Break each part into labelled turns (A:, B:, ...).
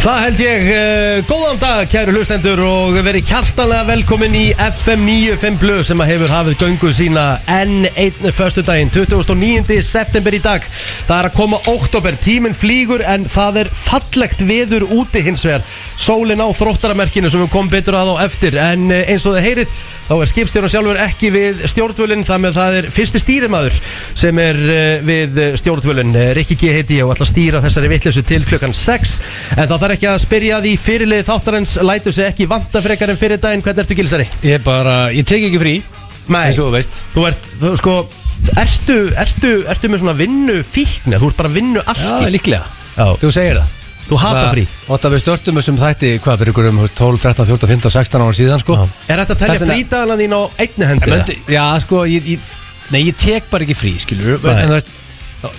A: Það held ég, uh, góðan dag kæru hlustendur og verið hjartanlega velkomin í FM 95 Blu sem að hefur hafið göngu sína enn einn förstu daginn, 29. september í dag Það er að koma oktober, tíminn flýgur en það er fallegt veður úti hins vegar Sólin á þróttaramerkinu sem við komum betur að á eftir en eh, eins og þið heyrið þá er skipstjórn sjálfur ekki við stjórnvölinn þar með það er fyrsti stýrimaður sem er eh, við stjórnvölinn Eh, Rikki G heiti ég og ætla að stýra þessari vitleysu til klukkan 6 en það þarf ekki að spyrja því fyrirlið þáttarins lætur sig ekki vanta frekar en fyrir daginn hvernig ertu gilsari?
B: Ég er bara, ég tek ekki frí
A: Nei,
B: eins og þú veist
A: þú ert, þú sko ertu, ertu, ertu með svona vinnu fíkni, þú ert bara vinnu allt
B: líklega
A: Já,
B: Þú segir það
A: þú hata frí
B: Ótt að við störtum þessum þætti, hvað fyrir ykkur um 12, 13, 14, 15, 16 ára síðan sko
A: Er þetta að
B: Þess
A: telja
B: vegna-
A: frítagana þín á einni
B: En
A: hendi?
B: myndi- Já, sko, ég, ég, nei, ég tek bara ekki frí, skilur
A: Nei.
B: En þú veist,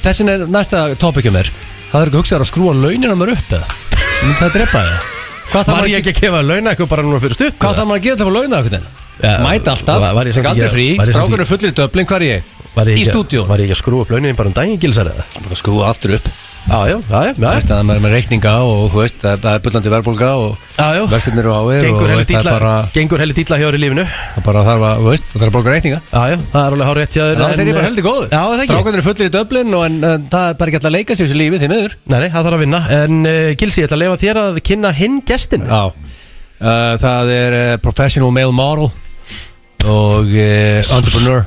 B: þessin er næsta topicum er Það er ekki hugsaður að skrúa launin á mér upp eða Myndi það drepa það Hvað
A: Var
B: þarf maður
A: ég
B: að,
A: ekki að kefa launa eitthvað bara núna fyrir stutt?
B: hvað þarf maður að gera til að fá launa okkur þenn?
A: Já,
B: Mæta alltaf,
A: var- var ég samt
B: tek
A: ekki að-
B: aldrei frí
A: var ég samt
B: Strákur
A: ekki-
B: er fullir í döblin, hvað er ég?
A: Var ég
B: Í
A: ekki að-
B: stúdíu
A: Var ég ekki að skrúa upp launin bara um daginn gilsar eða?
B: Skrúa aftur upp
A: Já, já, já, já,
B: Það
A: já.
B: veist að maður er með reikninga og þú veist, það það er bullandi verðbólga og
A: Já, já.
B: vextirnir eru háir og
A: Oh. Gengur
B: þú
A: heldur
B: veist, það er bara,
A: dýtla Gengur heldur dýtla hjá þér í lífinu
B: það bara þarf að, þú veist, það þarf að bólga reikninga
A: Já, já, það er alveg hár rétt hjá þér eh,
B: En það er ég bara heldur góður
A: Já, það er ekki
B: Strákan eru fullir í döblin og en, en það er bara ekki alltaf að leika sér þessu lífi því miður
A: Nei, nei, það þarf að vinna En uh, Gilsi, ég ætla að leifa þér að kynna hinn gestin
B: Já uh, Það er uh, professional male model og uh, entrepreneur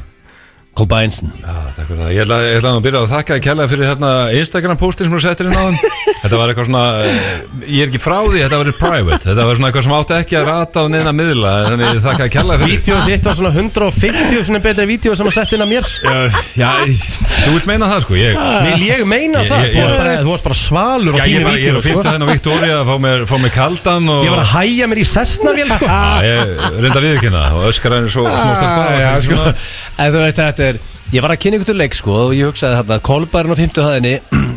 B: Cole Bynson
C: Já, takk fyrir það. Ég ætla, ég ætla að byrja að þakka að kella fyrir hérna Instagram postin sem þú settir inn á hann Þetta var eitthvað svona, eh, ég er ekki frá því, þetta var private Þetta var svona eitthvað sem átti ekki að rata á neina miðla Þannig ég þakka að kella fyrir
A: Vídeó þitt var svona 150 svona betri vídeó sem að setja inn að mér
C: Já, já, þú vilt meina það sko Ég,
B: Ah.
A: Vil ég meina
C: Ég-
A: það?
C: ég-
A: Þú
C: ég-
A: varst bara, þú varst bara svalur á
C: já, ég,
A: þínu
C: var, ég er
A: vídeó
C: að fyrta
A: sko.
C: þennan á Victoria að fá mér, fá mér kaldan og
A: Ég var að hæja mér í sessnavél sko
C: Já, Ah, ég reynda að viðkynna og öskar henni svo
B: Ah, já, sko.
C: smóstar
B: En þú veist þetta er Ég var að kynna ykkur til leik sko og ég hugsaði þarna Kolbarinn á 50 hæðinni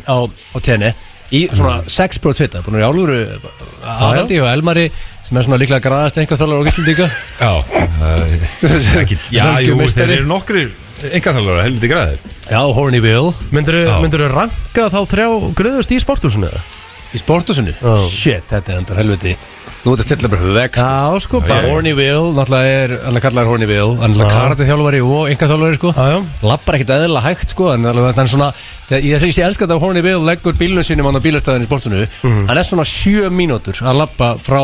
B: á, á tenni í svona
C: Mm.
B: 6 brot fitta búin að vera í álfuru aðaldi og Elmari sem er svona líklega graðast einhver þálar og gæstlindíka
C: Já, eh, ekki- já, jú, þeir eru nokkrir Engathalvara, helviti græðir
B: Já, Horny Bill
A: Myndirðu
C: Já.
A: myndirðu ranka þá þrjá gröðust í sporthúsinu? eða?
B: í sportusinu
A: Já.
B: Shit, þetta er endar helviti Nú er þetta stilla bara veg sko.
A: Já, sko,
B: Bara
A: bara
B: Horny Bill, náttúrulega er, hann er kallaður Horny Bill Hann er náttúrulega karatið þjálfari og einhver þjálfari sko
A: Já, já
B: Lappar ekkert eðlilega hægt sko En alveg þannig svona þegar- Ég þess að ég elska þetta að Horny Bill leggur bílunum sínum Hann á bílastæðinu í sportinu
A: Mhm.
B: Hann er svona sjö mínútur að lappa frá,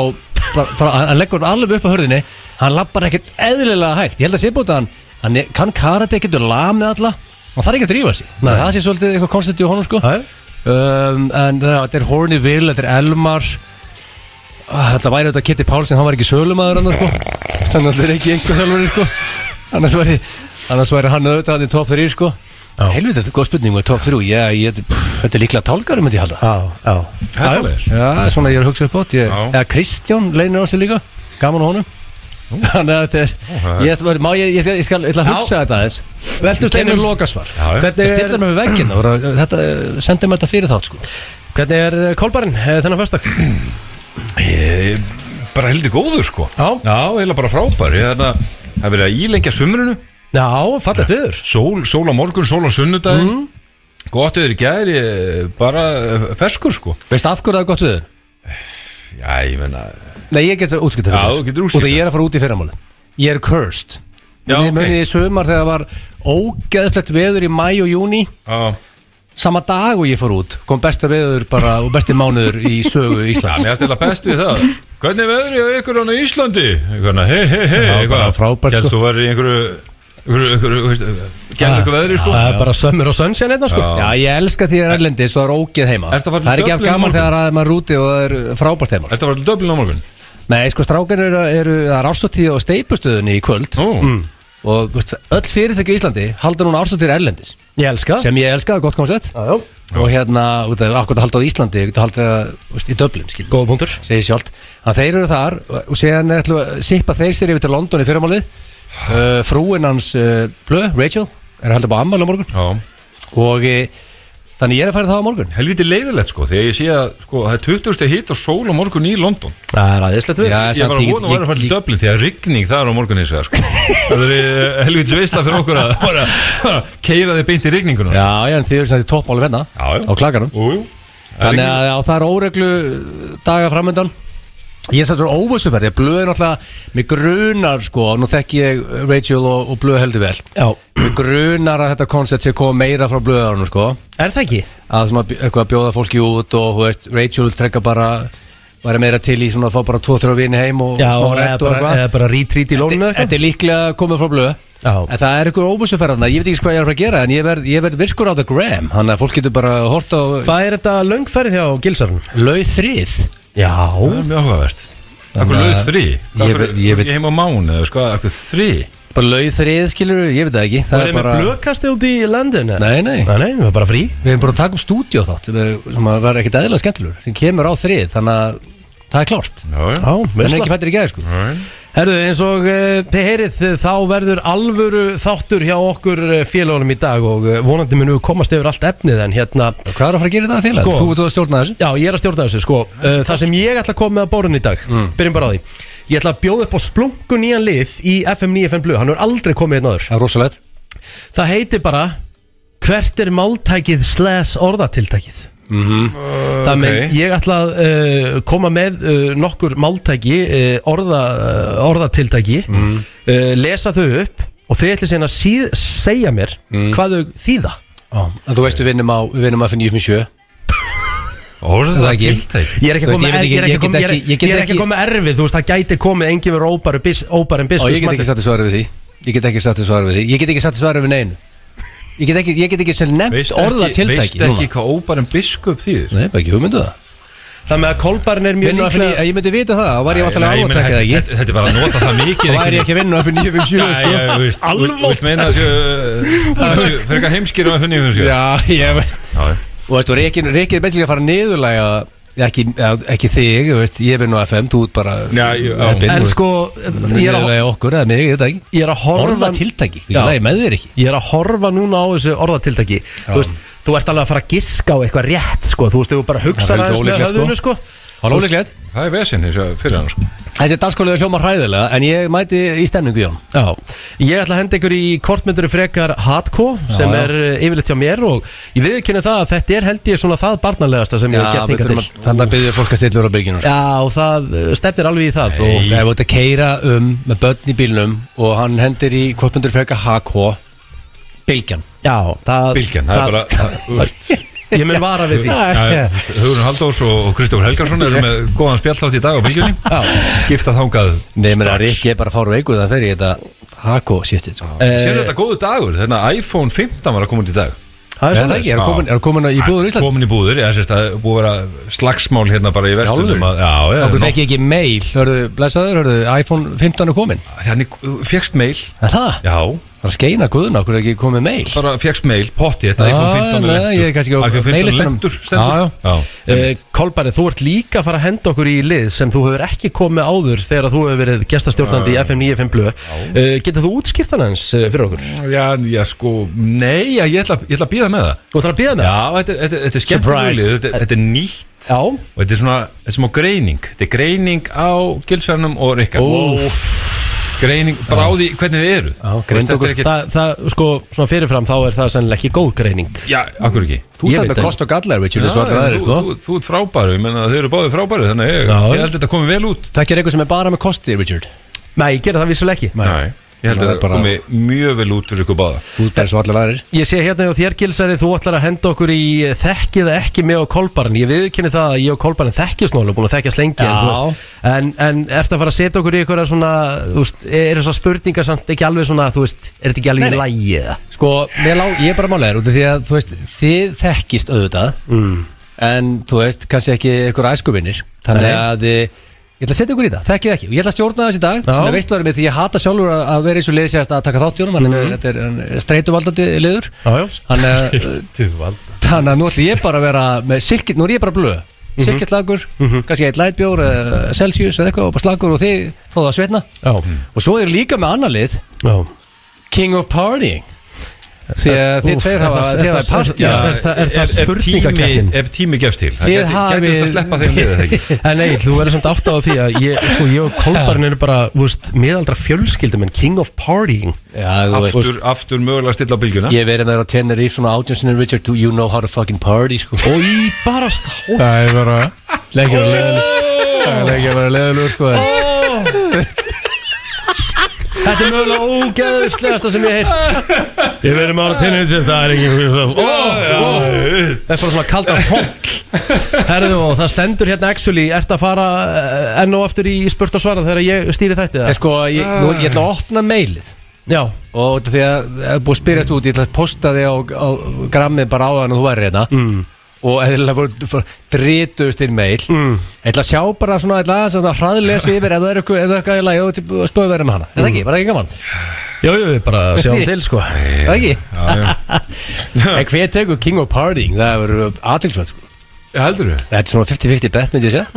B: frá, frá Hann hann leggur hann alveg upp á hörðinni Hann lappar ekkert eðlilega hægt Ég held að sé búið að hann Hann er- kann karate getur lam með alla Hann þarf ekki að drífa sig
A: Nei.
B: Það sé svolítið eitthvað konstantið á honum sko
A: Já, já.
B: um, En það- þetta er Horny Bill, þetta er Elmar Ah, Þetta væri auðvitað Kitty Pálsson, hann var ekki sölumæður annars sko Þannig að það er ekki einhver þjálfari sko Annars væri, annars væri hann auðvitað hann í top 3 sko Helvita, þetta er góð spurning með top 3 ég, ég, pff, Þetta er líklega tálgari myndi ég halda
A: Já, já
C: Það er svoleiðis.
B: Já, svona ég er að hugsa upp átt ég,
C: Já.
B: Eða Kristján leinir á sig líka, gaman á honum Þannig að þetta er
C: það er-
B: Ég, ætla- má, ég, ég, ég skal ég ætla að
A: Já.
B: hugsa þetta aðeins
A: Veltu
B: Ég kemur
A: steinum
B: lokasvar
C: Já, já.
B: Ég
A: Hvernig
B: stillar
A: er,
B: mig við vegginn og bara, Þetta, sendi mér þetta fyrir þátt sko
A: hvernig er eh, kolbarinn eh, þennan fyrstak?
C: Ég- Eh, Bara heldur góður sko
A: Já.
C: Já, heila bara frábær Ég, þarna, Það er verið að ílengja sumrunu
A: Já, fallegt viður
C: sól, sól á morgun, sól á sunnudagin Gott yfir í gær ég, Bara eh, ferskur sko
B: Veist af hverju það er gott við þér?
C: Já, ég menna
B: Nei, ég get það útskipt
C: Já, þú getur
B: Út
C: útskýrt
B: að
C: það.
B: ég er að fara út í fyrramáli Ég er cursed
C: Já,
B: Ég
C: ok.
B: munið í sumar þegar var ógeðslegt veður í mæ og júni
C: Já,
B: Sama dag og ég fór út Kom besta veður bara og besti mánuður í sögu
C: Já,
B: Íslands
C: mér stila best við það Hvernig er veðrið á ykkur hann á Íslandi? Hvernig, hei, hei, hei
B: Já, bara frábært,
C: Gæst
B: sko.
C: þú verið í einhverju Einhverju, einhverju, einhverju Gæst ykkur veðrið sko
A: Það er bara sömur og sönnsjæn hérna sko
C: Já.
B: Já, ég elska því að það er erlendis og það er ógeð heima
C: Ertu að fara til
B: Það er ekki af
C: Dublin í
B: gaman
C: morgun?
B: þegar að maður er úti og það er frábært heima
C: Þetta var til döblin á morgun
B: Nei, sko, strákar eru, eru það er ársóttíð á steipustöðunni í kvöld
C: Nú,
B: Og veist, öll fyrirtæki í Íslandi halda núna ársóttíð erlendis
A: Ég elska það
B: Sem ég elska, gott koncept
A: Já, já.
B: og hérna, út af akkur að halda á Íslandi ég getur haldið að, veist, í Dublin skil,
A: Góða punktur
B: segi sjálft, þannig að þeir eru þar og og séðan ætlum við að sippa þeir sér yfir til London í fyrramálið uh, frúin hans uh, Blö, Rachel er að halda upp á ammæli á morgun
C: já
B: og e, þannig ég er að færa það á morgun
C: Helviti leiðilegt sko Þegar ég sé að sko, það er 20. hitt og sól á morgun í London
A: Það er aðeinslega tvið
B: Já,
C: Ég var að vona að vera að fara til Dublin því að rigning það er á morgun eins og það sko. Það er eh, helvítis veisla fyrir okkur að bara, bara keira þig beint í rigninguna
B: Já, já, en þið eru sem þetta í toppmáli venna
C: Já, já.
B: á klaganum
C: Jú, jú.
B: Þannig að já, það er óreglu daga framöndan Ég er satt svona óvissuferð, ég blöði náttúrulega Mér grunar sko, nú þekki ég Rachel og, og blöð heldur vel
A: Já,
B: Mér grunar að þetta koncept sé koma meira frá blöðarunum sko
A: er það ekki?
B: Að svona bj- eitthvað að bjóða fólki út og þú veist, Rachel þrekka bara Væri meira til í svona að fá bara tvo, þrjá vini heim og
A: Já,
B: smá
A: eða
B: rett og
A: bara,
B: eitthvað
A: eða bara retreat í lónu
B: Þetta- Þetta er líklega komið frá blöð
A: Já.
B: En það er einhver óbúsuferðarna, ég veit ekki hvað ég er að fara að gera En ég verð, ég verð virkur á The Gram Þannig að fólk getur bara hort á
A: Hvað er þetta löngferð hjá Gilsarun?
B: Lauð þrið
A: Já
C: Það er mjög áhugavert Akkur
B: Þannig að-
C: löð þrý
B: Ég
C: Akkur
B: veit- ég veit-
C: heim á mánu eða sko, Akkur þrý
B: Bara lauð þrið, skilur ég veit það ekki
A: Það
B: Það
A: er með blökasti út í landinu
B: Nei, nei
A: Nei, nei, það er bara frí
B: Við erum bara að taka um stúdíó þátt sem er- Sem að vera ekkit eðla skemmtilegur Sem kemur á þrið, þannig að það er klárt
C: Já, já
A: Já,
B: Það er ekki fættir í gæði, sko
A: Herðu, eins og uh, þið heyrið eh, þá verður alvöru þáttur hjá okkur eh, félagunum í dag og uh, vonandi munum við komast yfir allt efnið en hérna
B: Hvað er að fara að gera þetta félag?
A: Sko.
B: Þú ert að stjórna þessu?
A: Já, ég er að stjórna þessu, sko uh, Það sem ég ætla að koma með að bórun í dag Byrjum bara á því Ég ætla að bjóða upp á splunkun nýjan lið í FM 95 Blu Hann er aldrei komið einn áður
B: Það er rosalegt
A: Það heitir bara Hvert er máltækið slash orðatiltækið Það með
C: ok.
A: ég ætla að uh, koma með uh, nokkur máltæki uh, orða, uh, orðatiltæki uh, lesa þau upp og þau ætla síðan að síð, segja mér hvað þau þýða
B: En Þú veist, við vinnum á, við vinnum á F957
C: Orða
B: Það ekki.
A: Ég er ekki að
B: Þú veist,
A: koma
B: ég veit
A: er-
B: ekki-
A: ég er ekki
B: ég
A: að koma-
B: get
A: ég er-
B: ekki- ég
A: ég
B: get
A: er ekki að
B: ekki-
A: koma erfið Þú veist, það gæti komið engin verið óbærum óbærum
B: Á,
A: biskup
B: ég get ekki satt í svara við því Ég get ekki satt í svara við því Ég get ekki satt í svara við neinu Ég get ekki, ég get ekki sem nefnt
C: Veist
B: orða
C: ekki, veist
B: tiltæki
C: ekki hvað óbærum biskup þýðir
B: Nei, bara ekki hugmyndu það
A: Þannig að kolbarn er mjög
B: Vinnu að
A: líklega
B: finna, ég myndi vita það Þá var ég vantilega
C: Nei,
B: alveg
C: meina,
B: að taka það
C: þetta-
B: ekki
C: Þetta er bara að nota það mikið
B: Þá væri ég ekki að vinna að finna 957 sko
C: Alvótt Þú meina að þessu Fyrir eitthvað heimskir á FNI Já,
B: Já, ég veit
C: já
B: Og veistu, Rekin, Rekin er betlilega að fara niðurlega ekki, eða ekki þig, þú veist, ég vinn á FM þú ert bara
C: Já, já, já.
B: heppinn,
A: En
B: þú
A: sko,
B: veist,
A: ég er að,
B: niðurlega okkur eða mig, ég veit það ekki
A: ég er að
B: Orða
A: horfa
B: tiltæki,
A: Já.
B: ég með þér ekki
A: Ég er að horfa núna á þessu orðatiltæki Þú veist, þú ert alveg að fara að giska á eitthvað rétt sko. Þú veist, ef þú bara hugsa
B: Það er
A: aðeins með
B: ólíklegt, sko.
A: höfðinu sko.
B: Hálf óleiklegt
C: Það er vesinn eins og fyrir hann sko.
B: Þessi dansskólið er hljóma hræðilega en ég mæti í stemningu Jón
A: Já, ég ætla að henda ykkur í kortmynduru frekar Hardcore sem
B: já.
A: er eh, yfirleitt hjá mér og ég viðkynna það að þetta er held ég svona það barnalegasta sem ég hef gert
B: við
A: ykkar
B: þurfum
A: til
B: að- þannig að byrja fólk að stilla úr á sko. byrginu
A: Já, og það eh, stefnir alveg í það
B: Og
A: og,
B: það er búin að keira um með börn í bílnum og hann hendir í kortmyndur freka HK Bilgjan
A: Já, það,
C: Bilgjan, það er bara það- úst.
A: Ég mun vara við því
C: Já, já. Hugurinn Haldós og Kristófur Helgarsson eru með góðan spjallhátt í dag á Bilgjanni Skipta þangað
B: Nei, mér að Rikki er bara að fára veiku það fer ég þetta HK séttið sko. Eh,
C: Sér þetta góðu dagur, þannig að iPhone 15 var að koma út í dag
A: Það
B: Er
A: er
B: það
A: svona
B: ekki? Er hann komin- er hann komin í búður í Ísland?
C: Komin í búður, já, sérst að búið að vera slagsmál hérna bara í vestunum
B: alvöru?
C: að, Já, já,
B: Okkur
C: nótt-
B: fekk ég ekki mail, hörðu, blessaður, hörðu, iPhone 15 er komin
C: þannig þú fékkst mail
B: Er það?
C: Já,
B: Það er að skeina guðuna, okkur er ekki komið mail
C: bara fékkst mail, potti, þetta
B: Já,
C: iPhone
B: Ah,
C: 15
B: nei,
C: er lentur Ah,
B: ég er kannski á
C: iPhone 15 er
B: maillistanum.
C: lentur, stendur
B: Já, já.
C: já.
A: Eh, Kolbæri, þú ert líka að fara að henda okkur í lið sem þú hefur ekki komið áður þegar þú hefur verið
B: Ah.
A: gestastjórnandi í FM 95 Blö uh, Getur þú útskýrt hann hans eh, fyrir okkur?
C: Já, já, sko, nei, já, ég ætla ég ætla að býða með það
A: Þú ætlar að bíða með það?
C: Já, þetta, er- þetta, er- þetta er
A: Surprise.
C: skemmtilegulið, þetta, er- þetta er nýtt
A: Já
C: og þetta er svona, þetta er smá greining þetta er greining á gilsverðnum og Rikka greining, bara á því hvernig þið eru
B: Já, greind okkur.
C: ekkit,
A: Það, það, sko, svona fyrirfram þá er það sennilega ekki góð greining
C: já, akkur ekki
B: Þú
A: Ég veit
B: sagði með
A: það.
B: kost og gallar, Richard,
C: Já,
B: þessu allra
C: þú,
B: aðrir,
C: þú,
B: sko
C: þú, þú ert frábæru, ég menna þið eru báðið frábæru þannig að ég,
A: Já.
C: ég held að þetta komi vel út
B: Þekkir eitthvað sem er bara með kosti, Richard
A: Nei, ég gera það vissulega ekki
C: ég held
B: Það
C: að
B: er
C: þetta
B: bara-
C: komi mjög vel út fyrir ykkur báða
B: Þú ert bara svo allir aðrir
A: Ég sé hérna hjá þér Gilsari, þú ætlar að henda okkur í eh, þekkið eða ekki mig og Kolbærin Ég viðkynni það að ég og Kolbærin þekkjast nálega búin að þekkjast lengi en,
B: Já.
A: þú veist, en, en ertu að fara að setja okkur í eitthvað svona, þú veist, eru þessar spurningar samt ekki alveg svona, þú veist, er þetta ekki alveg
B: Nei,
A: í
B: nei.
A: lægi eða?
B: Sko, mér lá, ég er bara málega út af því að þú veist, þið þekkist auðvitað
A: Mm.
B: en þú veist, kannski ekki ykkur æskuvinnir þannig
A: Nei.
B: að eh, ég ætla að setja ykkur í það, þekkið ekki og ég ætla að stjórna þessi dag,
A: Já.
B: sem er veistlæri með því ég hata sjálfur að, að vera eins og liðið sérst að taka þátt í honum mm -hmm. þetta er eh, streituvaldandi liður
A: Mhm. Já, já.
B: þannig að eh, þannig að nú ætla ég bara að vera með silkitt, nú er ég bara blöð
A: Mhm.
B: silkitt slagur, kannski eitt lightbjór uh, Celsius eða eitthvað, og bara slagur og þið fóðu að svetna
A: Já,
B: og svo er líka með annar lið
A: já
B: King of Partying því að þið
A: Úff,
B: tveir
A: er
B: hafa
A: það- er
B: þið hafa
A: það-
B: partí
A: Já, er það- er það spurningakeppnin?
C: Ef tími gefst til Það
B: Þið
C: gæti- gæti
B: hafið-
C: þetta að sleppa þeim liðið ekki
A: En nei, þú verður samt átt á því að ég, sko, ég og kómbarinn eru bara, þú veist, miðaldra fjölskyldum en king of partying
B: Já, þú veist
C: Aftur, aftur mögulega að stilla á bylgjuna
B: Ég hef verið með þér á tennir í svona átjónsinni Richard, do you know how to fucking party sko
A: og í barasta
B: Það er bara Lekkir að leiðilegur Það er leikir að vera leiðilegur sko en-
A: Þetta er mögulega ógeðslegasta sem ég heilt Ég verður með ára tinnir sem það er engin Það er bara svona kaldan hóll Herðu og það stendur hérna actually Ert að fara eh, enn og aftur í spurt og svara þegar ég stýri þætti
B: En
A: það
B: sko, ég, nú, ég ætla að opna mailið
A: Já,
B: Og út af því að það er búið að spyrjast út Ég ætla að posta því á, á grammið bara áðan og þú væri hérna mm. Og eða voru drítuðust inn mail mm. ætla að sjá bara svona Ætla að svona hraðlesi yfir Eða það er eitthvað- ef það er eitthvað í lagi Og spöðu verið með hana hérna. Er það ekki? Var það ekki gaman?
A: jú, jú, við bara sjáum til sko
B: Er það ekki?
C: Já, já.
B: En hver tekur King of Partying? Það verður aðtilsvæmt sko
C: Heldur þú?
B: Þetta er svona 50-50 bet, myndi ég segja.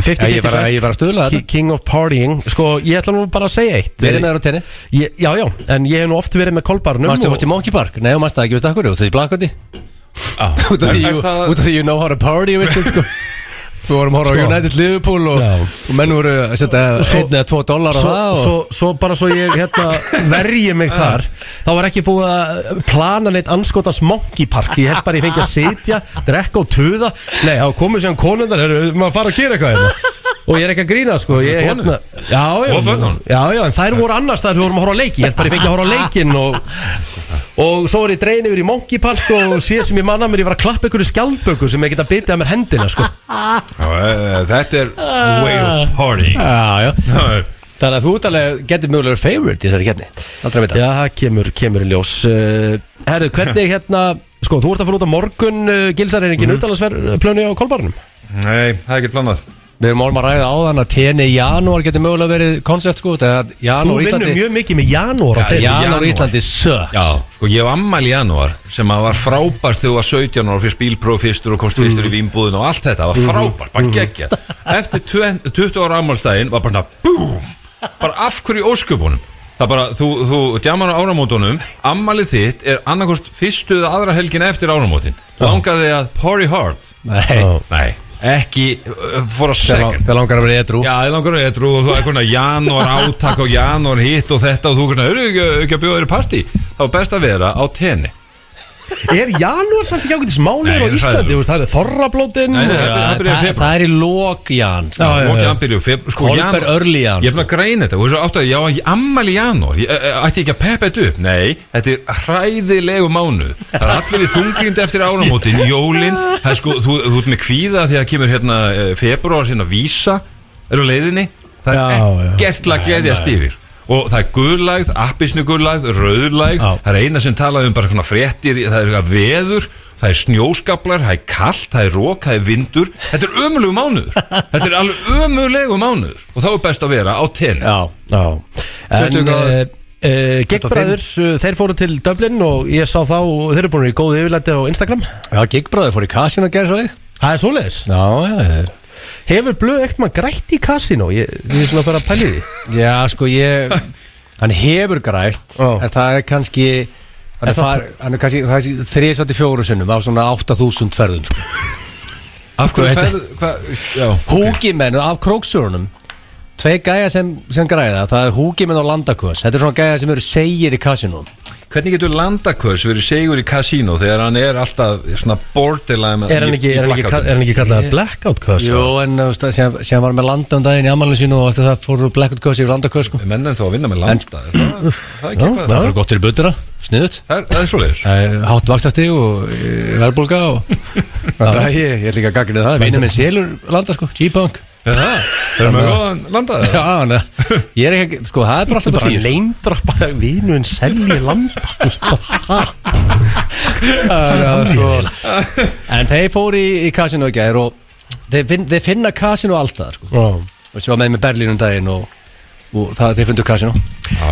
A: 50,
B: Ég er bara, ég er bara að stuðla að
A: Ki-
B: þetta.
A: King of partying Sko, ég ætla nú bara að segja eitt
B: Verið með þér á tenni.
A: Ég- Já, já, en ég hef nú oft verið með kolbarnum
B: Mástu,
A: og-
B: mástu í Monkey Park? Nei, mástu það ekki, veistu akkur? Út af því blakkvöldi? Út af því,
C: Er
B: you-
C: það-
B: út af því you know how to party, Richard, sko. Við vorum að horfa á
A: Sko.
B: United Liverpool og,
A: Já.
B: og menn voru að setja
A: Svo-
B: einn eða tvo dólar á
A: svo,
B: það og...
A: svo, svo bara svo ég hérna, verji mig þar þá var ekki búið að eh, plana neitt anskotans monkey park ég held bara ég fengi að sitja, drekka og tuða nei, þá komið sér konundar heru, maður fara að gera eitthvað hérna og ég er ekki að grína sko ég,
C: með
A: hérna, já, já,
C: Og börnunum.
A: já, já, en þær voru annars þar við vorum að horfa á leiki ég held bara ég fengi að horfa á leikin og, og svo er ég drein yfir í monkey park og síðan sem ég manna mér ég var að klappa ykkur skjaldböku sem ég geta bitið að mér hendina sko.
C: Já, eh, Þetta er way of partying
B: Já, já.
C: Já,
B: Þannig að þú útalega getur mögulega favorite í þessari kefni. Aldrei að vita.
A: Já, það kemur, kemur í ljós uh, Herru, hvernig hérna Sko, þú ert að fara út á morgun uh, Gilsar er
B: Mhm.
A: engin mm plönu á kolbarnum
C: Nei, það er ekki planað
B: Við erum orðum að ræða áðan að TN í janúar getur mögulega verið koncept, sko. Það er janúar í Íslandi.
A: mjög mikið með janúar
C: á teinum.
B: Janúar í
C: janúar.
B: Íslandi sucks.
C: Já, sko ég hef ammal í januar sem að var frábært þegar þú var 17 ára fyrst bílpróf fyrstur og komst fyrstur í vínbúðin og allt þetta var frábært, bara geggja Eftir 20 20 ára ammálstæðin var bara búm, bara af hverju í ósköpunum Það bara, þú, þú djamar á áramótunum Ammalið þitt er annarkost fyrstu eða aðra helgin eftir áramótin Langaði að party hard
B: Nei.
C: Nei, ekki uh, for a
B: Þegar lang-
C: second
B: þegar langar að vera edru.
C: Já, ég langar að etru og þú er konar janúar átak og janúar hitt og þetta og þú konar, eru ekki, ekki að bjóða þér í partí þá er best að vera á tenni
A: Er janúar samt ekki ágætis mánuður
C: Nei,
A: á
C: það er
A: Íslandi?
C: það.
A: Þú veist, Það er þorrablótin
C: Nei, nei, það er-
B: Já,
C: byrjar í
B: það-
C: febrúar.
B: Það er í lok jan, sko.
A: já, já.
C: og janbyrju, feb, sko,
B: Kolber
C: janúar-
B: early janúar,
C: Ég er
A: sko.
C: búin að greina þetta, og þessu átt að ég á ammali janúar ég, eh, eh, Ætti ekki að peppa þetta upp, nei Þetta er hræðilegu mánu Það er allir í þunglind eftir áramótin Jólin, það er sko, þú, þú ert með kvíða Því að kemur hérna februar Hérna vísa, er á leiðinni Það
A: Já,
C: er
A: já.
C: ekkert til að gleðjast yfir Og það er guðlægð, appisnu guðlægð, rauðlægð
A: Já.
C: Það er eina sem talaði um bara svona fréttir Það er eitthvað veður, það er snjóskaplar Það er kallt, það er rók, það er vindur Þetta er ömulegu mánuður Þetta er alveg ömulegu mánuður Og þá er best að vera á tenni
B: Já. eh,
A: Já En
B: 20 gráður.
A: uh, uh, Gigbræður, uh, þeir fóru til Dublin og ég sá þá, og þeir eru búin í góðu yfirlæti á Instagram
B: Já, Gigbróður fór í kasinu að gera svo þig
A: Það er svoleiðis
B: Já, já, já
A: Hefur blöð ekkert maður grætt í kasino? Ég, ég er svona að fara að pæli því
B: Já, sko, ég Hann hefur grætt
A: Já.
B: En það er kannski
A: En
B: Hann er,
A: það-
B: far, hann er kannski, það er þriðsvætti fjóru sinnum Á svona 8000 ferðum sko.
C: Af
B: hverju
C: hverju
B: ferð-
C: ferð, hvað, já
B: Húkimenn af króksjórunum Tvei gæja sem, sem græða Það er húkimenn og landakvöss Þetta er svona gæja sem eru segir í kasinum
C: Hvernig getur landakörs verið segur í kasínó Þegar hann er alltaf svona borderline
A: Er hann
C: í-
A: ekki,
C: í
A: er hann ekki,
C: blackouti?
A: er hann ekki kallað blackout kasino?
B: Jó, en þú veist, það sem, sem var með landa um daginn í ammálinu sínu Og eftir það fóru blackout kvöss yfir landakvöss sko.
C: Menn er þá að vinna með landa er Það það er ekki eitthvað
B: bara gott fyrir buddra, sniðut
C: Það er- það er svoleiðis
B: Það er hátt vakstastig og eh, verðbólga og það er ég, ég er líka gagnið það Vinnu minn Selur landa sko, G-Punk
C: Er það? Erum við góðan landað?
B: Já, hann ég er ekki, sko það er bara alltaf bara
A: Bara
B: tíu sko.
A: leindra bara vinun selji landa
B: Já, já, sko. En þeir fóru í, í kasinu í gær og þeir, finn, þeir finna kasinu alltaf sko.
A: Já
B: og sem var með með Berlín um daginn og, og það, þeir fundu kasinu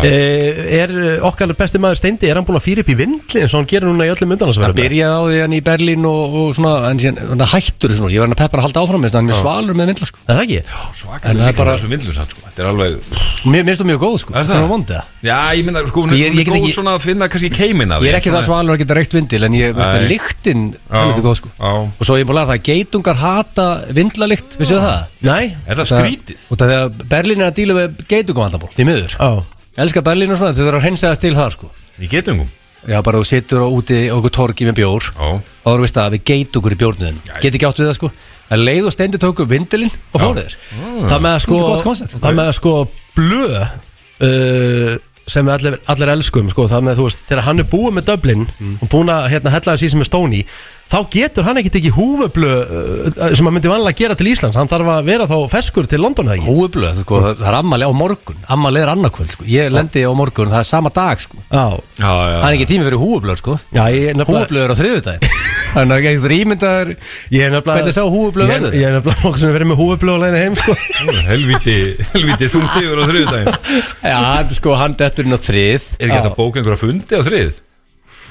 A: Eh, Er okkar besti maður Steindi, er hann búin að fýra upp í vindli eins og hann gerir núna í öllum
B: Það
A: undanlandsverðum?
B: byrjaði á því hann í Berlín og, og svona, en síðan hann hættur svona, ég var hann að peppa hann að halda áfram, þess að hann er mjög svalur með vindla sko.
A: Er það ekki?
C: Svakalega
B: það er
C: líka
B: bara-
C: þessu vindlur samt sko Þetta er alveg
B: Mér mér finnst þú mjög góð sko,
C: Er
B: Þetta
C: það?
B: var vondið
C: Já, Já, ég minna, sko, hún
B: Sko, ég-
C: er
B: ég get
C: góð
B: ekki-
C: svona að finna kannski keimin af
B: Ég er ekki það svalur að geta reykt vindil En ég veist að
C: Nei.
B: lyktin er þetta góð sko
C: á.
B: Og svo ég búið að laga það að geitungar hata vindlalikt Vissu það?
A: Nei
C: Er það skrítið?
B: Og það er að Berlín er að díla við geitungavandamál Því miður
A: Ó
B: Elskar Berlín og svona Þið þarf að hreinsaðast til það sko
C: Í getungum
B: Já bara þú situr á úti á okkur torgi með bjór
C: Já.
B: Og þú veist að við geitungur í bjórnuðin
C: Jæja.
B: Get ekki átt við það sko En leið og steindi tóku vindilinn og fóruðir
C: Mm.
A: Það með að sko
B: Þetta er gott koncept.
A: Það með að sko blö uh, sem við allir, allir elskum sko, það með þú veist, þegar hann er búið með döblin
B: Mm.
A: og búin að hérna, hella þessi sem er stóni þá getur hann ekkit ekki húfublö uh, sem hann myndi vanlega gera til Íslands hann þarf að vera þá ferskur til London eða ekki?
B: Hóublöð, sko, það það er ammali á morgun Ammali er annarkvöld, sko Ég lendi á morgun, það er sama dag, sko
A: Já,
C: Já, já,
B: Það er ekki tími fyrir húublöð, sko
A: já ég er nefnilega
B: Húublöð er á þriðudaginn Þannig að eitthvað ímyndaður
A: Ég er nefnilega
B: Hvernig sá húfublöð
A: Ég-
B: verður?
A: Ég er nefnilega nokkuð sem er verið með húfublöð á leiðinni heim sko.
C: já. Helviti, helviti þungt yfir á þriðudaginn
B: Já, hann, sko, hann dettur inn á þrið
C: Er ekki þetta bók einhverja fundi á þrið?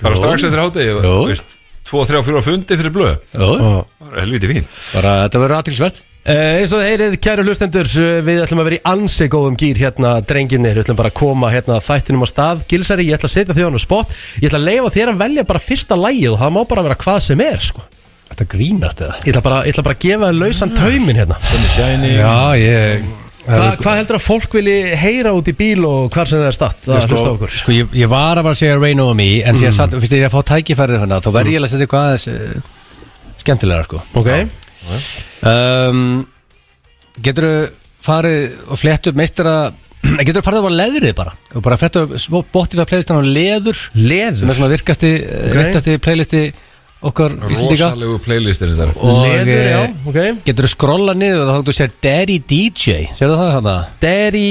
C: Bara
B: Jú.
C: strax eftir hádegi
B: Jú.
C: veist, Tvo, þrjá, fjóra fundi fyrir blöð
B: Jú,
C: Það var Helviti fín
B: bara þetta verður aðtilsvert
A: Eh, eins og þið heyrið, kæru hlustendur, eh, við ætlum að vera í ansi góðum gýr hérna, drenginir, við ætlum bara að koma hérna þættinum á stað, Gilsari, ég ætla að setja þig á hann á spott, ég ætla að leifa þér að velja bara fyrsta lægið og það má bara vera hvað sem er, sko.
B: Þetta grínast eða Mm.
A: Ég ætla bara, ég ætla bara að gefa þér lausan tauminn hérna.
B: Já, ég
A: Hva, hvað heldur að fólk vilji heyra út í bíl og hvar sem það er statt að hlusta á
B: sko,
A: okkur?
B: sko ég, ég var að bara segja Rain on Me En síðan satt, fyrst ég að fá tækifærið hana Þá verð ég að setja eitthvað aðeins uh, Skemmtilega, sko
A: Ok,
B: um, Getur farið og flett upp meistara Getur farið á leðrið bara og bara flett upp bóttið að playlistan á leður sem er
A: leður,
B: svona virkasti, okay. virkasti playlisti okkar íslendinga
C: Rosalegu playlistin þetta
A: leður, já, ok.
B: Getur skrolla niður og þá þú sér Daddy DJ, sérðu það þarna?
A: Derry,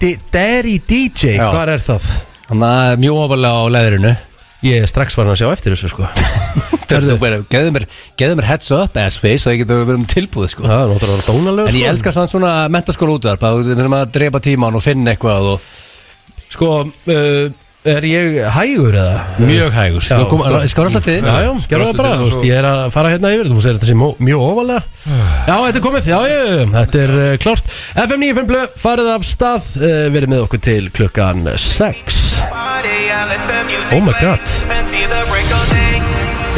A: D- Derry DJ,
B: Já.
A: hvar er það?
B: Þannig að mjög ofalega á leðrinu
A: Ég er strax farin að sjá eftir þessu, sko.
B: Geðu mér, geðu mér heads up ass face og það getur verið með tilbúið sko
A: Það er náttúrulega að vera dónalög,
B: En
A: sko.
B: ég elskar svona, svona mentaskóla útvarp að við verðum að drepa tíman og finna eitthvað og
A: Sko, uh, er ég hægur eða?
B: Mjög hægur
A: Já,
B: Sko, kom,
A: sko.
B: sko alltaf til
A: Já, já, gerðu það bara,
C: Brostu til
A: þú
C: hans
A: veist,
C: og-
A: ég er að fara hérna yfir, þú segir þetta sé mó- mjög ofalega Já, þetta er komið, já, já, já, þetta er uh, klárt FM 95 blöð, farið af stað, uh, verið með okkur til klukkan 6
D: Oh
A: my God.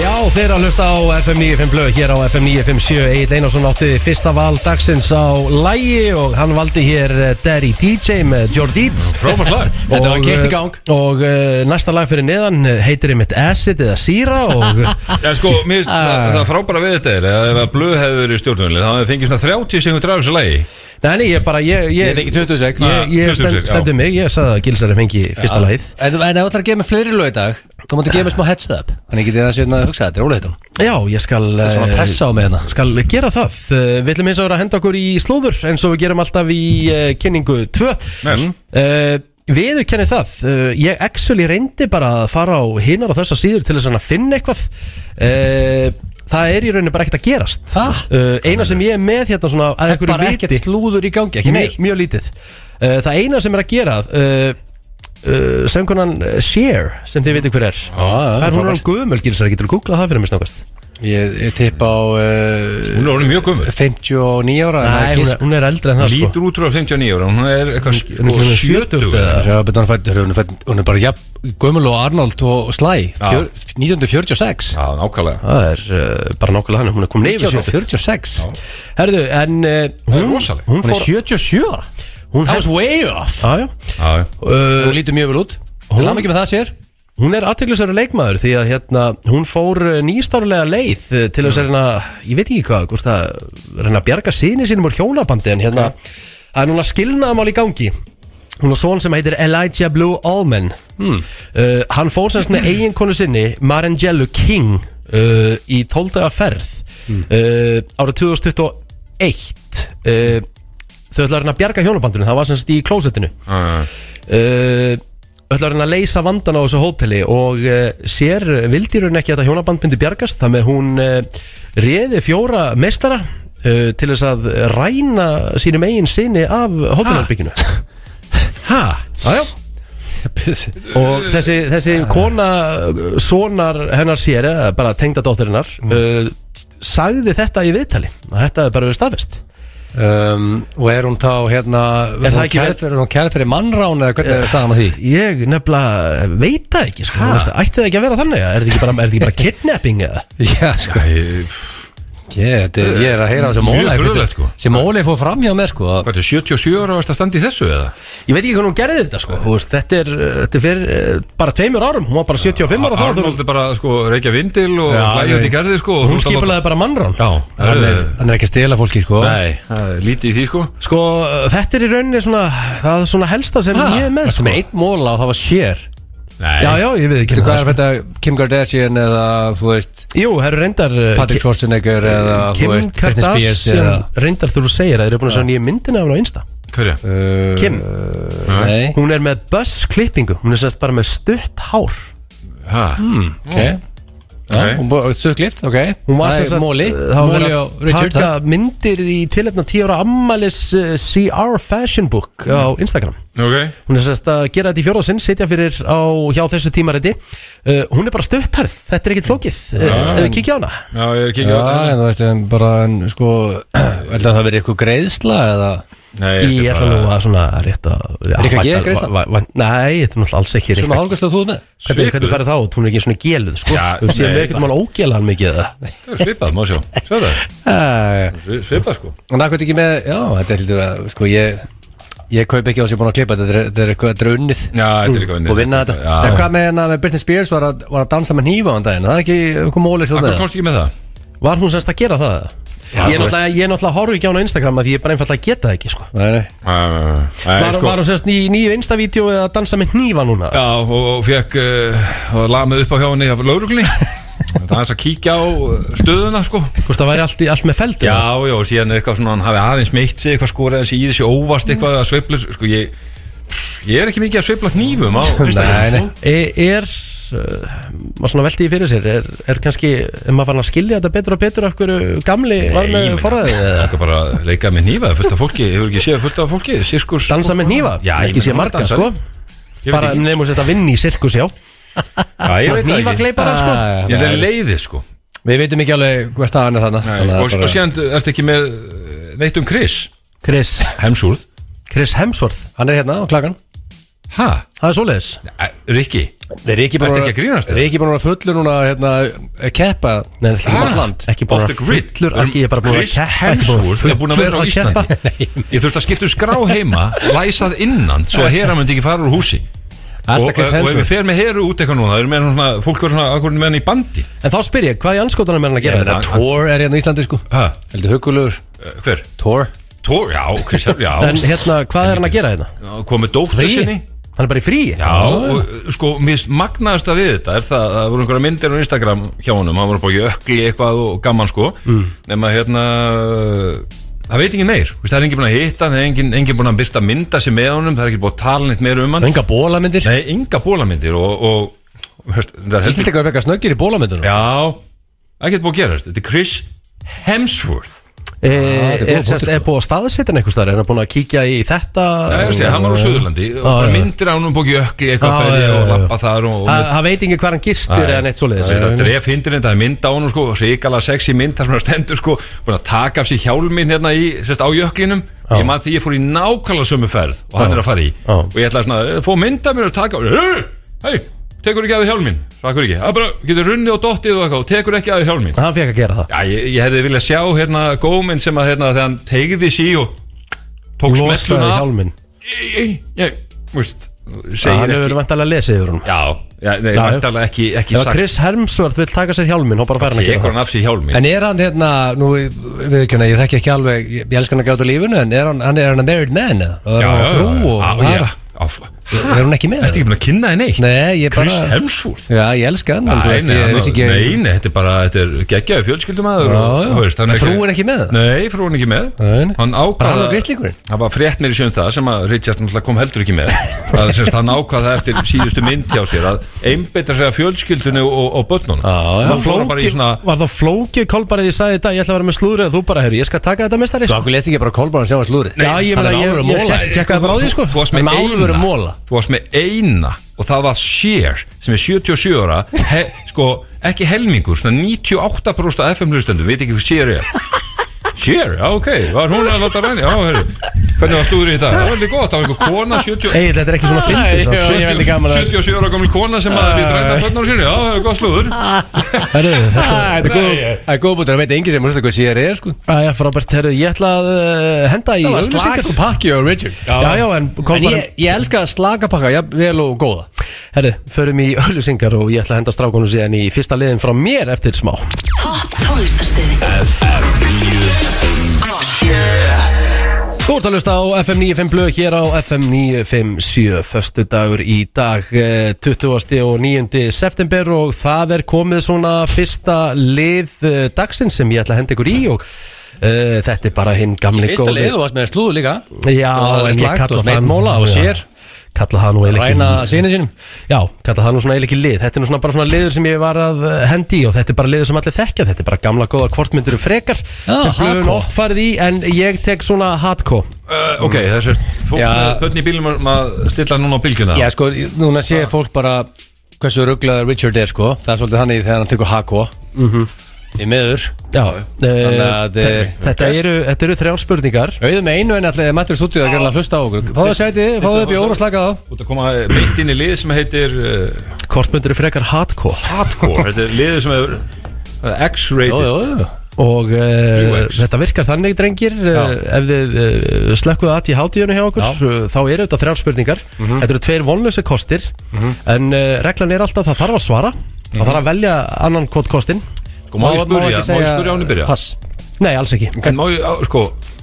A: Já, þeir eru að hlusta á FM 95 blöð, hér á FM 957 Egil Einarsson átti fyrsta val dagsins á lægi og hann valdi hér uh, Derry DJ með Jordíts
C: Frábært lag
B: Þetta var
A: Og,
B: keyrt í
A: eh,
B: gang.
A: Og uh, næsta lag fyrir neðan eh, heitir einmitt Acid eða Sýra og
C: Já, sko, mér finnst
B: Ah.
C: það, það frábæra við þetta er að ef að blöð hefði verið stjórnvölið þá hefði fengið svona 30 sem hún drar þessu lagi
A: Nei, nei, ég bara, ég Ég,
B: Ég fengi 20 sek.
A: Ég, ég
C: 20 sek,
A: stend,
C: já.
A: stendur mig, ég sagði að Gilsari fengi fyrsta
B: Já.
A: lagið
B: En en ef þú ætlar að gefa mig fleiri lög í dag Þá máttu gefa mig smá heads up Þannig getið það sérna að hugsa hérna þetta er ólega þetta
A: Já, ég skal
B: er svona
A: eh,
B: pressa á mig hérna.
A: Skal gera það Eh, Við ætlum eins og vera að henda okkur í slúður eins og við gerum alltaf í uh, kynningu 2
C: Vel.
A: uh, Viður kenni það uh, Ég actually reyndi bara að fara á hinnar á þessa síður til þess að finna eitthvað uh, Það er í rauninu bara ekkert að gerast
B: Það?
A: Uh, eina sem ég er með hérna svona að einhverju
B: Bara ekkert
A: viti-
B: slúður í gangi, ekki
A: Nei,
B: neitt
A: mjög lítið uh, Það eina sem er að gera uh, uh, Söngunan uh, Cher Sem þið veitir hver er
C: Ah,
B: já,
A: Það er hún án guðmöl gilsar Getur þú googlað það fyrir mig snakast
B: Ég, ég tippa á uh,
C: Hún er orðin mjög gömur
B: 59 ára
A: Nei, hún er, hún er eldri en það sko
C: Lítur útrú á 59 ára, hún er eitthvað sk-
A: Hún er
C: og
A: komin í 70
C: 70 eða?
A: eða?
B: Já, betur hún, fætt, hún, er fædd, hún er bara jafn Gömul og Arnold og Sly fjör, 1946
C: Já, nákvæmlega
A: Það er uh, bara nákvæmlega hann Hún er komin yfir 70
B: 1946
A: Herðu, en uh,
C: Það er
A: hún,
C: rosaleg.
A: hún
B: Hún er
A: fór
B: 77 ára
A: Hún
B: That
A: hef-
B: was way off
A: Já, já
C: Já, já.
A: Uh,
B: Hún lítur mjög vel út Hún hafði ekki með það sér
A: hún er aðteglisverður leikmaður því að hérna, hún fór nýstárlega leið eh, til
B: Mm.
A: þess að reyna, ég veit ekki hvað hvort að reyna að bjarga sinni sínum úr hjónabandi en hérna, það er núna skilnaðamál í gangi hún er svon sem heitir Elijah Blue Allman
B: Hmm.
A: uh, hann fór semst með eiginkonu sinni Marangelo King uh, í 12 daga ferð
B: Hmm.
A: uh, árið 2021 uh, þau ætlaði að reyna að bjarga hjónabandinu það var semst í klósettinu
C: Já, já, já.
A: uh, öll að reyna að leysa vandan á þessu hóteli og uh, sér vildi í raun ekki að þetta hjónaband myndi bjargast þannig að hún uh, réði fjóra mestara uh, til þess að ræna sínum eigin sinni af hótelherbygginu
B: Ha?
A: Jájá Og þessi, þessi kona uh, sonar hennar sér eh, bara tengda dóttirinnar uh, sagði þetta í viðtali að þetta hefði bara verið staðfest
B: um, og er hún þá hérna
A: Er
B: er
A: það
B: hún
A: ekki vel-
B: kærð fyrir, er hún kærð fyrir mannrán eða hvernig er staðan á því
A: Ég nefnilega veit það ekki sko, Þú veist, Ætti það ekki að vera þannig Er það ekki bara, er það ekki bara kidnapping eða?
B: já sko
C: Æ,
B: ég, þetta er- ég er að heyra á sem
C: Mjög
B: Óli
C: furðulegt, sko.
B: sem Óli fór fram hjá með sko að-
C: Hvað er 77 ára varst að standa í þessu eða?
A: Ég veit ekki hvernig hún gerði þetta sko Þú veist, Þetta er, uh, þetta er fyrir uh, bara tveimur árum Hún var bara 75 ára þá
C: Arnold er bara sko reykja vindil og
B: Já,
C: hlæja út í
B: nei.
C: garði sko
A: Hún
C: og þú ert að láta-
A: skipulaði bara mannrán
C: Já,
B: hann
C: það
B: er,
C: er
B: hann er ekki að stela fólki sko
C: Nei, það er lítið í því sko
A: Sko, uh, þetta er í rauninni svona Það er svona helsta sem ég er með
B: Ertu
A: sko
B: Ah, með einn móla og það var sér
C: Nei,
A: Já, já, ég veit ekki
B: Þú hvað
A: það
B: er
A: sko.
B: þetta Kim Kardashian eða þú veist
A: Jú, það eru reyndar uh,
B: Patrick
A: Ki-
B: Schwarzenegger eða þú
A: Kim
B: veist Britney Spears eða
A: Kardashian Reyndar þú segir að þeir eru búin að sjá nýja myndina af hún á Insta
C: hverja?
B: Uh,
A: Kim,
B: Nei
A: hún er með buzz klippingu Hún er sérst bara með stutt hár
C: Ha,
B: Ok okay. Stöðklift, ok
A: Hún var
B: Það er
A: sem sagt
B: Móli
A: Það var
B: Móli
A: verið
B: og
A: að
B: Richard
A: taka myndir í tilefna 10 ára ammalis uh, CR Fashion Book á Instagram
C: Ok
A: Hún er sérst að gera þetta í fjóra sinn, sitja fyrir á hjá þessu tímariti uh, Hún er bara stuttarð, þetta er ekkert flókið ja. uh, Kikki á hana
C: Já, ég er ekki
B: Já,
C: ekki á þetta
B: en þú veist, en bara, en sko Ætla að það verið eitthvað greiðsla eða
C: Nei,
A: Ég
C: þetta
A: ætla
C: er
A: nú
C: bara
A: að svona rétt að Ah,
B: Er ekki að gera
A: vænta-
B: greiðsla?
A: væ- væ- Nei, þetta er náttúrulega alls ekki
B: Svona
A: Rikka.
B: hálfgæsla þú með
A: Hvernig,
C: Svipuð.
A: hvernig færðu þá út? Hún er ekki svona geluð sko
C: Já,
A: Þú séum
C: nei,
A: við ekkert mál ógela hann mikið eða?
C: Það er svipað, má sjá Sjá það,
B: En
C: Svi- svipað sko
B: það hvernig ekki með, já, þetta er lítur að, sko, ég Ég kaup ekki á sem ég er búin að klippa, þetta er- þetta er eitthvað, þetta er unnið
C: Já, þetta er ekki unnið.
B: Og vinna þetta
C: Já.
B: En hvað með hérna með Britney Spears var að, var að dansa með nýfa á daginn Það er ekki, hvað móli svo
C: Akkur
B: með það
C: komst ekki með það?
A: Var hún semst að gera það? eða? ég, er náttúrulega, ég er náttúrulega horf ekki á hún á Instagram að Því ég er bara einfallega að geta það ekki sko
B: Nei, nei
C: Æ, Nei,
A: Var,
C: sko
A: var hún semst í nýju Insta-vídeó eða að dansa með hnífa núna?
C: Já, og, og fekk uh, og lamið upp á hjá henni af lauruglunni Það er þess að kíkja á eh, stöðuna sko
A: Þú veist það væri allt, í, allt með feldu
C: Já, já, og síðan er eitthvað svona hann hafi aðeins meitt sig, eitthvað skoraði þessi í þessi óvast eitthvað að sveifla, sko ég ég er ekki mikið að sveifla nýfum á
B: Nei,
C: Instagram,
B: nei.
C: sko.
A: Er, E, er uh, maður svona veltið fyrir sér Er, er kannski, er maður farin að skilja þetta betur og betur Af hverju gamli var
C: Nei,
A: með
C: ég meina,
A: forræðið eða?
C: Þetta er bara að leika með nýfa, fullt af fólki hefur ekki séð fullt af fólki, sirkus
A: Dansa með hnífa?
C: Já, ég
A: ekki
C: meina,
A: sé
C: hún
A: marga
C: dansar.
A: sko
C: Ég veit
A: Bara
C: ekki.
A: nefnum þetta vinn í sirkus, já
C: Já, ég veit það
A: Hnífa
C: ekki
A: gleiparar sko
B: Ah, já.
C: Þetta er leiðið, sko
B: Við veitum ekki alveg hvað staðan er þannig
C: og, og, og síðan ertu ekki með eh, neitt um Chris
A: Chris,
C: Hemsúrð
A: Chris Hemsworth
B: Hann er hérna á klakan
C: Ha?
A: Það er svoleiðis
C: Nei, Rikki
B: Þeir eru ekki búin
C: Ertu
B: að-
C: ekki að grínast
B: Þeir
C: þér?
B: eru ekki búin að vera fullu núna hérna, að keppa
A: Nei, það er ekki
C: Ah,
A: bara land Ekki búin
C: off
A: að
C: the grid.
A: fullur
C: Við erum-
A: ekki, Ég er bara búin að
C: Chris
A: keppa ekki búin
C: Hemsworth er búin að
A: fullur
C: vera á
A: að
C: Íslandi Ég þurfti að skipta um skrá heima Læsað innan Svo að hera myndi ekki fara úr húsi Og,
B: Alltaf
C: og,
B: Chris
C: og ef við
B: Hemsworth
C: fer með heru út eitthvað núna Það eru með hann svona Fólk verður svona Akkur með hann í bandi
A: En þá spyr ég, hvað í anskotanum er hann að
B: Ég
A: gera
B: meina,
A: þetta?
B: Thor er hérna á Íslandi sko
C: Ha?
B: Heldur hugulugur
C: eh, Hver?
B: Thor
C: Tór? Já, Chris Já
A: En hérna, hvað er hann að gera þetta?
C: Komið dóttur
A: Frí?
C: sinni
A: Hann er bara í frí?
C: Já, og sko, mér finnst magnaðasta við þetta er það að það voru einhverja myndir á Instagram hjá honum, hann voru bara jökli eitthvað og gaman sko,
A: Mm.
C: nema hérna það veit enginn meir, Vist, það er enginn búin að hitta hann, það er enginn, enginn búin að byrta mynda sér með honum, það er ekki búin að tala neitt meir um hann,
B: Enga bólamyndir
C: nei, enga bólamyndir og, og, og veist, það er heldur
B: Íslandingar er fekka snöggir í bólamyndunum
C: Já, ekkert búin að gera þetta, þetta er Chris Hemsworth
A: E,
C: Ah,
B: þetta er góð
A: er, sérst,
B: punktur,
A: er búið að staðsetja hann einhvers þar? Er hann búin að kíkja í þetta?
C: Það er að segja, hann var á Suðurlandi og
A: Já,
C: bara
A: já.
C: myndir á honum búin jökli eitthvað
A: Já,
C: ferði
A: já,
C: og
A: já, já.
C: lappa þar og, og
A: Ha- Hann veit ekki hvað hann gistir eða neitt svoleiðis
C: Það dref hindurinn, það er mynd á hún sko, Ríkala sexy mynd, það sem það stendur sko, Búin að taka af sér hjálminn hérna í, sérst, á jöklinum Ég maður því ég fór í nákvæmlega sömu ferð Og hann er að fara í
A: Já.
C: Og ég ætlaði svona, fó mynd af mér og taka Hei, tekur ekki af þér hjálminn Svakur ekki, það bara getur runnið og dottið og eitthvað Og tekur ekki af þér hjálminn
A: Hann fekk að gera það
C: Já, ég, ég hefði viljað sjá hérna góminn sem að hérna þegar hann tegði sí og Tók smelluna
A: Losaði
C: af
A: hjálminn
C: Ég, ég, ég, veist,
A: Hann
C: segir
A: hefur
C: ekki
A: vantalega lesið yfir hún
C: Já, já, nei,
A: Já, já.
C: væntanlega ekki, ekki
A: Ef að
C: sagt
A: Chris Hemsworth vil taka sér hjálminn Há bara fær hann sko. að gera
C: Tekur
A: það
C: hann af sér hjálminn
B: En er hann hérna Nú við ekki hérna Ég þekki ekki alveg Ég, ég elskar hann ekki át á lífinu En er hann, hann er hann a married man eða? Og er hann á frú og
C: já, já, á fr-
B: Er hún ekki með?
C: Ertu ekki búin að kynna henni neitt?
B: Nei, ég
C: Chris
B: bara
C: Hemsworth
B: Já, ég elska hann en þú veist, Ég vissi ekki
C: nei, nei, þetta er bara þetta er geggjaði fjölskyldumæður
B: Já, já. En frúin ekki með það?
C: Nei, frúin ekki með
B: Nei, nei.
C: Hann
B: Bara hann
C: ákvaða
B: og grislingurinn?
C: Það var frétt mér í sjönd það sem að Richard náttúrulega kom heldur ekki með að semst hann ákvaða eftir síðustu mynd hjá sér að einbetra sér að fjölskyldunni og, og börnunum
B: Já, já.
C: Hann fór bara í
A: Flóki-
C: svona
A: Var það flókið kolbarið ég sagði þetta Ég ætla að vera með slúðrið Þú bara, herru, ég skal taka þetta mestari
B: Svo okkur lest ekki bara Kolbrann
C: um
B: sjáast lúri
A: Já, ég meina, ég- ég tek- tekkaði bara á því, sko.
C: Þú varst
B: Hann
C: með
B: er með alvöru
C: eina
B: mola.
C: Þú varst með eina Og það var Cher Sem er 77 ára he, Sko, ekki helmingur Svona 98% af FM hlustendu Veit ekki hvað Cher er Cheer, já, ok, var hún að láta ræni Já, herru, hvernig var stúður í þetta? Það var alveg gott, það var einhver kona 70
A: Egil, þetta er ekki svona
B: Æ,
A: fyndið samt. sko.
B: já. ég veldi gaman að-
C: 77 ára gammal kona sem að við drænda börnar sínu Já, það er gott slúður
A: Herru, þetta
B: Það er góð- það er góð bútur, það veit engin sem hlusta hvað sér er sko
A: Æja, frábært, herru, ég ætla að uh, henda í
B: Það var
A: auglýsingar.
B: slakur pakki á Richard
A: Já, já, en kom
B: En
A: bara-
B: ég, ég elska slakapakka, já, vel og góða
A: Herru, förum í öllusingar og ég ætla að henda strákunum síðan í fyrsta liðin frá mér eftir smá
E: Topp tónlistarstöðin
A: Þú ert að hlusta á FM 95 blöð hér á FM 957 Föstu dagur í dag eh, 20. og 9. september og það er komið svona fyrsta lið eh, dagsins sem ég ætla að henda ykkur í og uh, þetta er bara hinn gamli
B: Fyrsta leið og varst með slúðu líka
A: Já,
B: og það er
A: en ég
B: slakt
A: kalla það nú-
B: og smeitmóla og
A: já,
B: sér.
A: Kalla það nú eiginlega ekki-
B: Ræna sinni sínum
A: Já, kalla það nú svona eiginlega ekki lið Þetta er nú svona bara svona liður sem ég var að eh, hendi í og þetta er bara liður sem allir þekkja Þetta er bara gamla góða kvortmyndir og frekar sem blöðun
B: hardcore.
A: oft farið í en ég tek svona hardcore
C: Uh, Ok, þessi fólk
B: Já.
C: með börn í bílum að- að stilla núna á bylgjuna
B: Já, sko, núna sé fólk bara hversu rugglaður Richard er, sko Það er svolítið hann í þegar hann tekur hako Í miður
A: Já,
B: Þannig að,
A: eh,
B: eh,
A: þetta eru, þetta eru þrjár spurningar
B: Auðum með einu en allir þið mættur í stúdíu að gerða að hlusta á okkur Fáðu sæti, fáðu upp í óra og slaka þá
C: Þú ert að koma beint inn í lið sem heitir uh,
A: Kortmyndur eru um frekar hardcore
C: Hardcore Sko, Þetta er liðið sem er uh, X-rated
B: jú
A: Og uh,
C: 3X.
A: þetta virkar þannig, drengir uh, Ef þið uh, slökkuðu að í hátíðunum hjá okkur uh, Þá eru þetta þrjár spurningar
B: Mhm.
A: Þetta eru tveir vonlösa kostir En uh, reglan er alltaf að það þarf að svara
B: Mhm.
A: Það þarf að velja annan kvot kostin
C: Sko, má ég spurja, má ég spurja án í byrja
B: Pass
A: Nei, alls ekki
C: En má ég, á, sko,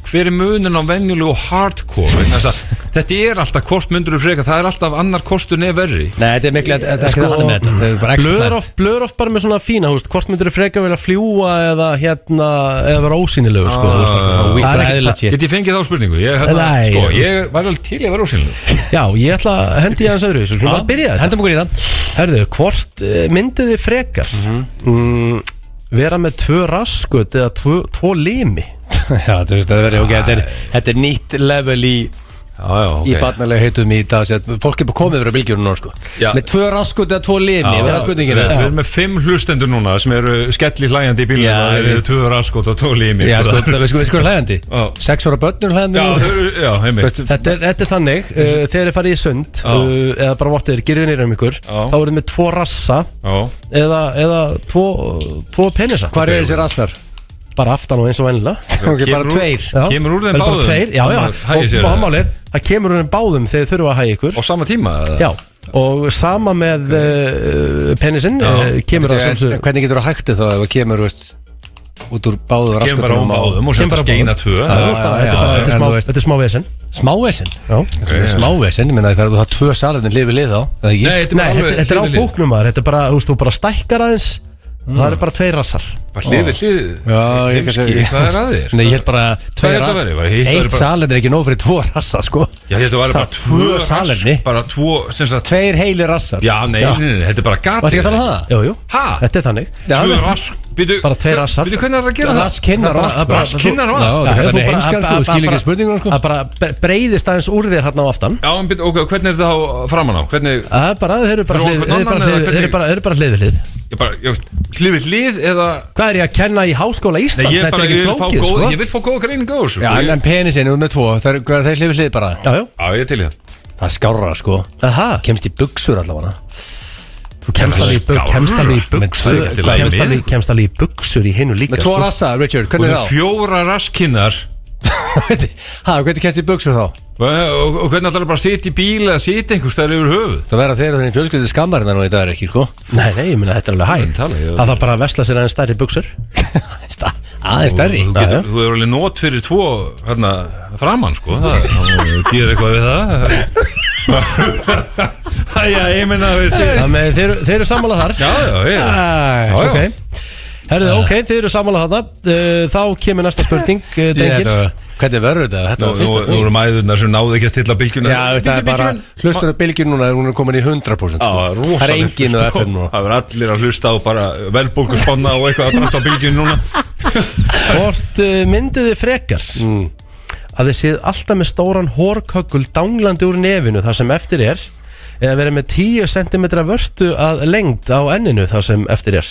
C: hver er munun á venjulegu og hardcore? Vegna þess að Þetta er alltaf hvort myndur þú freka, það er alltaf annar kostur nefn verri
B: Nei, þetta er miklu, þetta er
A: Sko,
B: ekki það hann er með þetta Þetta er bara ekstra
A: Blöður
B: slæmt.
A: oft, blöður oft bara með svona fína húst Hvort myndur frekar vilja fljúa eða hérna Eða vera ósýnilegu sko, þú veist.
C: Ah,
A: Það er ekkert-
B: bræðilegt sé.
C: Get ég fengið þá spurningu? Ég, hérna,
A: Nei.
C: sko, ég var alveg til ég verið ósynlega
A: Já, ég ætla að hendi ég aðeins öðru Svo
B: Já,
A: hljóma að byrja þetta
B: Hendum okkur í það
A: Herðu, hvort eh, myndið þið frekar mm, vera með tvö raskut eða tvö, tvo limi
B: Já, þú veist, þetta verður, ok, þetta er- þetta er nýtt level í
C: Já, já, ok
B: í barnalega heitum í dag sér, fólk er bara komið frá bylgjörnum núna sko.
C: Já.
B: með tvö raskut eða tvo limi
C: Já,
B: það er
C: já,
B: spurningin
C: Við við erum með fimm hlustendur núna sem eru skelli hlæjandi í bílum
B: Já,
C: og þeir
B: ég
C: eru
B: veit.
C: tvöður aðskot og tóli í mig
B: já, sko, það er sko, sko hlægandi
C: Já.
B: sex ára börnur hlægandi
C: Já,
B: núna.
C: þau eru, já, heimi
B: Veistu,
A: Þetta er, þetta er þannig, uh, þegar þið farið í sund
C: Já.
A: uh, eða bara vottir, gerðin erum ykkur þá eru þið með tvo rassa
C: Já,
A: eða, eða tvo, tvo penisa
B: hvar er þessi rassar?
A: bara aftan og eins og vennilega
B: ok,
C: kemur
B: bara
C: úr-
B: tveir
A: Já.
C: Kemur úr þeim
A: Vel bara
C: báðum?
A: tveir, Já, já,
C: Þannig að hægir sér
A: og, og
C: það.
A: ámálið, það kemur úr þeim báðum þegar þið þurfa að hægja ykkur
C: á sama tíma eða?
A: Já, og sama með uh, penisinn uh, kemur að
B: En- en
A: samsug
B: hvernig getur þú hægt þá ef það kemur veist, út úr báður
C: Kemur bara á báðum og
A: Kemur
C: sem
A: bara á
C: það skeina
A: báðum.
C: tvö
A: Þetta er
B: já,
A: bara-
B: já,
A: þetta er bara-
B: já,
A: þetta er
B: en
A: smá-
B: þú veist-
A: Þetta er smá vesen
B: smávesen
A: Já.
B: okay, smávesen, ég meina það er þú það tvö salarnir lifið lið þá það ekki?
C: Nei, þetta er
A: Nei,
C: bara
A: þetta,
C: alveg
A: þetta er á
C: hlið við hlið.
A: bóknum maður Þetta er bara, þú veist, þú bara stækkar aðeins
B: Mm.
A: Það eru bara tveir rassar
C: Bara hlið við hlið
B: já, ég kannski
C: Heimski, hvað er að þér?
B: Nei, ég held bara tveir
C: er það verið? Var hitt verið
B: eitt
C: bara-
B: salerni er ekki nóg fyrir tvo rassa sko
C: Já, ég held að það væri
B: Það
C: bara
B: er tvö
C: tvö
B: salerni.
C: rask, Bara tvo, sem sagt
B: tveir heilir rassar
C: Já, nei, nei, nei, nei, þetta er bara gatið
B: Varstu ekki að tala um það?
A: Jú, jú,
C: Ha?
A: þetta er þannig
B: Já,
C: Tvö
B: veist-
C: rask Býtu,
A: Bara tveir rassar.
C: Býtu, hvernig er það að
B: Já,
C: gera það?
B: rask kinnar og
A: bara-
B: allt
A: það bara-
B: sko.
C: Raskinnar
B: Já, það
C: og allt
A: Já,
B: kallar
A: þú
B: þetta
A: bara-
B: heimskan sko,
A: að-
B: þú
A: að-
B: skilur ekki
A: bara-
B: spurningunum sko
A: Það bara bre- breiðist aðeins úr þér hérna á aftan
C: Já, en býtu, ok, hvernig er það á framan á? Hvernig,
A: Það er bara, þeir eru bara
C: Fyrir
A: hlið-
C: ofan
A: þeir eru
C: hvern
A: bara
C: annan
A: hlið-
C: eða
A: þeir eru bara- þeir eru bara hlið við hlið
C: ég bara, ég veist, hlið við hlið eða
A: Hvað er ég að kenna í Háskóla
C: Nei,
A: Íslands?
C: ég
A: Þetta
C: bara,
A: er
C: ég
A: ekki
C: vil fá
A: flókið,
C: góð, ég
A: sko
C: vil fá góða greininga á þessu
B: Já, en,
C: Ég-
B: en penisinn, hún er tvo, það er, hvað er þeir hlifið hlið bara
A: Já, já,
C: Já, ég er til í það
B: Það er skárra sko
A: aha
B: Kemst í buksur allavega
A: Þú kemst alveg í bu-
C: Skárra.
A: kemst alveg í
C: Men það er ekki
A: buxur
C: allt í lagi
A: kemst
C: með
A: alveg- Kemst alveg í buxur í hinu líka
B: Með tvo
A: sko.
B: rassa, Richard,
C: Og
B: hvernig
C: það
B: er
C: er
B: þá?
C: fjóra raskinnar
B: Ha, hvernig kemst í buksur þá?
C: Og, og, og hvernig ætlar það bara að sitja í bíl eða sitja einhvers staðar yfir höfuð
B: Það verða þeir og þeirinn fjölskyldi skammarina nú í dag er ekki, sko
A: Nei, nei, ég meina þetta er alveg hægt
C: tala, ég-
A: Það þarf bara að vesla sér aðeins stærri buxur
B: Sta- Aðeins stærri
C: Þú,
B: Já,
C: getur, þú er alveg nót fyrir tvo hérna, framann sko Það gerir eitthvað við það Æja, ég minna Já,
A: Það með þeir eru- þeir eru sammála þar
C: já, ég
B: já.
C: já.
A: Ok Herðu, ok, þið eru sammála þarna Uh, Þá kemur næsta spurning, uh,
B: Ég-
A: drengir
B: þetta- Hvernig verður þetta? Þetta
C: Nú,
B: var
C: nú,
B: fyrsta
C: nú eru mæðurnar sem náðu ekki að stilla bylgjuna
B: Já, veist, það er bara hlustur á bylgjur núna, hún er komin í 100%
C: Já,
B: sko.
C: rosaleg
B: Það er enginn á
C: sko.
B: FM núna
C: Það er allir að hlusta á bara velbólku spanna og eitthvað að brasta á bylgjuna núna
A: Hvort uh, mynduð þið frekar Að þið séð alltaf með stóran hórköggul Danglandi úr nefinu þar sem eftir er Eða verið með 10 cm vörtu að lengd á enninu þar sem eftir er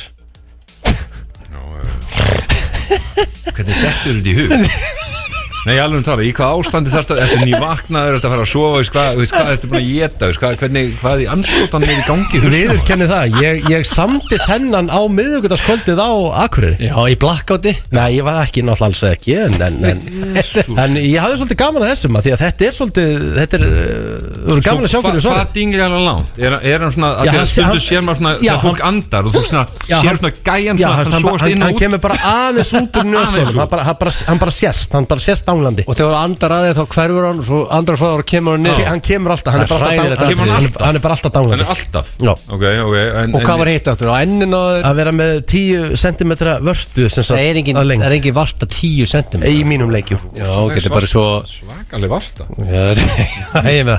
C: hvernig þetta eru þetta í hug Nei, ég alveg tala, í hvað ástandi þarst að Ertu nývaknaður, ertu að fara að sofa veist Hvað, veist, hvað ertu búin að geta, veist, hvað, hvernig Hvað í anskotan er í gangi í hausnum á þér?
A: Viðurkenni það, ég, ég samdi þennan á miðugutaskvöldið á Akureyri
B: Já, í blackouti
A: Nei, ég var ekki náttúrulega alls ekki En, en, en, en ég hafði svolítið gaman að þessum að Því að þetta er svolítið Þetta er, uh, þú eru gaman að sjá hvernig
C: Hva-
A: svona
C: Hvað dingir hann langt? Er, er hann svona,
A: Já,
C: að því
A: hann-
C: að stundu
A: hann-
C: sér maður svona
A: Já,
C: Þegar fólk andar og þú svona,
A: Já,
C: sér
A: hann-
C: svona gæjan
A: Já,
C: svona,
A: hann,
C: Hann
A: hann,
C: svoast
A: hann,
C: inn og
A: hann
C: út
A: kemur bara aðeins út úr
C: Aðeins
A: nösunum
C: út.
A: hann, bara- hann, bara- hann bara sést, hann bara sést ánglandi
B: Og þegar hann andar aðeins þá hverfur hann og svo andrar frá það og kemur hann
A: Ke-
B: niður
A: Hann kemur alltaf, hann er bara alltaf
B: Hræðilegt
C: atriði.
A: dánglandi Hann er- hann er bara alltaf
C: Hann
A: dánglandi
C: er alltaf
A: Já.
C: Ok, ok en,
B: Og hvað
C: en,
B: var hitt áttur? Á ennin á þér?
A: Að vera með 10 cm vörtu sem sagt
B: Það er engin,
A: að lengt
B: það er engin varta 10 cm
A: Í mínum leikjum
B: Já, ok, þetta er bara svo
C: Svakaleg varta
B: Já, þetta- ég meina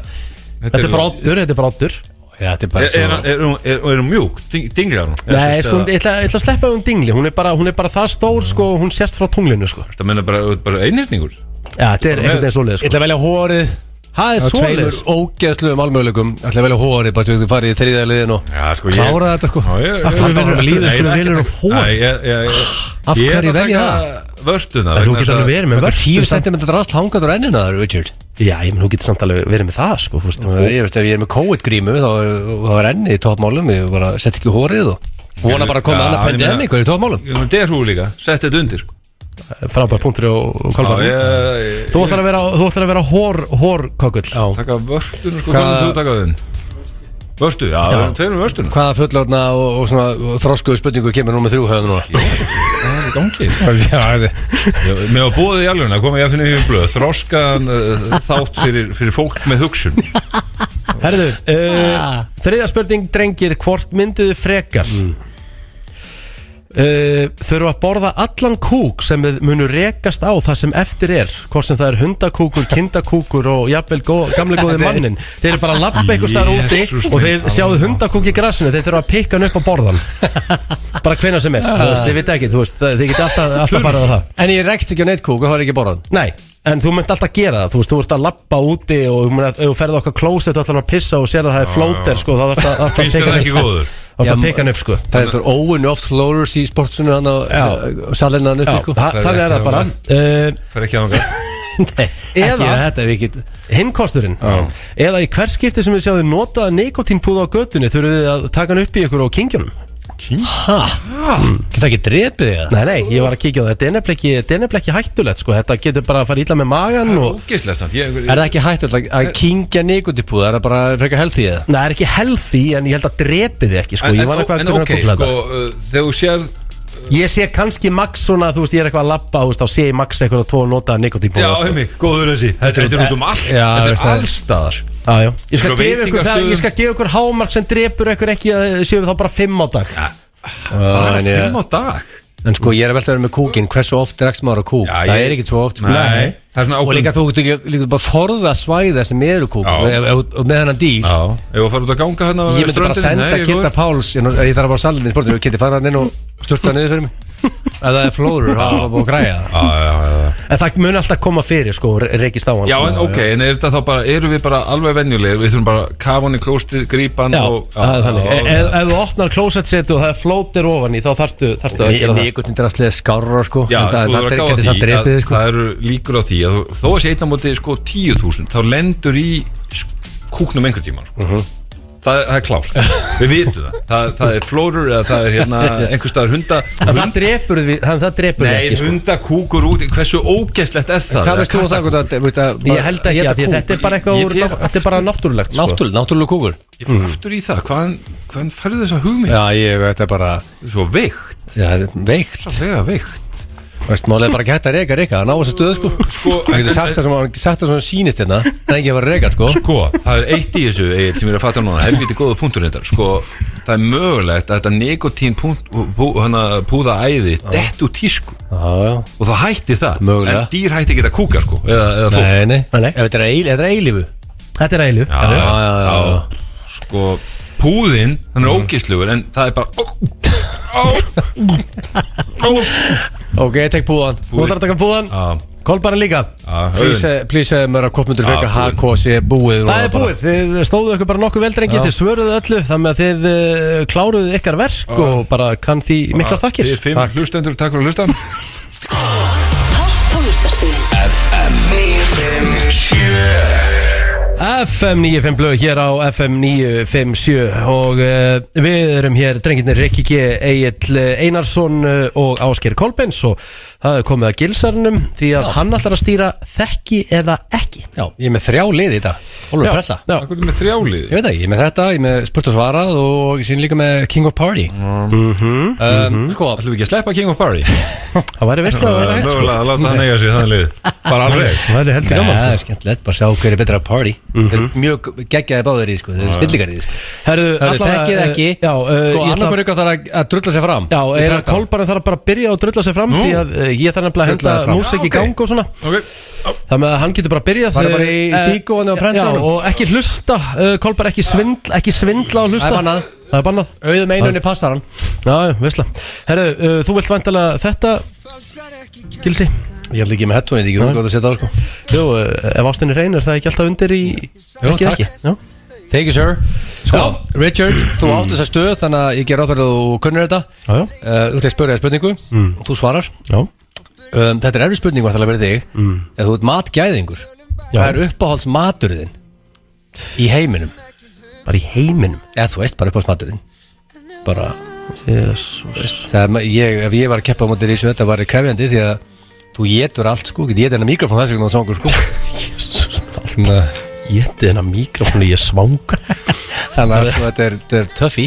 A: Þetta er bara oddur, þetta er bara oddur
B: Já, þetta er
C: Er,
B: bara
C: er,
B: svo
C: er, er, hún- er, er hún mjúk? Ding- Dinglar hún?
A: Nei, sko, ég ætla, ég ætla að sleppa um dingli Hún er bara, hún er bara það stór, sko, hún sést frá tunglinu, sko
C: Það menna bara, þú ert bara einhyrningur
A: Já, þetta er einhvern veginn svoleið,
B: Ég ætla
A: sko
B: að velja hórið
A: Það er
B: Það er tveimur
A: svoleiðis
B: ógeðsluðum almöguleikum Það ætla að velja hórið Bara svo þú farið í þriðja liðin og
C: Já, sko, ég-
B: klára þetta sko
C: Já, ég- ég-
B: Hvað er
C: ég-
B: það líður?
C: Nei,
A: hverju
C: ég er ekki
A: velur
C: að
A: þú
C: taka-
A: hor?
C: Nei, ég- ég- ég-
B: Af hverju
C: ég er að taka
B: velja það?
C: Vörstuna
A: En Þú
C: vegna
A: getur
C: þess að-
A: alveg verið með
B: Það er
A: vörtu
B: 10
A: samt-
B: cm rast hangaður enninu það, Richard
A: Já, ég menn, þú getur samt alveg verið með það, sko, fúst
B: Ég veist, ef ég er með COVID-grímu þá þá er ennið í toppmálum Ég bara sett ekki hórið og vona bara að koma
C: Já,
B: annað
C: ég meina-
B: pandemik og í toppmálum
C: Ég er með derhú líka, sett þetta undir sko.
A: Frábær punktur og og kolbar
C: Já, ég- ég-
A: Þú ætlar að vera, þú ætlar að vera hór, hór-kokull
B: Já.
C: Taka vörstuna, sko,
B: Hvað-
C: hvernig þú taka þinn? Vörstu, já, það er tveir með vörstuna
B: Hvaða fullorðna og, og svona þroskuðu spurningu kemur nú með þrjú höfðum núna?
C: Það er í gangi
B: Já, þetta-
C: Já, Mér var búið í alveg að koma ég að finna í blöð Þroskaðan uh, þátt fyrir, fyrir fólk með hugsun
A: Herðu, uh, þriðja spurning drengir, hvort mynduðu frekar? Mm. Uh, þurfa að borða allan kúk sem þið munu rekast á það sem eftir er hvort sem það er hundakúkur, kindakúkur og jafnvel gó, gamle góði mannin þeir eru bara að lappa eitthvað staðar úti
C: Jesús
A: og þeir
C: minn.
A: sjáðu hundakúk í grassinu þeir þurfa að pikka hann upp á borðan bara hvena sem er, þú veist, þið veit ekki þú veist, þið geti alltaf, alltaf farið á það
B: En ég rekst ekki á neitkúk og það er ekki borðan
A: Nei, en þú mynd alltaf að gera það Þú veist, þú ert að lappa úti og þú mynd, ef þú ferð okkar klósett og ætlar að pissa og sér að það er flóter sko, þá þarf það að
C: Finnst þér það ekki góður?
A: sko. Þá þarf að peka hann upp sko
B: Það er þetta óun oft slórus í sportsunu hann og salina hann upp
A: Já,
B: sko.
A: þa- þannig er það bara uh,
C: Það er ekki að
B: Eða Ekki
A: Eða
B: þetta ef ég get
A: hinn kosturinn Eða í hvers skipti sem við sjáðu notaða nikotínpúða á götunni þurfið þið að taka hann upp í ykkur á kingjónum
B: Geta ekki drepið þig það?
A: Hmm. Nei, nei, ég var að kíkja á það Þetta er nefnilega ekki- þetta er nefnilega ekki hættulegt sko Þetta getur bara að fara illa með magan og
C: Ógislega samt ég,
B: Er það ekki hægt að, að kingja nikotipúð? Er það bara frekar helð því eða?
A: Nei, það er ekki healthy en ég held að drepið þið ekki sko Ég var eitthvað
C: En
A: að
C: ok,
A: googla þetta.
C: sko, uh, þegar þú sér
A: Ég sé kannski max svona, þú veist, ég er eitthvað að labba, þú veist, þá sé ég max eitthvað að tvo nota sko. nikotínbúða.
C: Já, heimi, góður þessi Þetta er út um allt,
B: Já,
C: þetta
B: veist
C: er
B: það.
C: allstaðar
A: Já, já. Ég skal gefa
C: Eitthvað
A: ykkur það,
C: veitingastöðum.
A: ég skal gefa ykkur hámark sem drepur ykkur ekki að þið séu þá bara fimm á dag. Ah,
B: En, ég,
C: Ah, Fimm á dag
B: en sko ég er að velta verið með kúkin Hversu oft rekst maður á kúk?
C: Já,
B: það
C: ég-
B: er ekkit svo oft sko.
C: Nei, það er svona
B: Og
C: ákveðin-
B: líka þú getur líka, líka bara forða svæða sem eru kúk
C: Já.
B: og, og, og með hennan dýr
C: Já, ef þú farið út að ganga hérna á
B: Ég myndi bara að
C: ströndinni,
B: senda
C: nei, ég
B: Kinda
C: góður.
B: Páls Ég ég þarf að bara salin í sportinu Kinda fara hann inn og sturta niður fyrir mig Ef það er flóður, þá er búið að græja það.
C: Já, já, já, já.
A: En það mun alltaf koma fyrir, sko, og re- rekist á hann.
C: Já,
A: sko.
C: en ok, en er þetta þá bara, eru við bara alveg venjulegir, við þurfum bara að kafa hann í klóstið, grípa hann
A: Já,
C: og...
A: það er þannig.
C: Já,
A: E- Ef ef þú opnar klósetsetu og það er flótir ofan í, þá þarftu, þarftu að gera það.
B: Nikotin drastlið er skárra sko
C: Já,
B: en það,
C: sko,
B: það
C: það,
B: getur
C: það,
B: samt
C: því,
B: drepið
C: að,
B: þig, sko
C: það eru líkur á því að þú- þó að sé einn á móti sko 10.000 þá lendur í sk- kúknum einhvern tíman sko.
B: Mhm.
C: það, það er klást, við vitum það það, það er flórur eða það er hérna einhver staðar hunda,
A: En
C: hunda
A: það drepur þið, þannig það drepur þið
C: nei,
A: ekki, sko.
C: hunda kúkur út hversu ógeðslegt er það
B: Hvað veist þú að það að, veist að
A: Ég held ekki að því að þetta er bara eitthvað
C: Ég-
A: úr,
C: ég-
A: þetta er bara náttúrulegt, sko.
B: Náttúrulega, náttúrulega kúkur
C: ég fór aftur í það, hvaðan, hvaðan færðu þessa hugmynd
B: Já, ég veit það bara
C: svo veikt,
B: Já, þetta er veikt
C: svo þegar veikt
B: Veist, málega bara geta að reyka, reyka Það ná þessu stöðu sko
C: Sko,
B: Það getur sagt það sem hann sagt það sem hann sýnist hérna En ekki að vera reyka sko
C: Sko, það er eitt í þessu Egil, sem ég er að fatta núna, helviti góða punktur þetta sko, það er mögulegt að þetta nikotín punkt, pú, hana, púða æði dett úr tísku
B: Já, já
C: og það hættir það,
B: Mögulega.
C: en dýr hætti ekki að kúka sko, eða, eða fólk
B: Nei, nei
A: Nei, nei.
B: Ef þetta er eil- þetta er eilifu
A: Þetta er eilu.
C: já, já,
B: já, já, já.
C: sko, púðinn, hann er mm. en það er bara ó, ó, ó,
B: Ok, ég tek búðan
A: Þú þarf að taka búðan,
C: Já,
A: kolbarinn líka.
C: já,
B: Please
C: auðvitað.
B: eh, please segðu mér að koppmyndur
C: Já,
B: frekar
C: búinn.
B: HK sé búið núna
A: Það er
B: bara.
A: búið, þið stóðu ykkur bara nokkuð vel drengi, þið svöruðu öllu þannig að þið uh, kláruðu ykkar verk og bara kann því miklar
C: Þið
A: þakkir
C: fimm hlustendur, takk fyrir að hlusta
A: FM 95 blöð hér á FM 957 og uh, við erum hér drengirnir Rikki G. Egil Einarsson uh, og Ásker Kolbens og það er komið að gilsarnum því að hann ætlar að stýra þekki eða ekki
B: Já, ég er með þrjá lið í þetta Hólfur pressa
A: Já.
C: Akkur með þrjálið
B: Ég veit það, ég er með þetta, ég er með spurt og svarað og ég sín líka með King of Party
A: Mhm.
B: um, Sko,
C: Ætlum við ekki að sleppa King of Party?
A: Það væri veist að það
C: Það
A: væri
C: er
A: hægt sko.
C: mögulega að láta hann eiga sér þannig lið Bara alveg
A: Það væri heldur
B: Nei,
A: gaman
B: það
A: sko.
B: er skemmtilegt, bara sjá hver er betra að party mm Mjög geggjaði báðir í, því, sko, þeir eru stillingar í því, sko.
A: Herðu,
B: Það er
A: allavega,
B: þekkið
A: eh,
B: ekki,
A: Já, uh,
B: sko, annar hver ykkur þarf að- að drulla sér fram
A: Já,
B: Í
A: er að
B: brandan.
A: Kolbarn þarf bara að byrja og drulla sig fram Því að uh, ég þarf nefnilega að
B: Drulla þér
A: henda
B: fram.
A: músik í
C: Já, ok.
A: gang og svona
C: Ok,
A: Þannig að hann getur bara byrjað
B: Var það bara í
A: eh,
B: Síkó hann á
A: Já,
B: prentanum?
A: og ekki hlusta uh, Kolbar ekki svindla, ekki svindla og hlusta
B: Það er bannað.
A: Það er bannað
B: Auðum einunni passar hann
A: Já, já, veistla Herru, uh, þú vilt vandalega þetta Gilsi
B: Ég held ekki með headphone, ég hef ekki að setja á, sko
A: Jú, uh, ef ástinni reynir það er ekki alltaf undir í
B: Jú,
A: ekki,
B: takk.
A: ekki. Já.
B: Thank you, sir Sko, Richard, þú átt þessa stöð þannig að ég ger áfærið að þú kunnir þetta
A: Já, já.
B: Eh, Þú ert að spyrja þér spurningu og þú svarar
A: Já.
B: um, Þetta er erfið spurning var það að vera þig mm. Þú ert matgæðingur
A: Já.
B: Hvað er uppáhalds maturðin í heiminum?
A: Bara í heiminum
B: Eða þú veist bara uppáhalds maturðin Bara,
A: Jesus.
B: veist, þegar ma- ég, ef ég var að keppa á mótið í þessu þetta var krefjandi því að þú getur allt sko, getur ég þennan mikrofón þess vegna og svangur sko Svona,
A: Ég eti þennan mikrofónu, ég er svangur
B: Þannig að sko, þetta er, þetta er töffi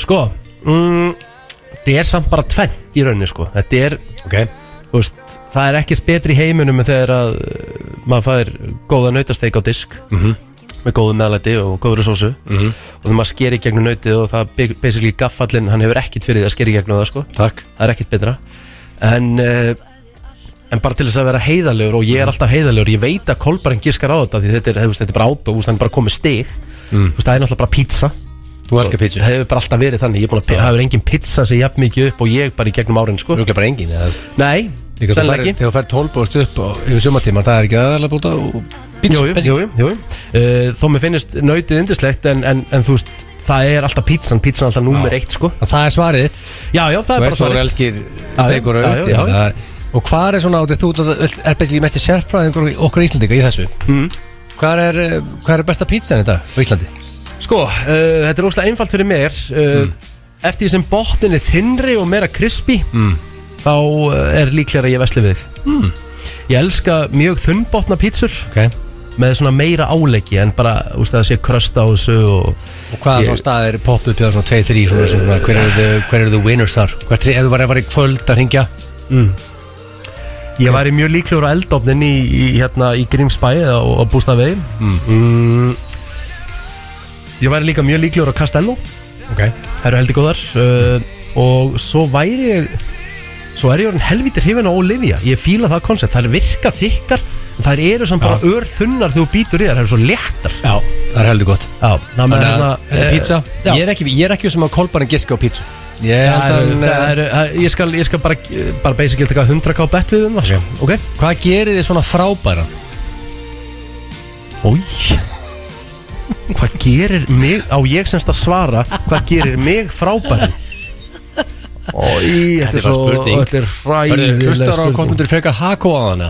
A: Sko mm, Þetta er samt bara tvenn í rauninni sko Þetta er
B: okay.
A: þú veist, Það er ekkert betri í heiminum en þegar að uh, maður fær góða nautasteik á disk -hmm. með góðu meðlæti og góður sósu -hmm. og þegar maður sker í gegnum nautið og það er basically gaffallinn, hann hefur ekkert fyrir því að sker í gegnum það sko,
B: Takk
A: það er ekkert betra en uh, en bara til þess að vera heiðalegur og
B: Mm.
A: ég er alltaf heiðalegur ég veit að kolbarinn gískar á þetta því þetta er, þú veist, þetta er bara át og hann er bara komið stig mm. það er náttúrulega bara pizza
B: Þú elskar pítsu
A: Það hefur bara alltaf verið þannig Ég er búin að pe- það hefur engin pizza sem jafn mikið upp og ég bara í gegnum árin sko
B: Rúklega bara engin eða,
A: Nei,
B: Líka þú
A: sennilega
B: fær-
A: ekki
B: Þegar þú fær 12 búst upp á, yfir sumartíman það er ekki aðalega búta og
A: Jú, jú, jú, jú, jú. Uh, Þó mér finnist nautið indislegt en, en, en þú veist, það er alltaf pizzan Pizzan er alltaf númer eitt sko
B: Það er svarið þitt
A: Já, já, það
B: Þú
A: er
B: ert
A: bara
B: svo
A: svarið
B: elskir
A: já,
B: steikur og
A: já,
B: auðvitað
A: já,
B: já, já, Og hvað er svona átið, þú ert- er betið mest í sérfræðingur okkar Íslandinga í þessu mm. hvað, er, eh, hvað er besta pítsan þetta á Íslandi?
A: Sko, uh, þetta er óslega einfalt fyrir mér uh, Eftir því sem botnin er þinnri og meira krispi Þá uh, er líklega að ég vesli við þig Ég elska mjög þunnbotna pizzur
B: Okay.
A: Með svona meira áleggi en bara, þú veist, að það sé krösta á þessu og
B: Og hvaða svona staðir poppuð bjóða svona 2-3 svona, sem svona, hver, eru the- hver eru the winners þar? Hvert er, ef þú var að fara í kvöld að hringja
A: Ég væri mjög líklegur á eldofnin í, í, hérna, í Grímsbæ eða á, á Bústafegi mm. Ég væri líka mjög líklegur á Castello
B: okay.
A: Það eru heldur góðar uh, Og svo væri ég Svo er ég orðin helvítir hrifin á Olivia Ég fíla það koncept, það er virka þykkar en Það eru samt bara örþunnar þegar þú býtur í þær Það eru svo léttar
B: Já, það er heldur gott
A: Já, það með
B: Þannig
A: hérna
B: að þetta er pizza
A: já.
B: Ég er ekki, ég er ekki sem að kolbarinn giska á pítsu Ég
A: Það
B: held að
A: eru,
B: hann,
A: það
B: eh,
A: eru, það- ég skal, ég skal bara, bara basically taka 100k bett við um það sko. Ok,
B: Hvað gerir þið svona frábæra?
A: Ói Hvað gerir mig Á ég semst að svara Hvað gerir mig frábæri Ói, þetta er
B: bara
A: svo
B: spurning.
A: Þetta er
B: Hörðu,
A: ræðileg
B: hlustar á
A: spurning
B: kommentur frekar hako á hana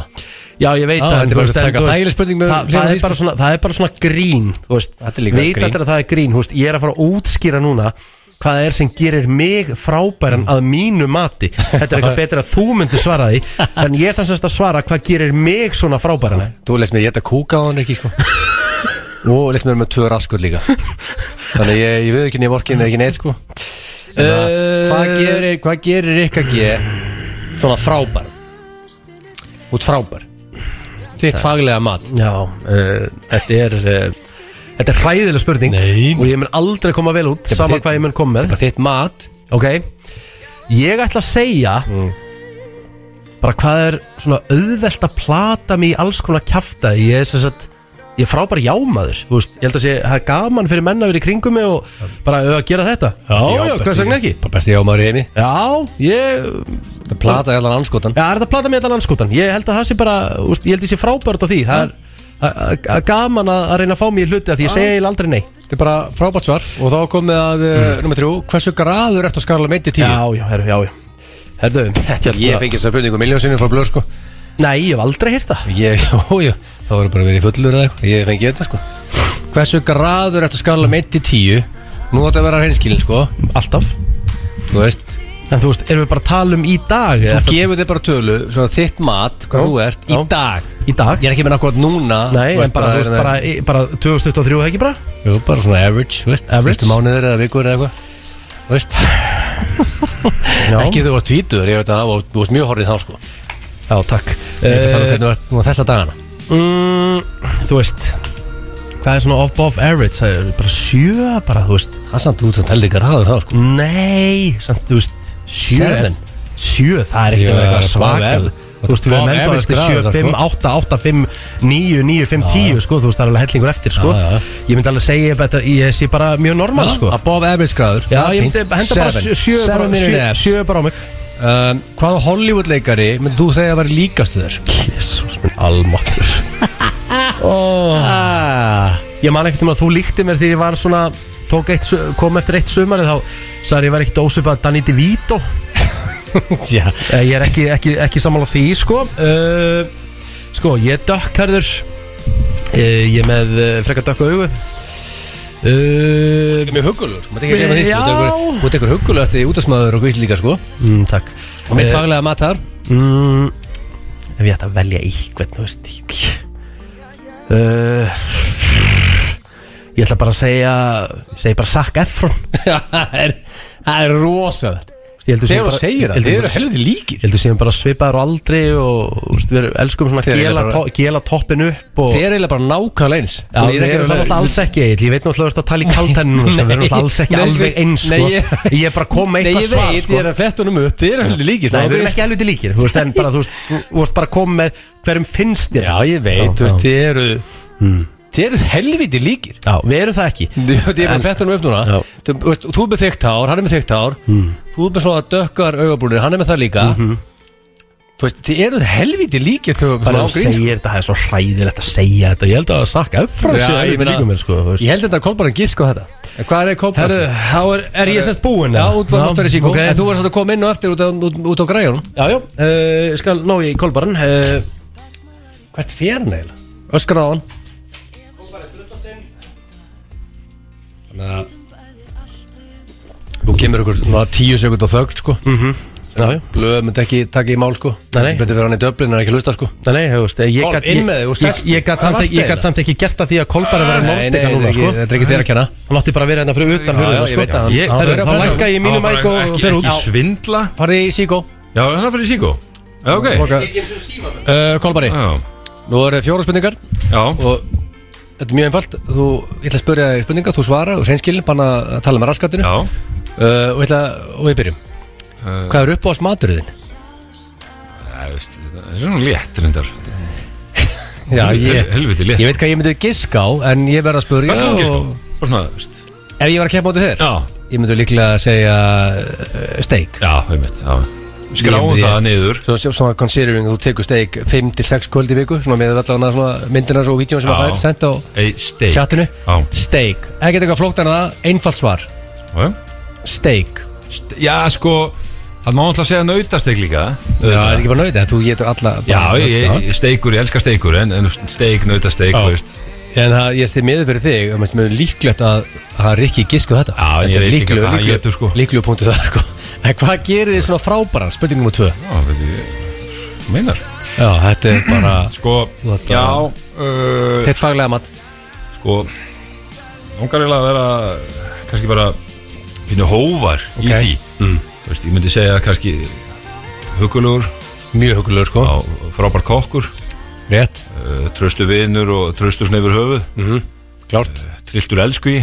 A: Já, ég veit
B: Á,
A: að
B: þetta er bara að taka þægileg spurning með-
A: það,
B: fyrir
A: það,
B: því,
A: er bara svona, það er bara svona grín Þú veist,
B: Þetta er líka
A: veit
B: grín.
A: allir að það er grín þú veist, Ég er að fara að útskýra núna Hvað það er sem gerir mig frábæran að mínu mati Þetta er eitthvað betur að þú myndir svara því En ég þarf semst að svara hvað gerir mig svona frábæran
B: Þú leist mér geta kúka á hann ekki sko Og leist mér með tvö raskur líka Þannig að ég, ég veð ekki nýja vorkin eða ekki neitt sko En að,
A: Eh.
B: Hvað gerir, hvað gerir ykkar G Svona frábær Út frábær
A: Eh.
B: Þitt faglega mat
A: Já, uh, þetta er uh, Þetta er hræðileg spurning
B: Nei.
A: Og ég mun aldrei koma vel út Sama
B: þið-
A: hvað ég mun koma með
B: Bara Þitt mat
A: Ok Ég ætla að segja
B: Mm.
A: Bara hvað er svona auðvelt að plata mig í alls konar kjafta Ég er sem sagt Ég er frábær jámaður þú veist, Ég held að sé, það er gaman fyrir menn að vera í kringum mig Og bara "Ö, að gera þetta Já, já, hvers vegna ekki
B: Bara besti jámaður í heimi
A: Já, ég
B: Það plata allan anskotan
A: Já, er þetta að plata mig allan anskotan Ég held að það sé bara, úst, ég held að ég sé frábært á því Það er a- a- a- gaman að að reyna að fá mér í hluti af Því ég segja eiginlega aldrei nei
B: Þetta er bara frábært svar Og þá komið að mm. nummer þrjú Hversu graður ertu að skarla meiti tíu?
A: Já, já, herru, já, já Herðu,
B: Ég fengi þess að byrningu miljónsinu frá blöð sko
A: Nei, ég hef aldrei heyrt það
B: Ég, jú, jú, þá erum bara verið fullur eða eitthvað Ég fengi þetta sko Hversu graður ertu að skala með 1 til 10 Nú átti að vera hreinskilin sko
A: Alltaf
B: Þú veist
A: En þú veist, erum við bara að tala um í dag
B: Þú
A: eða ertu-
B: gefur þig bara tölu Svona þitt mat Hvað
A: Já,
B: þú ert
A: já.
B: Í dag
A: Í dag?
B: Ég er ekki meina akkurat núna
A: Nei, en bara, þú veist,
B: hérna-
A: bara, í- bara 2023 ekki bara
B: Jú, bara svona average, þú veist
A: Average.
B: Fyrstu mánuðir eða vikur eða eitthvað Þú veist
A: Já,
B: Ekki þú varst tvítur Ég veit að það var- Þú varst mjög horrið þá sko
A: já takk
B: Ég er bara að tala
A: Eh,
B: um hvernig þú ert núna þessa dagana
A: mm, Þú veist Hvað er svona off-off average? Það er bara sjö, bara, þú veist
B: Það er samt út sem teldi graður þá sko
A: Nei, samt, þú veist Sjö
B: Seven.
A: Sjö, það er ekkert
B: Já,
A: að vera eitthvað
B: above
A: svakal
B: average.
A: Þú veist, við erum
B: Above
A: ennþá
B: average
A: eftir 7,
B: graður, sko.
A: 5, 8, 8, 5, 9, 9, 5, 10 Sko, þú veist, það er alveg hellingur eftir, sko
B: Já, já.
A: Ég myndi alveg segja að þetta- ég sé bara mjög normal,
B: Já,
A: sko
B: Above average graður
A: Já,
B: Það er
A: ég
B: fínt.
A: myndi henda bara
B: Seven.
A: sjö- sjö
B: Seven
A: bara-
B: minute
A: sjö-
B: abs.
A: sjö bara á mig
B: um, Hvaða Hollywood leikari myndi þú þegar að vera líkastu þér?
A: Jésús minn almáttur
B: Ah.
A: Ég man ekkert um að þú líkti mér þegar ég var svona tók eitt, su- kom eftir eitt sumari þá sagði ég var ekkert ósvipað Danny DeVito
B: Já
A: Eh, ég er ekki, ekki, ekki sammála því sko uh, sko ég er dökkarður uh, ég er með uh, frekar dökka augu uh,
B: Mjög huggulur Þú maður ekki að segja
A: Já.
B: maður hitt Þú tekur huggulur eftir útasmaður og gvíslíka sko Eh,
A: mm, takk
B: Og mitt faglega mat þar
A: mm, ef ég ætti að velja einhvern þú veist ég uh, ég ætla bara að segja ég segi bara Zac Efron
B: Það er Það er rosalega
A: Þú veist, ég heldur
B: Þegar þú segir það
A: ég
B: Þið
A: heldur
B: eru helviti
A: ég
B: líkir
A: heldur séum bara svipaður á aldri og þú veist, við elskum svona
B: Þið eru
A: gela,
B: bara-
A: to, gela toppin upp og
B: Þið eru eiginlega bara nákvæmlega eins
A: Já, við erum það náttúrulega alls ekki Egill. Ég veit náttúrulega að þú ert að tala í kaltenninu núna, sko. Við erum
B: Nei.
A: náttúrulega alls ekki
B: Nei, sko,
A: alveg eins sko.
B: nei, ég-
A: Ég er bara að koma með
B: Nei,
A: eitthvað
B: ég
A: svar
B: veit,
A: sko.
B: ég er að fletta honum upp Þið eru helviti líkir sko.
A: Nei, við
B: Það er
A: erum ekki alveg líkir Þú veist, en bara, þú veist, þú þú varst bara að koma með hverjum finnst þér
B: Já, ég veit, þú
A: já.
B: veist, þið eru Þið eru helviti líkir
A: Já, við erum það ekki
B: Þú veist, ég er bara að fletta hann upp núna
A: Já.
B: Þú veist, Þú er með þykkt hár, hann er með þykkt hár Þú er með svona dökkar augabrúnir, hann er með það líka Þú veist, þið eruð helviti líkir þegar
A: Þannig
B: svona á
A: að þú
B: grín sko.
A: segir þetta, það er svo hræðilegt að segja þetta Ég held að það sakka öfra
B: Já, ég meina-
A: sko,
B: Ég held þetta að Kolbarn gisk á þetta En Hvað er
A: Herru,
B: Kolbarn?
A: þá er, er ég semst búinn
B: Já,
A: eða?
B: út var náttúrulega síkó
A: ok.
B: En þú varst að koma inn og eftir út á, út, út á græjunum
A: Já, já, uh, skal ná í kolbarn uh,
B: Hvert fer hann eiginlega? Öskar á hann Þannig að Nú kemur ykkur svona tíu sekund á þögn sko
A: Já, já,
B: Blöð myndi ekki taka í mál sko
A: Nei, nei.
B: Betur fyrir hann í döblin en ekki hlusta sko
A: Nei, nei, þú veist, ég
B: Kolm,
A: gat,
B: inn
A: ég,
B: með þig og
A: ég,
B: sest-
A: ég gat, samt,
B: Hvað
A: ekki- ég gat
B: varstu eiginlega?
A: samt ekki gert að því að Kolbara verið nortika
B: þetta
A: núna,
B: er
A: sko
B: ekki- þetta er ekki þér að kenna
A: Hann átti bara að vera hérna fyrir utan
B: Já,
A: hurðina,
B: já, ég veit að
A: sko
B: hann-
A: Ég-
B: hann-
A: herru,
B: hann-
A: Þá
B: hann-
A: lækka ég
C: Það
A: mínu
C: var
A: mæk
C: bara
A: og
C: ekki-
A: fer út
C: Ekki svindla
B: Farði í síkó
C: Já, er það fyrir síkó Já, ok
B: uh, Kolbari,
C: Já,
B: nú eru fjóra spurningar
C: já
B: Og þetta er mjög einfalt Þú, ég ætla að spyrja þig spurningar, þú svara og hreinskilin, banna að tala með raskatinu
C: Já
B: uh, og, ég ætla, og við byrjum
C: Eh.
B: Hvað er uppáðast maturðin?
C: Það veist, það er svona létt reyndar
B: Já,
C: Hel- Helviti létt
B: Ég veit hvað ég myndi giska á En ég verð að spurja
C: Hvað er það sko?
B: og-
C: Bara svona, veist
B: Ef ég var að keppa á þér
C: Já,
B: Ég myndi líklega að segja uh, steik
C: já, einmitt já. Skráum
B: Ég-
C: það niður
B: Svo svo- svona considering að þú tekur steik 5-6 kvöld í viku Svona með allavega svona myndirnas og vídjón sem að
C: Já.
B: fær Sent á
C: Ei, steik
B: chatinu
C: Já,
B: Steik Ekkert eitthvað flóknar en það Einfalt svar
C: já
B: Steik
C: Ste- Já, sko Það má alltaf segja nautasteik líka
B: Já, það er
C: auðvitað.
B: ekki bara nöytið Þú getur alla
C: Já, ég, ég steikur, ég elska steikur En, en steik, nautasteik,
B: Já.
C: þú veist
B: En það, ég stið miður fyrir þig um, Mér er líklegt að það er ekki gisku þetta
C: Já, en ég
B: Þetta er
C: veit líka
B: líklegur-
C: hvað hann
B: líklegur-
C: étur, sko.
B: Líklegur punktu það sko En hvað gerir þið svona frábæran? Spurning nr. 2
C: Já, veit ég Meinar
B: Já, þetta er bara
C: Sko,
B: Þú ert bara-
C: já uh,
B: Þitt faglega mat
C: sko langar eiginlega að vera kannski bara pínu hóvar
B: Ok.
C: í því Þú veist, ég myndi segja kannski hugulugur
B: Mjög hugulegur sko
C: á frábær kokkur
B: Rétt
C: uh, tröstu vinur og tröstu svona yfir höfuð mm.
B: Klárt
C: trilltur elsku í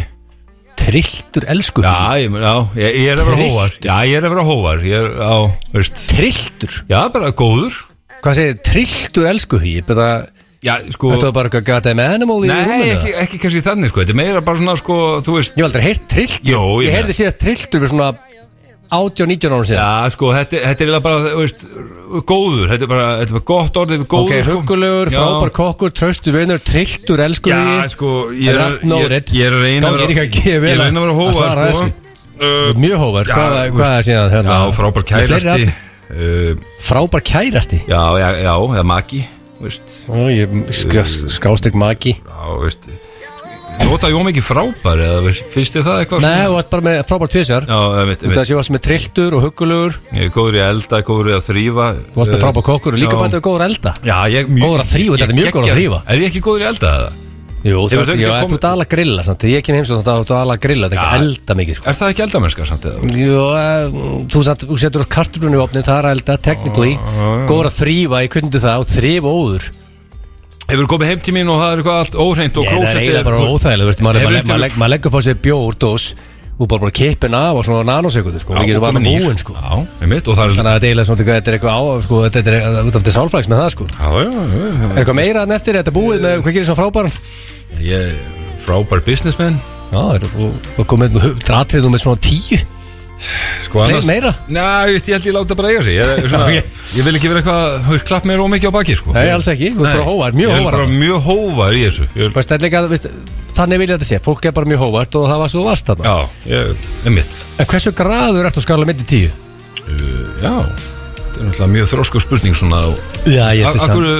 B: Trilltur elsku
C: já, ég, mun- já, ég, ég er að vera
B: Trilltur?
C: hóvar já, ég er að vera hóvar ég er, á, veist
B: Trilltur?
C: já, bara góður
B: Hvað segir þið? Trilltur elsku hý? Byrða
C: já, sko
B: Ertu það bara eitthvað gataði með animal í
C: nei,
B: rúminu?
C: ekki, ekki kannski þannig sko þetta er meira bara svona sko, þú veist
B: Ég hef aldrei heyrt trilltur
C: Jó, ég
B: Ég
C: meina.
B: heyrði síðast trilltur við svona 80-90 ára síðan
C: Já, sko, þetta, þetta er eiginlega bara, þú veist, góður, þetta er bara, þetta er bara gott orðið við
B: Ok,
C: góður, sko.
B: hugulegur,
C: Já.
B: frábær kokkur, tröstu vinnur, trilltur, elsku
C: Já, sko, ég
B: Það er
C: er,
B: allt nógrið.
C: ég, ég er að reyna
B: Gangi þér ekki að
C: ég
B: gefa
C: er
B: vel
C: að reyna að vera
B: að- að svara
C: hóvar,
B: þessu.
C: sko. Uh,
B: Mjög hóvar,
C: Já,
B: hvað,
C: þú
B: hvað er síðan hérna?
C: Já, frábær
B: Með fleiri
C: kærasti.
B: atriði?
C: Uh,
B: Frábær kærasti?
C: já, já, já, eða maki, þú veist,
B: Ó, ég skást ekki maki
C: já, þú veist, nota Jóm ekki frábær eða veist- finnst þér það eitthvað
B: Nei, og þetta bara með frábært tvisjar
C: Já, einmitt,
B: Þetta
C: einmitt.
B: sé varst með trilltur og huggulugur Þú
C: Ég er góður í að elda, góður í að þrýfa
B: varst með frábært kokkur og líka
C: Já.
B: bættu góður að elda
C: Já, ég mjög
B: Góður að þrífa, þetta er mjög góður að
C: geggjaður.
B: þrífa.
C: Er ég ekki góður í að elda það?
B: Jú, þú
C: Hefur
B: ert
C: þau ekki
B: jú, ert
C: komið-
B: þú ert alveg að grilla samt Þegar ég kem heim svo þá ert þú alveg að grilla Þetta er ekki
C: Já.
B: að elda mikið sko
C: Er það ekki eldamennska samt eða?
B: Jú, eh, þú, satt, þú setur kartöflunni í opni, það er að elda teknikli Góður að þrýfa, ég kundi það og þrýfa óður
C: Hefur þú komið heim til mín og það er eitthvað allt óhreint og
B: Nei, það er
C: klósettið
B: eiginlega bara óþægilega, veist, maður,
C: Hefur
B: maður,
C: ekki
B: maður,
C: alveg-
B: legg, maður leggur fór sér bjór dós og bara bara kippin af og svona nanosekundu, sko, ekki
C: Já,
B: svo bara
C: komið nýr.
B: búin, sko.
C: Já, einmitt, og það er
B: Þannig að þetta er eiginlega svona, þetta er eitthvað á, sko, þetta er eh, út af til sálfræks með það, sko.
C: Já, já, já, já,
B: Er eitthvað meira en eftir, er þetta búið með, hvað gerir svona frábæran?
C: já. Ég er frábær businessman
B: Já, er- og og komið með, dratrið þú með svona tíu?
C: Sko
B: Fleiri- meira?
C: Næ, ég held ég láta bara eiga sig Ég, er svona,
B: Ok.
C: ég vil ekki vera eitthvað, hör, klapp mér ómikið á baki sko.
B: Nei, alls ekki, þú ert
C: Nei,
B: bara hóvar, mjög
C: Ég er
B: hóvar.
C: bara mjög hóvar í þessu ég, vil-
B: Veist, það er líka, veist, þannig vil ég þetta sé, fólk er bara mjög hóvart og það var svo þú varst þarna.
C: Já, ég, einmitt
B: En hversu graður ertu á skala mitt í tíu?
C: Já, þetta er náttúrulega mjög þrósku spurning svona
B: Já, ég
C: Ak-
B: held
C: Akkur,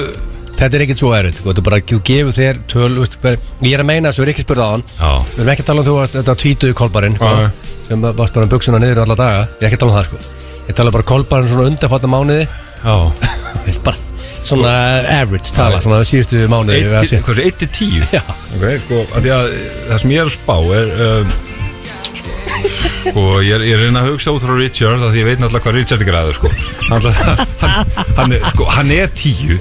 B: Þetta er ekkert svo erfitt, sko, þetta er bara, þú gefur þér töl, veist, bara- ég er að meina þessu, er ekki spurð á hann,
C: já,
B: Við erum ekki að tala um þú varst þetta tvítuði kolbarinn sko,
C: Já.
B: sem varst bara um buksuna niður alla daga Ég er ekki að tala um það sko Ég tala bara kolbarinn svona undanfatta mánuði
C: já
B: veist bara Svona average tala,
C: Já.
B: svona síðustu mánuði við að
C: Eitt
B: sé.
C: til- Hversu, 1 til 10
B: Já,
C: Ok, sko, af því að það sem ég er að spá er um, sko, sko, ég er, ég er að reyna að hugsa út frá Richard af því ég veit náttúrulega hvað Richard er græður sko. hann, hann, hann, er, sko, hann er tíu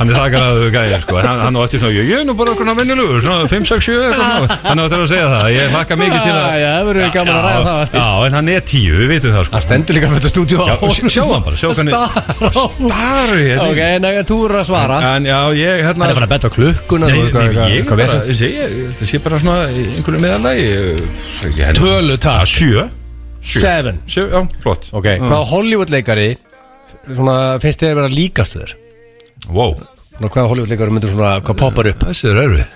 C: hann er það græður gæðir sko. en hann, hann á eftir svona, ég er nú bara okkur venjulegur, svona 5, 6, 7 eitthvað svona. hann á eftir að segja það, ég makka mikið til
B: Ah, Já,
C: að
B: já, það verður gaman að ræða það á eftir.
C: já, en hann er tíu, við vitum það sko.
B: Það stendur líka fyrir þetta stúdíu á
C: Já, og sjá hann bara, sjá hvernig-
B: hvernig
C: Stari, hérna.
B: Ok, en það er túr að svara
C: en já, ég hérna
B: Það er bara að betta á klukkuna
C: Nei,
B: þú
C: nei,
B: eitthvað-
C: nei, ég er
B: eitthvað
C: bara,
B: vesen.
C: ég segi, ég- það sé bara svona í einhverju meðalagi ég- ég-
B: Tölu
C: Já,
B: takk
C: sjö
B: Seven
C: Sjö, já, flott
B: Ok, hvaða Hollywood leikari svona finnst þér að vera líkastuður?
C: Wow,
B: Hvaða Hollywood leikari myndur svona, hvað poppar upp?
C: þessi er erfið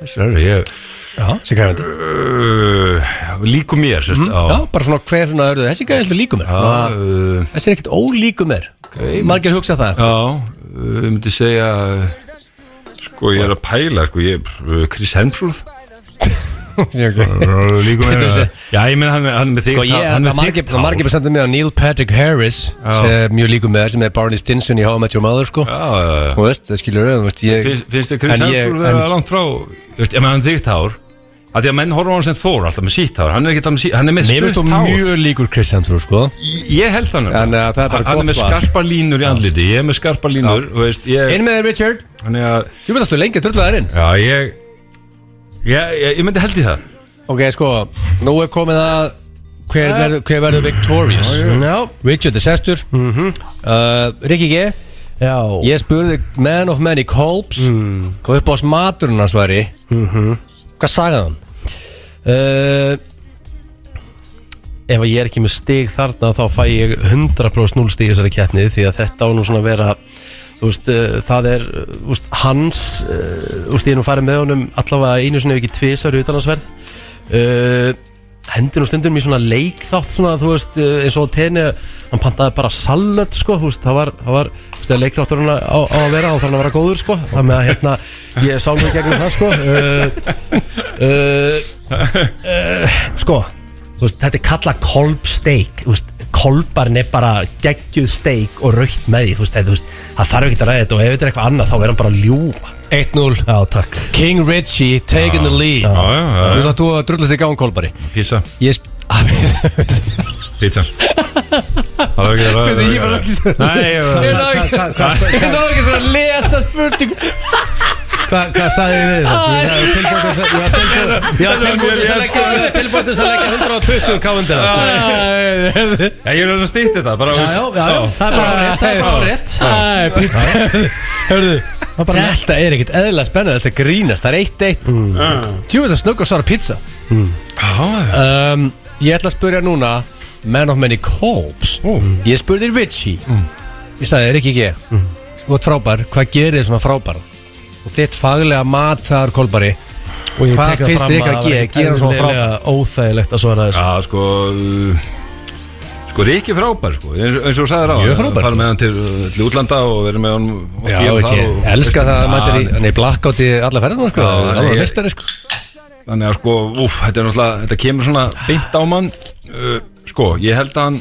C: Þessi er erfið, ég
B: Já, sem krefandi
C: uh, Líku mér, sérst
B: Hmm?
C: mm,
B: Já, bara svona hver svona örðu Þessi gæði alltaf líku mér
C: Já,
B: svona,
C: uh,
B: Þessi er ekkert ólíku mér Margir hugsa það
C: já uh, Ég myndi segja uh, Sko, ég er að pæla, sko ég, uh, Chris Hemsworth uh, Líku mér
B: Getur
C: uh,
B: þessi-
C: Já, ég meina hann, er- hann er með þig
B: Sko ég,
C: hann
B: það
C: er
B: margir það margir bara sendur mig á Neil Patrick Harris sem er mjög líku mér sem er Barney Stinson í How I Met Your Mother sko
C: Já,
B: Þú veist, það skilur við þú veist, ég,
C: finnst finnst þér Chris
B: En ég-
C: Hemsworth vera langt frá Ég meina hann þig tár að Því að menn horfa á hann sem Thor alltaf með sítt tár Hann er ekki alltaf með sítt, hann er með
B: Mér finnst
C: stutt
B: þú
C: tár
B: mjög líkur Chris Hemsworth sko
C: Ég held hann
B: Þannig að það eh, er bara
C: Hann
B: gott
C: er með
B: svar.
C: skarpa línur í andliti Ég er með skarpa línur og veist, ég,
B: Inn með þér Richard
C: Þannig að
B: Þú veist að stu lengi að drulla þær inn
C: Já, ég Ég, ég, ég myndi held í það
B: Ok, sko, nú er komið að Hver verður, hver verður victorious
A: Já,
B: Richard er sestur uh, Rikki G
A: já
B: Ég spurði Man of Many Colbs
C: Mm.
B: Hvað upp á smaturinn hans væri
C: Mhm.
B: Hvað sagði hann?
C: Eh,
A: Uh, ef að ég er ekki með stig þarna þá fæ ég 100% 0 stig í þessari keppni því að þetta á nú svona að vera þú veist, uh, það er uh, þú veist, hans, uh, þú veist, ég er nú farið með honum allavega einu sinni ef ekki tvisar utanansverð uh, hendur nú stundum í svona leikþátt svona, þú veist, uh, eins og tenni hann pantaði bara salnöt, sko, þú veist, það var, það var þú veist, leikþáttur hann á, á að vera á þannig að vera góður, sko, það með að hérna ég sá mig gegnum það, sko uh, uh, sko þú veist, þetta er kallað kolbsteik kolbarn er bara geggjuð steik og raukt með því þú veist, þetta, þú veist, það þarf ekki að ræða þetta og ef þetta er eitthvað annað þá er hann bara að ljúfa
B: 1-0
A: já takk
B: King Richie taking the lead
C: Já, já, já,
B: Nú þátt þú að drulla þig án Kolbari
C: Pizza,
B: Ég sp-
C: pizza Það er ekki að ræða
B: ég var ekki-
C: Nei, ég var
B: Ég náði ekki- ég náði ekki svona að lesa spurning
A: hvað hva sagði þið við þess að ég var tilbúin þess að leggja
B: sko.
A: tilbúin þess að leggja 120 káundir já,
C: Já, Ég er að stýtt þetta bara
A: já, já, já, það er bara rétt það er bara rétt
B: Æ, pizza Hörðu Þetta er ekkert eðla spennað Þetta grínast Það er 1-1
C: Mm.
B: Jú, þetta snögg að svara pizza
C: já
B: um, Ég ætla að spurja núna Man of many Colbs Ég spurði Richie
C: Mm.
B: Ég sagði, Rikki G Þú ert frábær, hvað gerir þið svona frábær? Og þitt faglega mat það er Kolbari
A: og
B: Hvað finnst þér ykkar að gera- gera svona frábært?
A: óþægilegt að svara þessu
C: Já, sko uh, Sko, Riki frábær, sko eins, eins og þú sagðir á
B: Mjög frábær.
C: Fara með hann til, uh, til útlanda og verið með hann oft í
B: Já,
C: hann
B: veit
C: þar
B: ég,
C: og-
B: elska það að
C: Já,
B: mæta í Hann er blakkátt í alla ferðina, sko
C: Já,
B: Hann
C: ég-
B: er mistari, sko
C: Þannig að sko, úf, þetta er náttúrulega Þetta kemur svona beint á mann uh, Sko, ég held að hann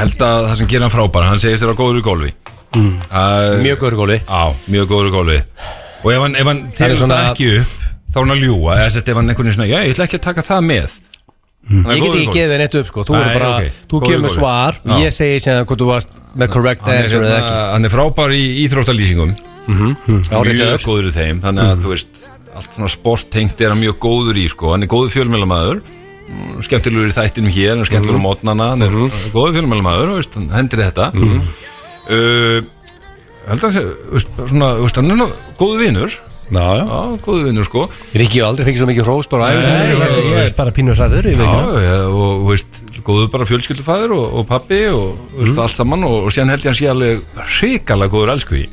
C: Held að það sem gerir hann frábæra Hann segist þér á góður í gólfi mm.
B: Mjög góður í gólfi.
C: Á, mjög góður í gólfi Og ef hann, ef hann
B: er
C: telur
B: svona-
C: það ekki upp Þá er hann að ljúga Eða sérst ef hann einhvern veginn svona Já, ég ætla ekki að taka það með Hann
B: Ég get
C: er góður í
B: ekki
C: golfi.
B: geðið þér neitt upp sko Þú,
C: Nei,
B: Nei, bara,
C: ok.
B: þú
C: Góður
B: kemur með
C: golfi.
B: svar og
C: Já.
B: ég segi síðan hvort þú varst með correct
C: hann er,
B: answer eða
C: hérna,
B: ekki
C: hann er frábær í íþróttalýsingum
B: Áréttaður.
C: Mhm. mjög góður í þeim þannig að þú veist, allt svona sporttengt er hann mjög góður í sko, hann er góður fjölmjölamaður skemmtilegur í þættinum hér hann er skemmtilegur á mótnana, hann er góður fjölmjölamaður veist, hann hendir í þetta mm held að hann sé þú veist, bara svona, þú veist, hann er nú góður vinur
B: Já, já
C: já, góður vinur sko
B: Ríkki hefur aldrei fengið svo mikið hrós bara á ævi
C: Nei,
B: sinni.
A: Ég
C: já,
A: ég er bara pínur hræður í veikina
C: Já, já, og þú veist, góður bara fjölskyldufæður og, og pappi og þú
A: Mm.
C: veist, allt saman og, og síðan held ég hann sé alveg hrikalega góður elsku í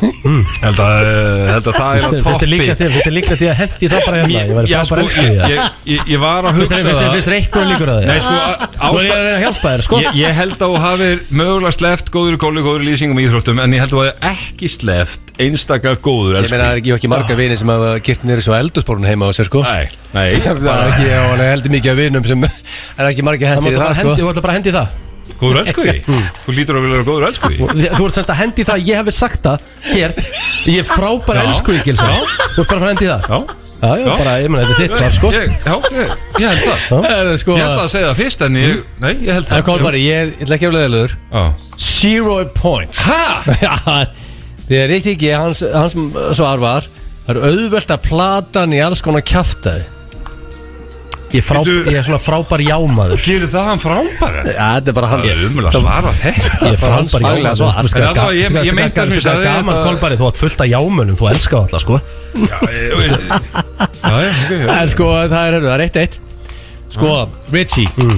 A: Mm.
C: held, að, eh, held að það er á
A: Fyrst er
C: toppi
A: líklega til- finnst þér líklegt til að hendi það bara
B: Mm,
A: hérna Ég væri
C: Já,
A: frábær
C: sko,
A: elsku í
C: ég,
A: það
C: ég, ég, ég var að hugsa
A: Fyrst er- Fyrst er eitthvað líkur að
C: Nei,
A: það
C: sko, a-
A: Nú er Ah, ég að
C: ástæð
A: reyna að hjálpa þér, sko
C: Ég, ég held að þú hafir mögulega sleft góður í góður, góður í lýsingum í íþróttum en ég held að þú hafir ekki sleft einstaka góður
B: Ég
C: elsku
B: meina það er ekki, ég á ekki marga vini sem hafa girt nýri svo eldursporun heima á sér sko
C: Nei, nei
B: Það er ekki, ég á alveg heldur mikið af vinum sem er ekki marga
A: Það
B: hendur
A: máttu
B: í það
A: bara
B: sko
A: hendi- þú ætlar bara að hendi það
C: Góður elsku í
A: Mm.
C: Þú lítur að vilja góður elsku í
A: Þú þú ert semst að hendi það að ég hefði sagt það hér Ég er frábær
C: Já.
A: elsku í gilsa Þú ert bara að fara að hendi það
C: Já
A: Já, já,
C: Já.
A: bara, ég meina, þetta er þitt svar, sko
C: Ég, já, ég, ég held það
B: Það er sko
C: Ég ætla að segja það fyrst en ég, nei, ég held Hm? það
B: Það kom bara, ég ég ætla ekki að vera leðilegur
C: Já.
B: Zero points
C: Hæ?
B: Já, Þegar Ríkki G, hans, hans svar var Það er auðvelt að plata hann í alls konar kjaftaði
A: Ég er frá-
C: Bíddu.
A: ég er svona frábær jámaður
C: Gerir það hann frábæra?
B: Já, þetta er bara hann
C: Það er umul að svara þetta
A: Ég er
B: bara hans
A: frábær
B: faglega
A: jámaður
B: svar.
A: Þú skal
C: En
A: ga-
C: allavega,
A: þú
C: ég-
A: skal-
C: ég meinti
A: þú
C: það sem ég
A: skal-
C: sagði,
A: Gaman
C: þetta-
A: kolbari, þú átt fullt af jámönum, þú elskar alltaf, sko
C: Já, ég veist Já, já, ok
B: En sko, það er, það er eitt eitt Sko,
A: Mm.
B: Richie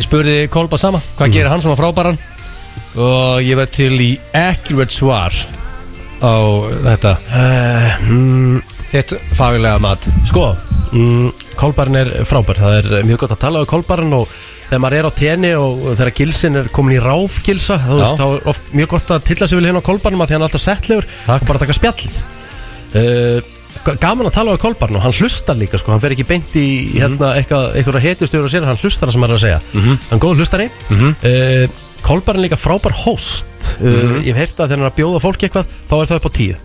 B: Ég spurði Kolba sama,
C: Mhm.
B: hvað gerir hann svona frábæran Og ég verð til í accurate svar Á þetta Þitt faglega mat
A: Eh, mm. Sko, mm, kolbarn er frábær Það er mjög gott að tala á kolbarn og þegar maður er á tenni og þegar gilsin er komin í ráfgilsa þá, veist, þá er oft mjög gott að tilla sig vel hérna á kolbarnum af því hann er alltaf settlegur og bara taka spjallið uh, g- Gaman að tala á kolbarn og hann hlustar líka sko, hann fer ekki beint í hérna, eitthvað, eitthvað hetjustöður og sér hann hlustar það sem maður er að segja hann er góð hlustari mm kolbarn er líka frábær host uh, ég hef heyrt að þegar hann er að bjóða fólki eitthvað þá er það upp á tíu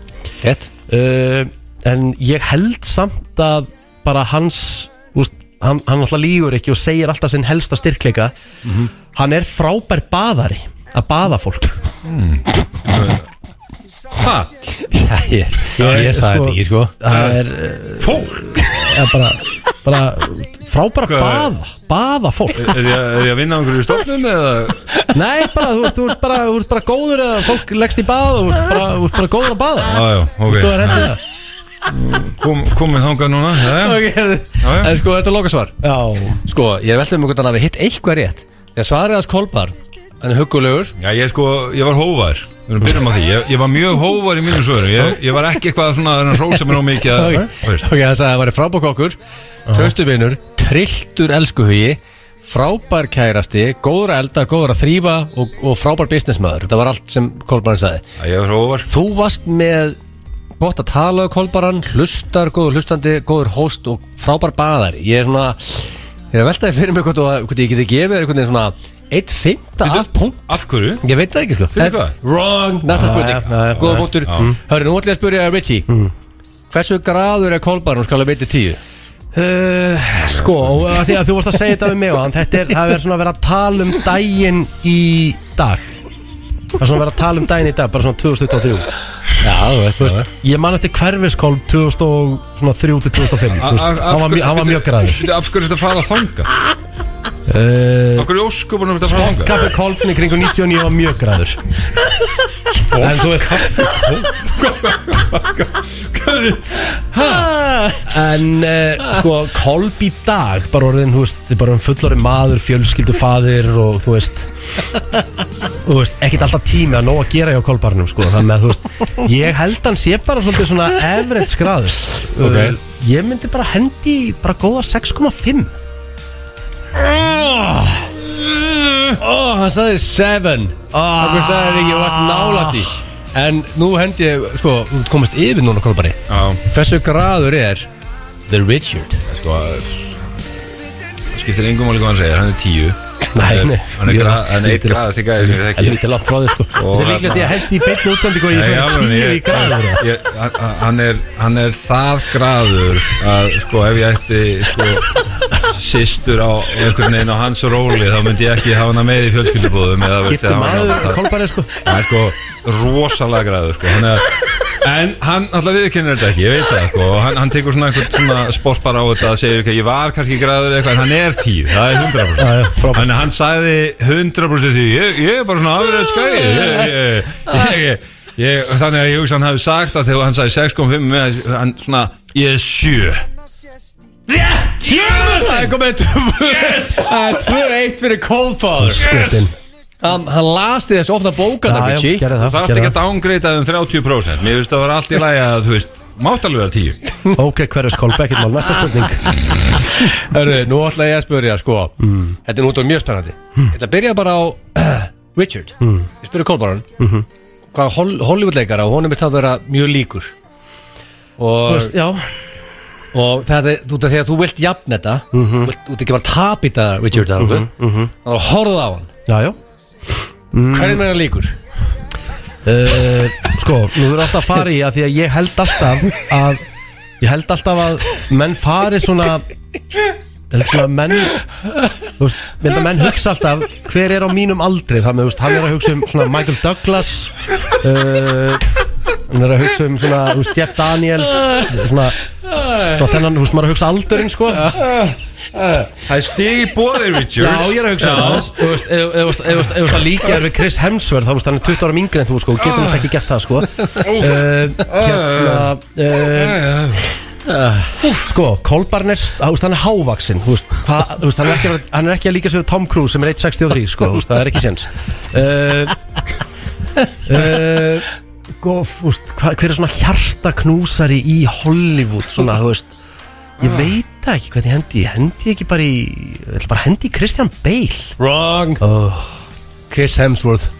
B: Hett
A: uh, En ég held samt að bara hans úst, hann, hann alltaf lígur ekki og segir alltaf sinn helsta styrkleika Hann er frábær baðari að baða fólk
C: Hæ?
B: Já, ég, ég, ég
A: sko-
B: sagði þetta ekki, sko
A: Það er uh,
C: Fólk?
A: er bara, bara
C: sko.
A: frábær að baða baða fólk
C: Er ég, er ég að vinna á einhverju stofnum eða?
A: Nei, bara, þú, veist, þú, ert bara, þú ert bara góður að fólk leggst í bað og þú ert bara, þú ert bara góður að baða
C: Já, já,
A: Þú er
C: ok
A: hendið það
C: Kom, Komið þangað núna Já, já
B: Ok, heyrðu.
C: Já, já.
B: En sko, þetta er lokasvar
A: Já,
B: Sko, ég er veldið um hvernig hann hafi hitt eitthvað rétt Þegar svarið hans Kolbar Hann er huggulegur
C: Já, ég sko, ég var hóvar Við erum byrjum á því Ég, ég var mjög hóvar í mínu svöru Ég, ég var ekki eitthvað svona að hrósa mér á mikið að- Þú veist.
B: Ok, hann sagði að hann væri frábók okkur Tröstuvinur, trilltur elskuhugi Frábær kærasti Góður að elda, góður að þrýfa Og, og frábær businessmaður Það var allt sem Kolbarn sagði
C: Já, Ég var hóvar
B: Þú varst með gott að tala um Kolbaran Hlustar, góður hlustandi, góður hóst Og frábær baðari Ég er svona Ég er að veltaði fyrir mig hvort, þú- hvort ég geti gefið þér einhvern veginn svona Eitt fymta af punkt
C: Af hverju?
B: Ég veit það ekki sko
C: Fyrir hvað?
B: Wrong Næsta spurning
A: já, já, já.
B: Góða
A: Mm.
B: bóttur Hörru, nú ætlum ég að spyrja Richie Hversu graður er kolbarn og skal að veita tíu?
A: Uh, sko, og að því að þú varst að segja þetta við mig og hann, þetta er það er svona að vera að tala um daginn í dag það er svona að vera að tala um daginn í dag bara svona 2023
B: Já, þú veist, þú veist
A: ég man eftir hverfiskólm 2003-2005 hann
C: A- a- af
A: var
C: hverju-
A: mjög- hann var mjög græður
C: Af hverju þetta fara þangað?
A: uh,
C: Af hverju óskupunum þetta fara þangað?
A: kaffi kólfni kringu 99 var mjög græður
B: Sko.
A: en þú veist en uh, sko kólb í dag bara orðin, þú veist, þið bara um fullori maður fjölskyldufaðir og þú veist þú veist, ekkert alltaf tími að nóg að gera hjá kolbarnum sko, þannig að þú veist, ég held hann sé bara svolítið svona average graður okay. ég myndi bara hendi í bara góða 6,5
B: Ah. Ó, hann sagði seven Akkur sagði þér ekki, þú varst nálætt í En nú hendi ég, sko, þú komast yfir núna kolbari
C: Já
B: Hversu graður er The Richard
C: Sko Skiptir engum máli hvað hann segir, hann er tíu
B: Nei, nei
C: Hann er gra- hann er eitt græða sig gæði sem ég þekki
B: Helviti langt frá þér sko
C: Og
B: Þetta er líklega
C: hérna-
B: því að hendi í beinni útsendingu og ég
C: Nei,
B: er svona
C: alveg,
B: tíu í
C: ég-
B: græður
C: ég- hann- hann er, hann er það graður að sko ef ég ætti sko, sýstur á einhvern veginn á hans róli þá myndi ég ekki hafa hana með í fjölskyldubóðum eða veist,
A: Giftur
C: hafa hana-
A: maður,
C: það-
A: kolbæri sko
C: hann er sko rosalega graður sko. hann er, en hann alltaf viðkennir þetta ekki, ég veit það sko. og hann, hann tekur svona einhvern svona sport bara á þetta að segja ekki að ég var kannski graður eða eitthvað en hann er tíð, það er 100%
A: Já, já, frábært.
C: Þannig að hann sagði 100% því ég, ég er bara svona afræðið skæði ég, ég, ég, ég, ég, Þannig að ég hugsa hann hafi sagt að þegar hann sagði 6.5 með hann svona ég er 7
B: Það er komið tvö eitt fyrir Coldfather
A: Skotin
B: Hann hann las þið þessu opna bókana
A: Já, já,
B: Richie.
A: gerðu
C: Það
A: það,
C: þarf ekki
A: gerðu
C: að dángreita um 30% Mér finnst það var allt í lagi að þú veist mátt alveg vera 10
A: það Ok, hver er skolpa, ekkert mál, næsta spurning
B: Hörru, nú ætla ég að spyrja sko
A: Mm.
B: Þetta er nútum mjög spennandi Ég ætla að byrja bara á Richard Ég spyrja Kolbaran mm
A: Mhm.
B: -hmm. Hvað Hol- Hollywoodleikara og honum er það að vera mjög líkur
A: Þú
B: Og,
A: veist, Já,
B: og þetta er út af því að þú vilt jafn þetta
A: Mhm.
B: Þú vilt út ekki bara tapita Richard mm -hmm. Þannig að horfa á hann
A: já, já Mm.
B: Hvernig er hann líkur?
A: Uh, sko, nú verður alltaf að fara í að því að ég held alltaf að ég held alltaf að menn fari svona ég held svona að menn þú veist, ég held að menn hugsa alltaf hver er á mínum aldri þannig, þú veist, hann er að hugsa um svona Michael Douglas uh, hann er að hugsa um svona, þú veist, Jeff Daniels svona, svona þennan, þú veist, maður er að hugsa aldurinn, sko
C: Það er stig í bóði Richard
A: Já, ég er að hugsa það Þú veist, ef- ef- ef- ef- ef- ef það líka er við Chris Hemsworth þá veist, hann er 20 ára mingri en þú sko og getur hann ekki gert það sko uh,
C: Ah.
A: hérna uh, sko, Kolbarn er þú veist, hann er hávaxinn þú veist, það- þú veist, hann, er ekki að vera- hann er ekki að líka sér við Tom Cruise sem er 1.63 sko, þú veist, það er ekki séns uh, uh, gof, úst, hva, hver er svona hjartaknúsari í Hollywood svona, þú veist
B: Ah.
A: ég veit það ekki hvernig hendi ég hendi ekki bara í, ég ætla bara að hendi í Christian Bale
B: Wrong Chris Hemsworth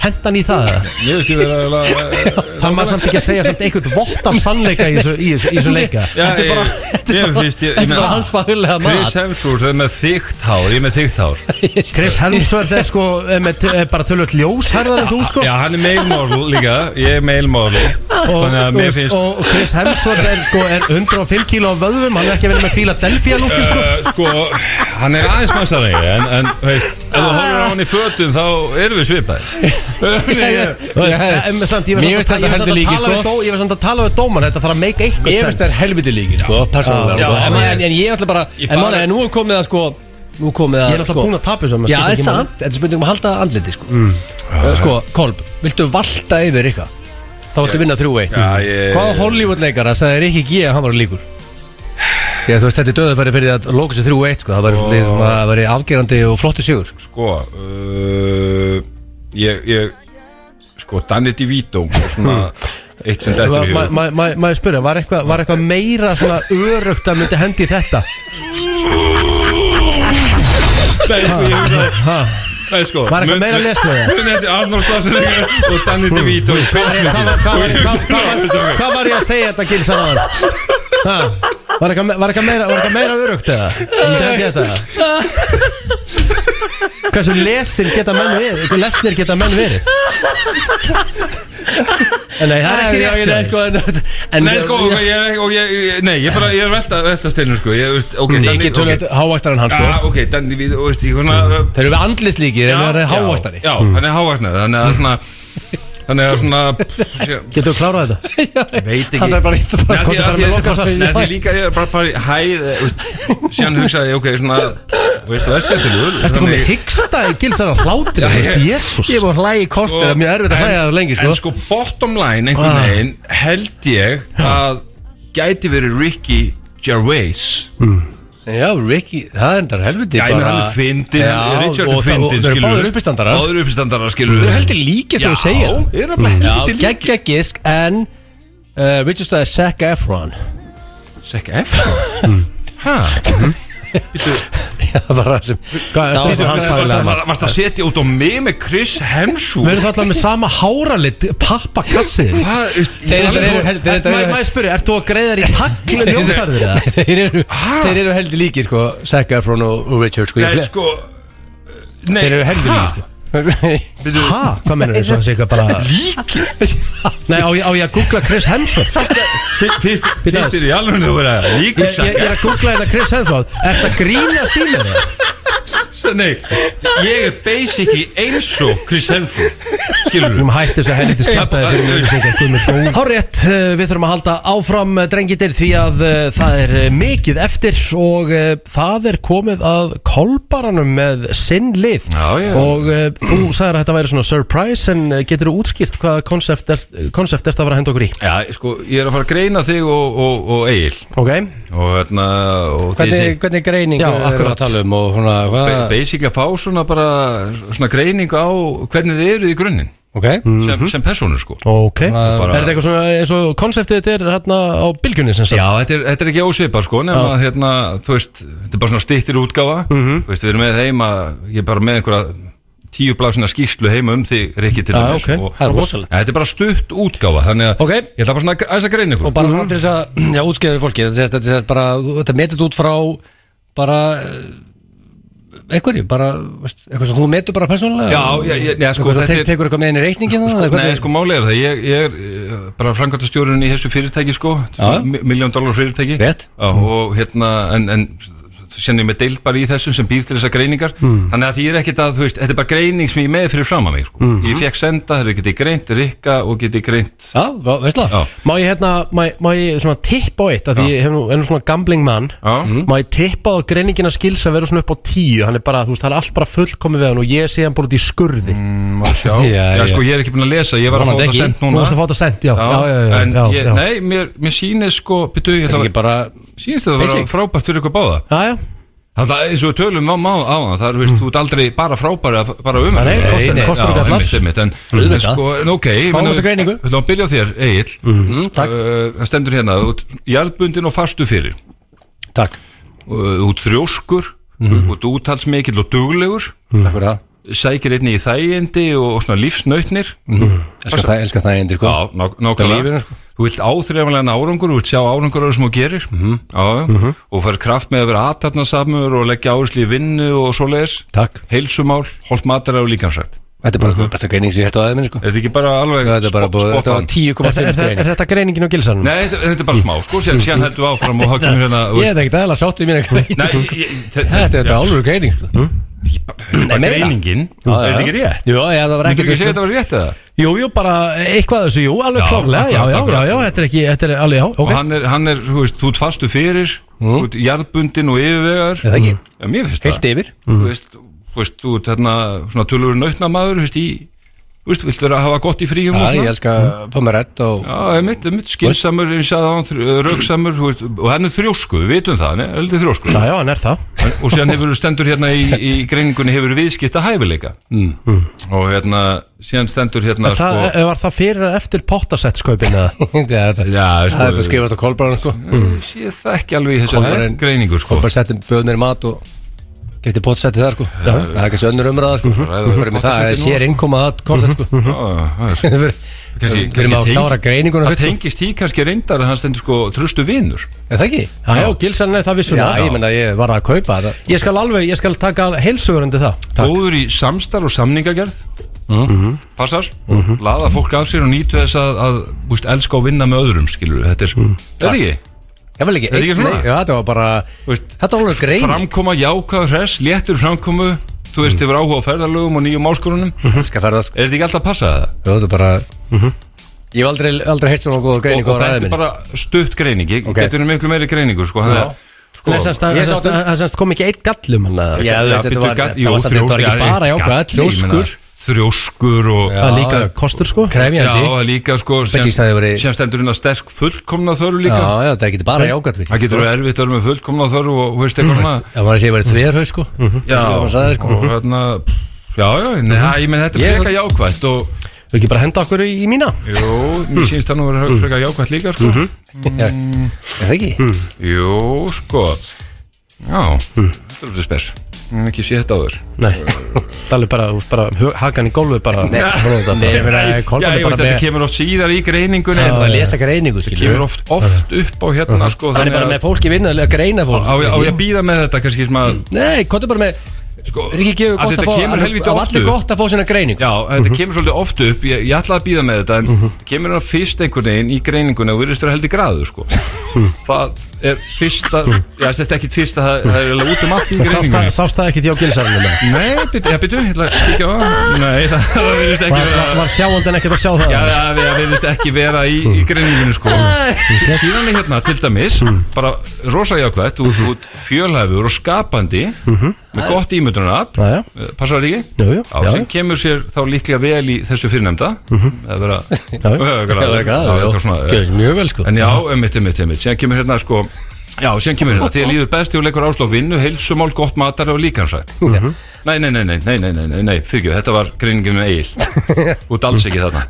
A: henda hann í það
C: Ég eh, veist ég verið að
A: það maður samt ekki að segja samt einhvern vott af sannleika í þessu- í þessu í þessu leika
C: Já, ég- ég finnst ég- ég
B: Þetta
C: meina-
B: var hans fagurlega
C: Chris
B: mat
C: Hemsworth er með þykkt hár, ég er með þykkt hár
A: Chris Hemsworth er sko er með, er bara tölvöld ljós herðar en þú sko
C: Já, hann er male model líka, ég er male model Þannig að
A: og,
C: mér
A: veist,
C: finnst
A: og og Chris Hemsworth er, sko, er 105 kíló af vöðvum hann er ekki að vera með Philadelphia lúkið sko.
C: Uh, sko, hann er aðeins massari en, en veist, ef þú horfir á hann í fötum þá erum við svipaði
A: Þú veist, en með samt, ég var
B: Mér finnst
A: samt að- ég var
B: þetta
A: samt
B: heldur
A: að
B: líki,
A: tala við
B: sko.
A: dó- ég var samt að tala við dóman þetta þarf að make eitthvað
B: Ég finnst það er helviti líki sko, persónulega
A: Já,
B: sko.
A: já,
B: en,
C: já.
B: en, en ég ætla bara,
C: Ég
B: en,
C: bara-
B: bara en nú er komið að sko Nú er komið að
A: Ég er alltaf búin að sko- tapa þessu maður
B: Sko. Já,
A: skiptir
B: það er
A: ekki máli.
B: sant, þetta er spurning um að halda andliti sko mm.
A: Eh,
B: Sko, Kolb, viltu valta yfir ykkar? Þá viltu vinna 3-1
C: Já, ég-
B: Hvaða Hollywood-leikara sagði Rikki G að hann var líkur? Já, þú veist, þetta er döðafæri fyrir því að lóka sér 3-1 sko Það væri svolítið svona, það væri afgerandi og flottu sigur
C: Sko, uh, ég, ég sko, Danny DeVito svona, eitt sem dættur í hug
A: Maður spyrja, var eitthvað var eitthvað meira svona örugt að myndi hendi í þetta?
C: sko, Nei, sko,
A: Var eitthvað meira að lesa það?
C: Mun eftir Arnold Schwarzenegger og Danny DeVito í tveismyndum
A: Hvað var- hvað- hvað var- hvað var ég að segja þetta gils að hann? Var eitthvað var eitthvað meira, var eitthvað meira örugt eða? Myndi hendi í þetta? Hversu lesin geta menn verið? Hversu lesnir geta menn verið? En nei, það er ekki rétt hjá þér.
B: rétt En
C: Nei, sko, og ég er ekki, og ég, ég- nei, ég bara, ég er velta, velta steinu, sko, ég, veist, ok,
B: Nei,
C: Danny-
B: ekki tölvöld hávæstar en hann
C: Já,
B: sko
C: ok, Danny DeVito, og veist, ég svona,
B: Þeir eru við andlislíkir en það er hávæstari
C: Já, hann er hávaksnari Þannig að svona Þannig að svona pff, sé-
A: Getur þú klárað þetta?
C: Ég veit
B: Það er bara eitt bara
C: Nei, af því-
B: komið
C: af
B: bara
C: því-
B: með lokasvar
C: Nei, því líka ég er bara bara í hæð eh, veist, Síðan hugsaði ég, ok, svona Veist þú, elskar til öl
A: Ertu komið hyggsta í gils að hann hlátri? Þú veist, Jésús
B: Ég er búin að hlæja í kortir, það er mjög erfitt að hlæja það lengi sko
C: Sko, En sko, bottom line, einhvern
B: Ah.
C: veginn Held ég að Gæti verið Ricky Gervais
B: Já, Ricky, það er endar helviti
C: Já, ég með hann er fyndin
B: Já,
C: Richard
B: og það-
C: er
B: og
C: fyndin,
B: þeir eru
C: skilur
B: báðir uppistandarar.
C: Báður uppistandarar, skilur
B: Þú eru heldur líka þegar þú segir Mm. það.
C: Já, ég er að
B: Já,
C: bara heldur líka
B: geggja gisk en uh, Richard staði Zac Efron
C: Hm. Sekk F? Hæ?
B: Já, bara sem
A: Hvað, ertu-
B: Já, það var hans fæðilega
C: Varst að setja út á mig með Chris Hemsworth
A: Verður það allavega með sama háralit pappakassið
C: Hvað?
B: Þeir eru- þeir eru-
A: Mæ,
B: þeir eru- þeir eru-
A: mæ spyrir, ert þú að greiða þér í taklu
B: Þeir-
A: ljósarður eða?
B: Þeir eru, þeir eru heldur líki sko Zac Efron og, og Richard sko, ég
C: Nei,
B: fle-
C: sko Nei,
B: Þeir eru heldur líki sko
A: Hæ? Hvað mennur þú svo að segja bara Líki? Nei, á, ég- á ég að googla Chris Hemsworth
C: Fyrst fyrst er í alveg þú verið að líka
A: Ég, ég, ég er að googla þetta Chris Hemsworth Ert að grínast í mér? eða?
C: Nei, ég er basically eins og Chris Hemsworth Skilur
A: Við erum hætt þess að helviti skjartaði fyrir mjög sem ekki með góð Hárétt, eh, við þurfum að halda áfram eh, drengitir því að eh, það er eh, mikið eftir og eh, það er komið að kolbaranum með sinn lið
C: Já, já.
A: og eh, þú sagðir að þetta væri svona surprise en eh, getur þú útskýrt hvaða konsept er, konsept er það að vera að henda okkur í
C: Já, sko, ég er að fara að greina þig og, og, og Egil
A: Ok,
C: Og hérna og þið
B: Hvernig,
C: sé-
B: hvernig greining
A: Já,
B: erum við
A: akkurat.
B: að tala um og svona hvað
C: ba- Basically að fá svona bara Svona greiningu á hvernig þið eruð í grunninn
B: Ok
C: sem, sem persónu, sko
A: ok
B: Bara-
A: Er þetta eitthvað svona eins og konseptið þetta er hérna á bylgjunni sem sagt
C: Já, þetta er, þetta er ekki ósvipað sko nema að hérna, þú veist, þetta er bara svona stýttir útgáfa
B: Mhm.
C: þú veist, við erum með heima ég er bara með einhverja tíu blásina skýrslu heima um því Rikki til
A: Já,
C: dæmis
A: ok.
C: og,
B: Ah, Það er rosalegt.
C: Ja, Þetta er bara stutt útgáfa þannig að
B: Ok.
C: ég ætla bara svona að aðeins að greina ykkur
B: Og bara svona til þess að Já, útskýraði fólki Þetta sést, þetta sést bara Þetta metið út frá Bara eh, Einhverju Bara veist, Eitthvað sem þú metur bara persónulega
C: Já, já, já, já, sko,
B: Eitthvað sem
C: þetta
B: te
C: er-
B: tekur eitthvað með inn í reikningin
C: Sko, Nei, sko, máli er það, ég, ég er eh, bara framkvæmtastjórun í þessu fyrirtæki sko,
B: Já.
C: miljón dólar fyrirtæki
B: Rétt.
C: Já, og hérna, en, en senni með deild bara í þessum sem býr til þessar greiningar þannig að því er ekkit að, þú veist, þetta er bara greining sem ég er með fyrir fram að mig, sko ég fekk senda, þeir geti greint, rikka og geti greint
B: Já, vá, veistla
C: Já.
A: Má ég hérna, má, ég- má ég svona tippa á eitt af því ég hef nú, er nú svona gambling mann
C: Já.
B: Mm.
A: Mhm. Má ég tippa á greiningina skils að vera svona upp á tíu Hann er bara, þú veist, það er allt bara fullkomið við hann og ég sé hann bara út í skurði
C: mm, og sjá,
B: Já,
C: já,
B: já.
C: sko, ég er ekki búin að lesa ég var að fá
B: Vonandi
C: þetta
B: ekki.
C: sent
A: Þú
C: núna
A: varst að fá þetta sent, já, já, já, já,
C: en
A: já,
C: ég,
A: já.
C: nei, mér, mér sýnir sko, byrju, ég
B: Þetta er ekki
C: ætla að
B: bara
C: sýnist þetta að
B: Basic.
C: vera frábært fyrir ykkur báða
A: Já, já,
C: Það er eins og við tölum um á, á, á það er,
B: Mm.
C: veist, þú ert aldrei bara frábæri að bara um
A: Nei, nei, kostar- kostar
C: Já,
A: og gallar.
C: einmitt, einmitt, en,
B: Auðvitað.
C: en sko, en ok ég
B: Fáum
C: meina,
B: þessa greiningu. Mhm.
C: Við ætlum að byrja á þér, Egil
B: takk.
C: Uh, Það stendur hérna, þú ert jarðbundin og fastu fyrir
B: Takk Mhm.
C: Uh, Þú ert þrjóskur Þú ert úthalsmikill og duglegur
A: Mm.
B: Takk fyrir það
C: Sækir einni í þægindi og, og svona lífsnautnir
B: Mhm. Elskar það, elskar það endur sko
C: Já, nák-
B: Þetta er lífinu,
C: nákvæmlega
B: sko.
C: Þú vilt áþreifanlega árangur, þú vilt sjá árangur af það sem þú gerir Mhm,
B: Mhm.
C: Já, já. og fær kraft með að vera aðtapnasamur og leggja áherslu í vinnu og svoleiðis
B: Takk
C: heilsumál, holdt mataræð og líkansrætt
B: Þetta er bara einhver besta greining sem ég hérta á aðeins sko
C: Er þetta ekki bara alveg
B: Þetta er bara búið Þetta var
A: er, þa-
B: 10,5
A: er, þa-
B: greining
A: er þetta greiningin og gilsanum?
C: Nei, þetta þetta er bara smá, sko, síðan, síðan heldur við áfram og þá kemur hérna þú
B: Ég
C: veist-
B: er ekkert aðeins sátt við mína greining
C: Nei, ég- ég- þe- þe-
B: Þetta er þetta
C: já, Hm?
B: álur greining sko
C: bara
B: meira.
C: greiningin,
B: Já, já.
C: er þetta ekki rétt?
B: Jú, já, það var
C: Þú
B: ekkert
C: ekki segja þetta var rétt eða?
A: Jú, jú, bara eitthvað af þessu, jú, alveg
C: Já,
A: klárlega Já, já,
C: akkurat,
A: já,
C: akkurat.
A: já, þetta er ekki, þetta er alveg, já,
C: Og
A: ok
C: hann er, hann er, þú veist, þú ert fastu fyrir, þú ert jarðbundin og yfirvegar
B: Eða Mhm. ekki?
C: Já, mér finnst það
B: Heilt yfir
C: þú veist, þú veist, þú ert hérna svona tölur nautnamaður, þú veist, í þú veist, vilt vera að hafa gott í
B: Já,
C: fríum og
B: ég
C: svona
B: elska að fá mér rétt og
C: Já, einmitt, einmitt, skinsamur, eins og það rauksamur, þú veist, og hann er þrjósku, við vitum það, hann er heldur þrjósku
A: Já, já, hann er það
C: og síðan hefur stendur hérna í, í greiningunni hefur viðskipta hæfileika
B: Mm.
C: og hérna, síðan stendur hérna
A: Er það,
C: sko,
A: Var það fyrir eða eftir pottasettskaupin eða?
B: Já, þetta
C: já,
B: Það er þetta
C: sko,
B: skrifast á Kolbrann sko
C: ég þekki alveg í þessu
B: Kolbeinn-
C: greiningu, sko
B: Kolbrann setti bjóð mér mat og Gifti bótsætti þar sko Það er kannski önnur umræða sko
C: Ræða
B: Fyrir mig það, það
C: pottsettið nú.
B: sér innkoma það koncept sko
C: Já, það er-
B: Við
C: kannski-
B: erum að
C: kannski
B: klára
C: tengist-
B: greininguna
C: það
B: fyrst, sko.
C: tengist því kannski reyndar að hann stendur sko trustu vinur
B: Er það ekki?
A: Já, já, gilsanum er það
B: Já,
A: vissulega
B: ég menna ég var að kaupa þetta
A: Ég skal alveg, ég skal taka heilsugur undir það
C: góður í samstarf og samningagerð
B: Mhm.
C: Mhm. passar, laða fólk af sér og nýtu þess að, að úst, elska og vinna með öðrum skilur þetta er,
B: Mhm.
C: þetta er ekki
B: Ég vel ekki
C: Þetta er ekki
B: einn,
C: svona?
B: nei, Já, þetta var bara
C: Þú veist,
B: Þetta var alveg grein
C: framkoma, jákað, hress, léttur framkomu þú veist, hefur áhuga á ferðalögum og nýjum áskorunum er
B: Skal ferða sko
C: þetta ekki alltaf að passa það?
B: Já, Þetta er bara
A: Mhm.
B: Ég hef aldrei, aldrei heilt svona góða
C: og,
B: greiningu
C: og
B: á ræðið
C: þetta er
B: minni
C: bara stutt greining ég
B: Ok.
C: okay. getur miklu meiri greiningur sko, þannig að- sko,
A: Nei, semst að-
B: ég sá
A: semst að- Það semst kom ekki eitt gallum hann eða?
B: Já, þú veist, þetta
C: bíddu,
B: var-
C: gat-
B: þetta
C: jú,
B: var samt- þetta var ekki
C: þrjósk- já,
B: bara
C: eitt
B: jákvæða,
C: galli, ég meina,
B: þrjóskur.
C: þrjóskur og
A: Það er líka
B: Já, já.
A: kostur sko
B: Krefjandi
C: Já, það er líka sko
B: Bettís
C: sem,
B: hefði verið-
C: sem stendur hérna sterk fullkomna þörf
B: Já,
C: líka
B: já, þetta er ekki bara jákvæmt
C: Það getur verið erfitt að vera með fullkomna þörf og og veist eitthvað svona
B: Já, maður sé að vera þverhaug sko Já sagði, sko. Mhm.
C: og hérna Já, já, nei, ég menn þetta
B: Ég-
C: er frekar jákvætt og
A: Við ekki bara henda okkur í, í mína
C: jú, mér sýnst það nú að
B: Mhm.
C: vera frekar jákvætt líka sko.
B: Mm, Já, Er það ekki?
C: Jú, sko Já,
B: Mhm.
C: þetta er spes Ég hef ekki sé þetta áður
A: Nei, það er alveg bara, bara hu- hakan í gólfið bara Nei,
B: Nei, ég meina,
C: Já,
B: Kolman
C: ég
B: er
C: veit
B: bara
C: að
B: með
C: þetta kemur oft síðar í greiningunni
B: Það er
C: en
B: bara að lesa greiningu,
C: Það
B: skilju
C: kemur oft, oft upp á hérna sko,
B: Mhm. Hann er bara með fólki vinna að greina fólk
C: Á, á, á ég að býða með þetta kannski sem að
B: Nei, hvað er bara með
C: sko,
B: Ríkki gefur
C: að
B: gott að
C: þetta
B: fá
C: kemur helviti
B: að
C: oft
B: Allir
C: upp.
B: gott að fá sína greiningu
C: Já,
A: Mhm.
C: þetta kemur svolítið oft upp Ég, ég ætlaði að býða með þetta En kemur hann fyrst einhvern veginn í greiningunni Og virðist vera heldur graður sko
A: Mhm.
C: Það er fyrsta Já, þetta er ekkit fyrsta Það, það er alveg út um allt í
A: sást, Mhm. það,
C: greiningunni Eh,
A: sást það ekki til á gilsarinu með
C: Nei, byrju, ég byrju, ég ætla að kíkja á það. Nei, það, það virðist ekki
A: Var, var,
C: vera
A: var sjáandinn ekkert að sjá það?
C: Já, það það virðist ekki vera í,
A: Mhm.
C: í greiningunni sko Síðan er hérna til dæmis
A: Mhm.
C: Bara rosa jákvætt Þú þú ert fjölhæfur og skapandi
A: Mhm.
C: Með gott ímyndunarafl
A: Já, já.
C: Eh, Passar þetta ekki?
A: Jú, jú,
C: Já,
A: já, Mhm.
C: sem kemur sér þá líklega vel í þessu fyrirnefnda að vera
A: já.
B: Það
C: graður.
B: er
C: Já, eitthvað svona,
B: gæður,
C: eh,
B: mjög vel sko
C: En já, einmitt, einmitt, einmitt Síðan kemur hérna sko Já, síðan kemur hérna Þið líður best þegar þú leikur áslá vinnu heilsumál, gott matar og líkansrætt
A: Mhm.
C: Nei, nei, nei, nei, nei, nei, nei, nei, nei Fyrirgjöf, þetta var greiningin með eigil Út alls ekki þarna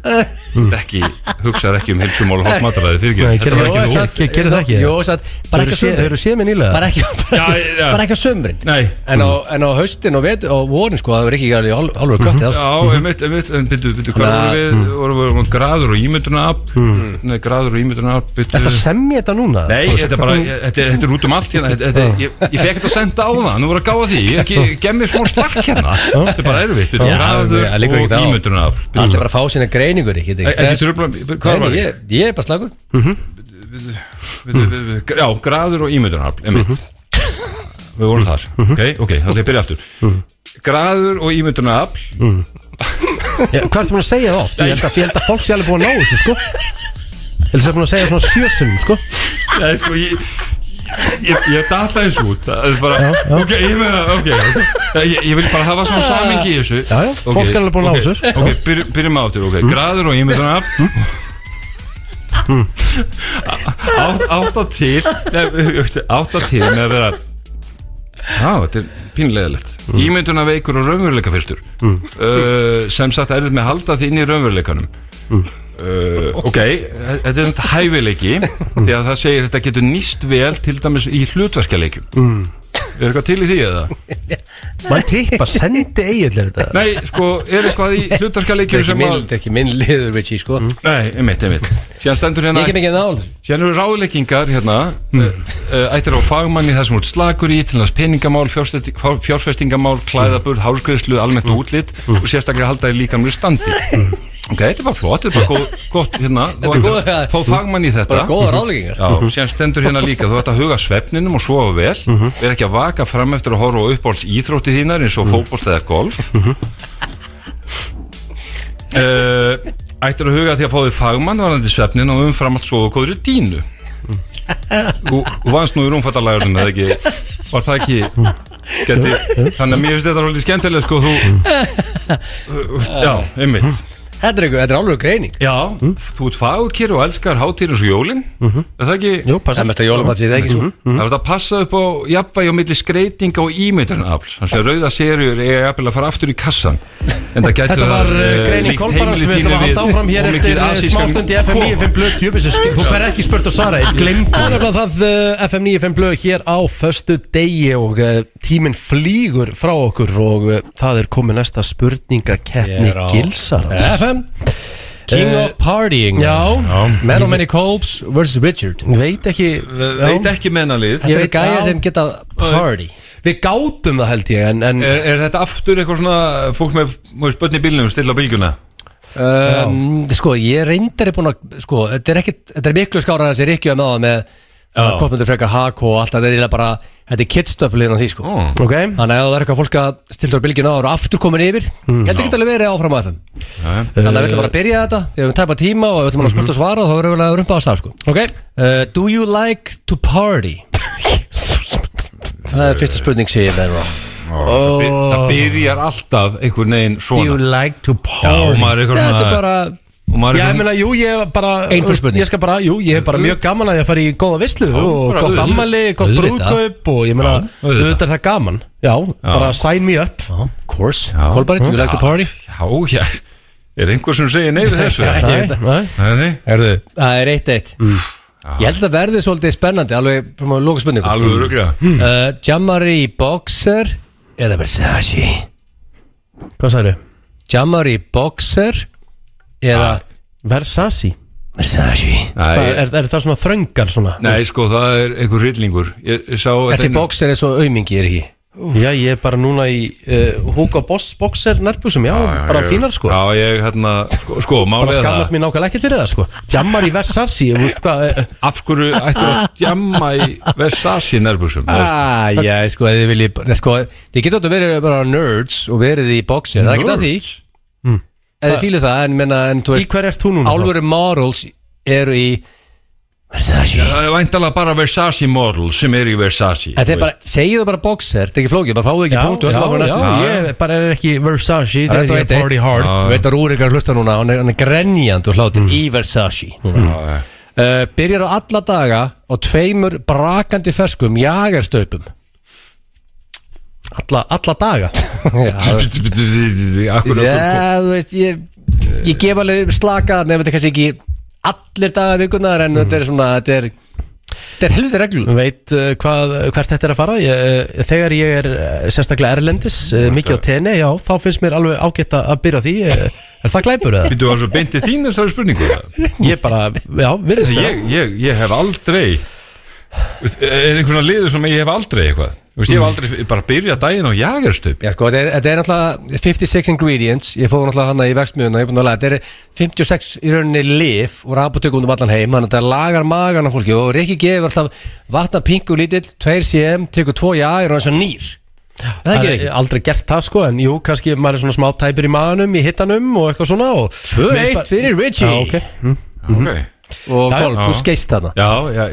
C: Þú ekki, hugsaðar ekki um heilsumál og gott matar Fyrirgjöf,
A: Nei,
C: þetta
A: gerðu
C: var ekki
A: það,
C: nú
A: satt. Ge- gerir það ekki?
B: Jó, satt, bara ekki á
A: Þau eru
B: sumrin
A: séð mér nýlega
B: Bara ekki, bara,
C: Já, já.
B: bara ekki á sumrin
C: Nei.
B: En á, en á haustin og, vet, og vorin sko Það er ekki gæður í hálf- hálfur kött í það, sko.
C: Já, einmitt, einmitt, en byrju, byrju, hvað
B: Na-
C: vorum við, vorum við vorum við graður og ímyndunarafl,
B: Mhm.
C: nei, graður og ímyndunarafl, byrju.
A: Þetta semmi þetta núna?
C: Nei, þetta er bara, ég- þetta er, þetta er út um allt hérna, þetta,
B: Mhm.
C: þetta, ég, ég fekk þetta að senda á það, nú voru að gáða því, ég ekki, gef mér smá slakk hérna, þetta er bara erfitt, þetta
B: Já,
C: er ræður
B: það liggur ekkert á.
C: og ímyndurinn af.
B: Allir bara að fá sína greiningur ekki þetta er ekki
C: Þetta
B: stress.
C: er bara, hvað
B: Nei,
C: var
B: nei,
C: ég?
B: ég? Ég er bara slagur
C: Við- við- við- Já, graður og ímyndurinn af,
B: Mhm.
C: einmitt. Við vorum þar, ok, ok, þá ætlum ég að byrja aftur.
B: Mhm.
C: Graður og ímyndurinn af,
A: Já, Hvað ertu búin að segja það oft? Ég held að, ég held að fólk sé alveg búin að ná þessu, sko Ég held að það er búin að segja svona sjösum, sko
C: það er sko, ég... Ég, ég data eins út það er bara, ok, ég meina, ok ég, ég vil bara hafa svona samingi í þessu
A: Já, já,
C: Ok,
A: fólk er alveg búin að ná
C: ok,
A: þessu.
C: ok, byrj- byrjum á aftur, ok, graður og ímyndunar átta til nei, átta til með að vera Já, þetta er pínlegaðilegt mm. Ímynduna veikur og raunveruleika fyrstur
A: Mm.
C: uh, sem sagt erfitt með að halda þín í raunveruleikanum uh, Ok, þetta er svona hæfileiki því að það segir þetta getur nýst vel til dæmis í hlutverkjaleikjum mm. Er eitthvað til í því eða?
A: Man tippa, sendi eiginlega þetta
C: Nei, sko, er eitthvað í hlutverkjaleikjum
B: Ekki
C: sem
B: minn,
C: að
B: þetta er ekki minn liður Richie sko
A: Mm.
C: Nei, einmitt, einmitt Síðan stendur hérna
B: Ég kem ekki að nála þessu.
C: Hérna eru ráðleggingar hérna mm. Ættir á fagmanni þar sem út slagur í Tilnast peningamál, fjárstæti- fjár- fjárfestingamál Klæðaburð, hárskriðslu, almennt
B: Mm.
C: og útlit Og sérstaklega halda í líkamlu standi Ok, þetta var flott Þetta var góð, gott hérna
B: Þetta er góð-
C: Fá fagmann í þetta
B: Bara góða ráðleggingar
C: Já, síðan stendur hérna líka, þú ætti að huga svefninum og sofa vel, mm vera ekki að vaka fram eftir að horfa á uppbólts íþrótti þínar eins og mm. fótbólt eða golf mm Ættir Eh, að huga að því að fá því fagmann varandi svefnin og umfram allt sofa kóður í dínu Þú þú vannst nú í rúmfattalæðunum eða ekki, var það ekki geti, þannig að mér finnst þetta alveg skemmtilega sko, þú já, einmitt
B: Þetta er eitthvað, þetta er alveg greining
C: Já, þú ert fagkir og elskar hátíðin eins og jólin Er það ekki?
A: Jú, Mhm. passa
B: Það er mest að jólabatsið ekki sko
C: Það verður að passa upp á jafnvægi á milli skreitinga og ímyndarnafl Þannig að rauða serjur er jafnvægi að fara aftur í kassan En það gæti
A: Þetta var uh,
C: eh,
A: greining Kolbarans við ætlum að halda áfram hér eftir eh, smástund í FM 95 blöð tjöfis þú fer ekki spurt og svara ég glemt það er nefnilega það eh, FM 95 blöð hér á föstu degi og eh, tíminn flýgur frá okkur og eh, það er komið næsta spurningakeppni
B: Ég er á-
A: Gilsarans
B: FM King
A: Eh,
B: of Partying
A: já.
C: Já.
B: Man of Many Colbs vs. Richard
A: Ég veit ekki
C: Veit ekki mennalið
B: Þetta
A: Ég
B: er
A: veit-
B: gæja
A: já.
B: sem geta Eh. party
A: við gátum það held ég en, en
C: er, er þetta aftur eitthvað svona fólk með mjög spötni í bílnum stilla á bílgjuna?
B: um, Sko, ég reyndar er búin að sko, þetta, er ekkit, þetta er miklu skára en þessi Rikki að náða með uh, Koppundur frekar Hako og allt þetta er eiginlega bara Þetta er kidstuffliðin á því sko
C: Mm.
A: ok
B: Þannig að ef það er eitthvað fólk að stilta á bylginu á og eru aftur komin yfir mm. Ég held ekki alveg verið áfram á FM Þannig að við ætlum bara að byrja þetta Þegar við tæpa tíma og við ætlum bara að spurt og svara og þá verðum við að rumpa á stað sko
A: Mhm. ok
B: Uh, do you like to party? Það er fyrsta spurning sem ég verður á
C: Oh. Það byrjar alltaf einhvern veginn
A: do you
C: svona
A: like to
C: Já, og
A: party
C: maður er eitthvað
B: Þetta er
C: svona
B: bara
C: og maður er
A: Já, ég
C: eitthvað-
A: meina, jú, ég bara
B: Einföld spurning.
A: Ég skal bara, jú, ég hef bara mjög gaman að ég fari í góða visslu og
C: bara
A: gott
C: auðvitað.
A: ammali, gott
B: Auðvitað.
A: brúðkaup og ég meina,
C: Já, auðvitað.
A: auðvitað er það gaman Já, bara sign me up
B: Of course
C: Já.
B: Kolbari, do you like to party?
C: Já, já, er einhver sem segir nei við þessu?
A: Nei, nei.
C: Nei, nei
B: Það er eitt eitt Ég held að það verði svolítið spennandi Alveg frá maður lóka spurningu
C: Alveg örugglega.
B: uh, Jamari í Boxer Eða Versace
A: Hvað sagðu?
B: Jamari í Boxer
A: Ah,
B: Eða
A: Versace
B: Versace
C: Nei,
A: Hvað, er, er það svona þröngar svona?
C: Nei, sko, það er einhver rillingur Ég, ég sá
B: Ertu
C: þetta- hérna-
B: í Boxer eins og aumingi er ekki
A: Já, ég er bara núna í uh, Hugo Boss boxer nærbúsum, já,
B: Ah,
C: Já,
A: bara
C: ég-
A: fínar sko
C: Já, ég, hérna, sko, sko
A: Bara
C: málið er
A: skammast
C: það
A: mér nákvæmlega ekkert fyrir það sko Jammar í Versace, ég veist hvað eh,
C: Af hverju ættu að djamma í Versace nærbúsum
B: Ah, já, sko, þið viljið bara- sko, þið getur að verið bara nerds og verið í boxer, það getur að því eða þið fílið það, en menna en, þú
A: Í
B: veist,
A: hver ert þú núna?
B: álveru morals eru í Versace
C: Það er væntalega bara Versace model sem er í Versace
B: en þið
C: þú
B: bara, segið það bara boxer, þetta er ekki flókið, bara fáið ekki
A: Já,
B: punktu
A: já, já,
C: Já, já.
A: ég bara er ekki Versace
B: Það er
A: Þegar ég
B: þetta
A: er party
B: eitt.
A: hard Mm.
C: Já.
B: veit að Rúrik er að hlusta núna, hann er, hann er grenjand og hlátur í Versace núna
C: sko, Já, já.
B: uh, byrjar á alla daga á tveimur brakandi ferskum jagerstöpum
A: alla, alla daga
B: já,
C: Af hverju-
B: Já, þú veist, ég, ég gef alveg slaka Nei, þetta er kannski ekki allir dagar vikunar En þetta er svona, þetta er Þetta er helviti reglum
A: Mm. Þú veit uh, hvað, hvert þetta er að fara ég, uh, Þegar ég er uh, sérstaklega erlendis uh,
C: Mm.
A: Mikið á tenni, já, þá finnst mér alveg ágætt að að byrja á því uh, Er það glæpur eða?
C: Býttu að svo beinti þín þessari spurningu
A: Ég bara, já, virðist það
C: ég, ég, ég hef aldrei Veist, Er einhvern veginn liður sem ég hef aldrei eitthvað Þú veist, Ég hef
B: Mhm.
C: aldrei bara byrja daginn á jagerstöp
B: Já, sko, þetta er, þetta er náttúrulega 56 ingredients Ég fór náttúrulega hana í verksmiðuna Ég er búin að laga Þetta er 56 í rauninni lif Og rapatökum um allan heim Þannig að þetta lagar magan á fólki Og Rikki gefur alltaf vatna pingu lítill 2 cm, tekur 2 jagir og eins og nýr Það
A: Það
B: er
A: er
B: ekki
A: aldrei gert það sko En jú, kannski maður er svona smá tæpir í maganum Í hittanum og eitthvað svona og...
B: Tvö eitt fyrir Richie.
A: Já, ok
B: Mhm.
C: okay.
B: Og
A: Já,
B: golf,
C: já.
B: þú skeist þarna
C: Já, já,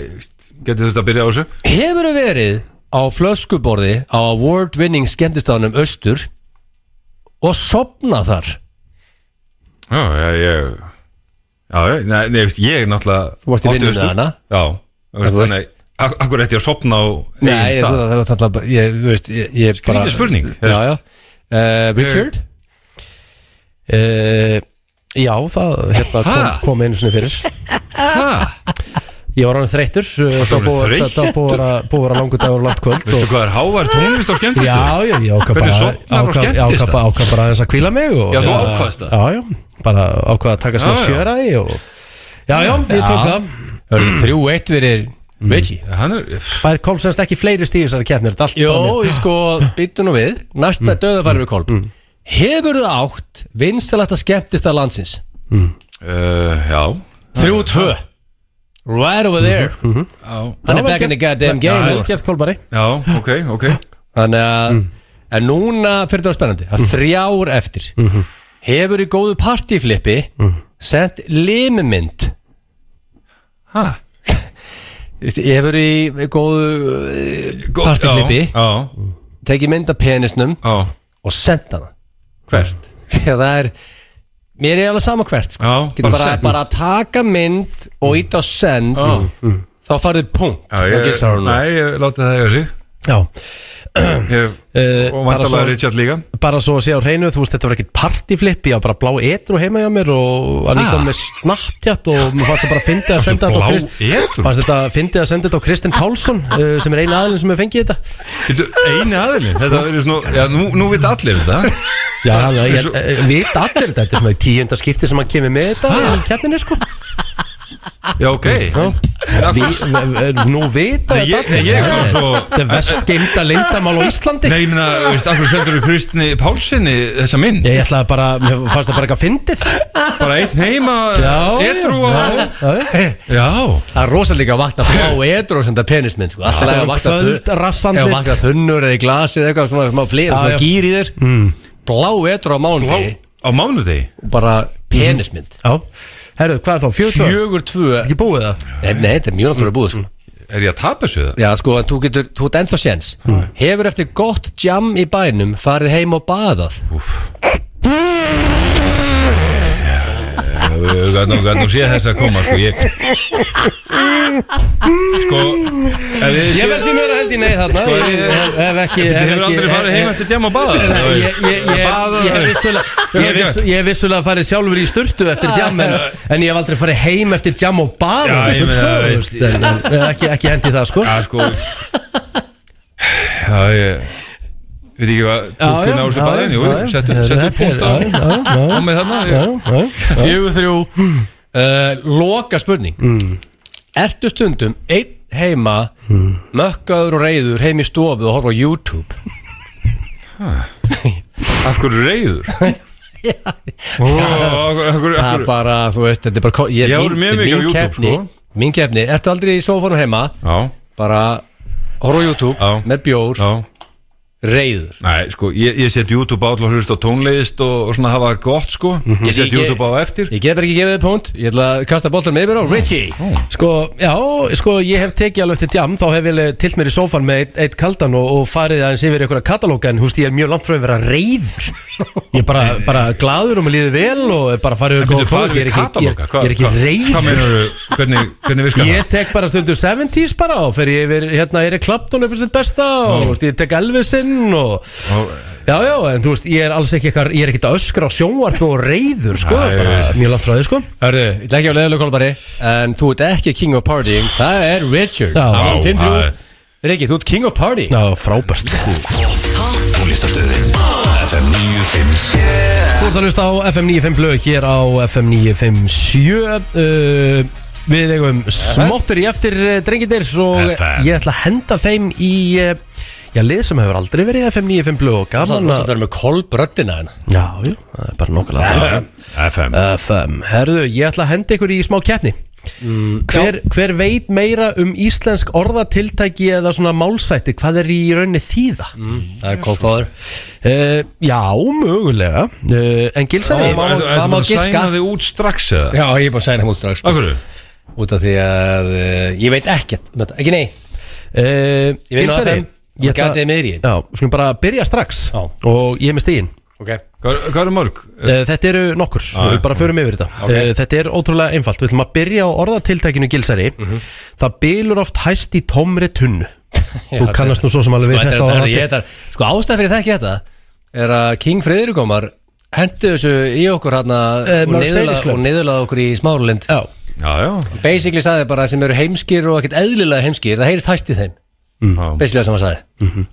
C: getur þetta að byrja á þessu
B: Hefur verið á flöskuborði á award-winning skemmtistafunum Östur og sopnað þar?
C: Já, já, ég Já, já, nei, nei, veist, ég náttúrulega
B: Þú varst í
C: átti
B: vinnunni
C: austur.
B: hana?
C: Já, þú veist,
B: þú veist-
C: þannig ak- Akkur ætti ég að sopna á eigin
B: ég,
C: stað
B: það var alltaf, ég, þú veist, ég, ég bara...
C: Skrítið spurning, þú
B: Já,
C: veist.
B: já.
A: Eh,
B: Uh, Richard?
A: uh, Já, það hérna, kom,
C: Ha?
A: kom einu svona fyrir
C: Ha?
A: Ég var hann þreyttur uh, Það var
C: orðinn
A: búið-
C: þreyttur?
A: það var búið að vera- búið að vera langur dagur og langt kvöld
C: Veistu
A: og-
C: hvað er hávar tónlist á skemmtistu?
A: Já, já, ég ákvað
C: Hvernig
A: bara
C: sofnar og
A: ákvað-
C: skemmtist
A: ég ákvað
C: það?
A: bara- ákvað bara aðeins að kvíla mig og,
C: Já, þú ákvaðst það?
A: Já, já, bara ákvað að taka smá
C: Já, já.
A: sjöra í og Já, já, ég tók það
B: Það eru þrjú eitt verið Richie.
C: Hann er,
A: Það er kom semst ekki fleiri stíð þessari keppnir þetta er allt
B: Jó,
A: bara mér.
B: ég sko, byttu nú við. Næsta mm. döðafæri við kolp. Hefur þú átt vinstalasta skemmtistað landsins?
C: uh, já
B: Þrjú tvö. Right over there.
A: Mhm,
B: Hann er back in the goddamn
A: Já,
B: game.
A: vel gert Mm. Kolbari
C: Já, ok, ok
B: Þannig að En núna fyrir það var spennandi
A: Mm.
B: að Þrjár eftir
A: Mhm.
B: Hefur í góðu partíflippi
A: Mm.
B: Sent limumynd
C: Ha?
B: Hefur í góðu
C: Gó-
B: Partíflippi.
C: Já, já,
B: Tekið mynd af penisnum
C: já
B: Og sent hana
C: Hvert?
B: Þegar það er Mér er alveg sama hvert sko.
C: Já,
B: Getur
C: bara
B: bara,
C: sent.
B: bara að taka mynd Og ít á send
C: Já.
A: mm.
B: Þá farið punkt
C: Já,
B: Og
C: ég,
B: gilsar hún.
C: nei, ég láti það eiga sig
A: Já,
C: Ég,
A: Eh,
C: Og
A: bara
C: vantalega
A: svo-
C: Richard líka
A: bara svo að sé á hreinu Þú veist, þetta var ekkit partyflip Ég var bara blá etru heima hjá mér Og hann
C: Ah.
A: kom með snapptjátt Og mér fannst það bara fyndið að senda þetta á
C: Blá Ah.
A: Krist-
C: etur
A: Fannst þetta fyndið að senda þetta á Kristinn Pálsson uh, Sem er eina aðlinn sem hefur fengið þetta
C: Bíddu, Eini aðilin Þetta er svona, já, nú, nú veit allir þetta
A: Já, það er svo... Við allir þetta, þetta er svona tíunda skipti sem hann kemur með þetta í keppninni sko
C: Ah. Já, ok Já,
A: Vi, Nú vita
C: Nei, ég-
A: þetta allir.
C: nei, ég kom
A: Það er-
C: svo-
A: Þetta er vest geimda lindamál á Íslandi
C: Nei, ég meina, veist, af hverju sendur þú Kristni Pálsini þessa mynd?
A: Ég ætlaði bara, mér fannst það bara eitthvað fyndið
C: Bara einn heima, etrú á
A: já,
C: Já,
B: Það er rosalega að vakna blá edru og senda penisminn sko. Alltaf
A: Þetta
B: að
A: var
B: vakna
A: kvöld, rassandlit.
B: Ef vakna þunnur eða í glasi eða eitthvað svona, svona, flir,
A: Já, já. Mm.
B: svona gýr í þér Blá edru á mánuði
C: blá, á mánudegi
B: og bara
A: Mm-hmm.
B: penismynd
A: já Herru, hvað er þá, fjögur tvö?
B: Fjögur tvö
A: Ekki búið það?
B: Nei, nei, þetta er mjög
A: Mm-hmm.
B: náttúrulega búið sko.
C: Er ég að tapa þessu það?
B: Já, sko, en þú getur, þú ert ennþá séns
A: Mm.
B: Hefur eftir gott jam í bænum farið heim og baðað
C: Hvernig þú sé þess að koma Sko, ég Sko ef þið
A: Ég
C: séu-
A: verð því meira held í nei þarna
C: Sko,
A: Ég-
C: ég-
A: Ef ef ekki
C: Þið
A: ef
C: hefur
A: ekki-
C: aldrei farið
A: ef-
C: heim
A: ef-
C: eftir djam að baða
A: Ég, ég, ég,
C: Baða-
A: ég, hef vissulega, ég, hef vissu, ég hef vissulega farið sjálfur í sturtu eftir jam en, en ég hef aldrei farið heim eftir jam og bað
C: Já, ég meina,
A: sko,
C: veist,
A: veist, en, en, ekki, ekki hendi það sko
C: Já, sko Já, ég Veit ekki hvað Túlkun á þessu baðin, jú, jú, settu settu punkt á Á með þarna ég-
B: Fjögur þrjú uh, Loka spurning
A: Hmm.
B: Ertu stundum einn heima
A: Hmm.
B: Mökkaður og reyður heim í stofu Og horfa á YouTube
C: Af hverju reyður? Ó, af hverju- af hverju-
B: Það
C: af
B: er
C: hverju-
B: bara, þú veist, þetta er bara ko-
C: Ég horfi mjög
B: mín-
C: mikið á
B: mín
C: YouTube,
B: keppni-
C: sko.
B: Mín kefni, ertu aldrei í sofanum heima
C: Já,
B: Bara horfa á YouTube
C: Já.
B: Með bjór,
C: já
B: reyður
C: Nei, sko, ég, ég set YouTube á til að hlusta á tónleist og, og svona hafa það gott, sko Ég set
B: Ég- ég-
C: YouTube á eftir
B: Ég get bara ekki gefið þið punkt Ég ætla að kasta boltan með mér á Richie
A: Sko, já, sko, ég hef tekið alveg eftir jam Þá hef ég tilt mér í sófan með eitt, eitt kaldan og, og farið aðeins yfir einhverja katalóg En húst, ég er mjög langt frá að vera reyður Ég er bara, bara gladur og mér líður vel Og er bara farið yfir
C: Býttu,
A: góða
C: hvað
A: tónlist. Ég er ekki,
C: er
A: ég, er- ég
C: katalóga?
A: er ekki
C: Hvað
A: reyður
C: meinar hvernig, hvernig virkar
A: Ég tek bara stundur 70s bara og fer ég yfir, hérna, Eric Clapton upp sitt besta og þú veist, ég tek Elvisinn og
C: það?
A: Já, já, en þú veist, ég er alls ekki eitthvað, ég er ekkert að öskra á sjónvarp og reyður, sko,
C: Nei,
A: bara
C: veist.
A: mjög langt frá þið, sko
B: Hörðu, ég ætla ekki að leðalega kolbari En þú ert ekki king of partying Það er Richard
A: Já.
B: Hann sem
C: Já,
B: 5-3.
C: það er-
B: Rikki, þú ert king of party
A: Já, frábært
F: Tónlistarstöðin FM 957
A: Þú ert að hlusta á FM 95 blöð hér á FM 957 uh, Við eigum smottir í eftir eh, drengindir og
C: FM.
A: ég ætla að henda þeim í eh, Já, lið sem hefur aldrei verið í FM 95 blöð og gaman
B: Þannig að
A: að
B: það er með hérna. kolbröddina henn
A: Já, jú, það er bara nokkulega
C: FM
A: FM Herðu, ég ætla að henda ykkur í smá keppni
B: Mm,
A: hver, hver veit meira um íslensk orðatiltæki eða svona málsætti Hvað er í rauninni þýða?
B: Það er kolfáður
A: Uh, já, mögulega uh, En gilsaði
B: Já, má-
C: Ertu
B: það má
C: bara að
B: giska.
C: sæna þig út strax eða?
B: Já, ég er bara að segja henni út strax
C: Af hverju?
B: Út af því að uh, ég veit ekkert um þetta. Ekki nei
A: Uh,
B: Ég vinn á
A: Gilsari,
B: FM. Ég gat þig miðri.
A: Já, skulum bara byrja strax
B: Já.
A: Og ég er með stíðin
B: Ok
C: Hvað hvað eru mörg?
A: uh, Þetta eru nokkur,
C: Já,
A: við bara förum yfir þetta
B: Ok.
A: uh, Þetta er ótrúlega einfalt Við ætlum að byrja á orðatiltækinu gilsari
C: Mhm.
A: Það bylur oft hæst í tómri tunnu Þú kannast nú svo sem alveg við
B: Sko, þetta,
A: þetta
B: þetta,
A: orðatil-
B: þetta, þetta, Sko ástæð fyrir það ekki þetta Er að King Friðrikómar Hentu þessu í okkur hann
A: Eh,
B: og,
A: Mercedes
B: niðurla-
A: Club.
B: og niðurlaði okkur í smáralind Já
C: Já, já
B: Basically sagði bara sem eru heimskir og ekkert eðlilega heimskir Það heyrist hæst í þeim
C: Já.
B: Basically það sem hann sagði
A: Mhm.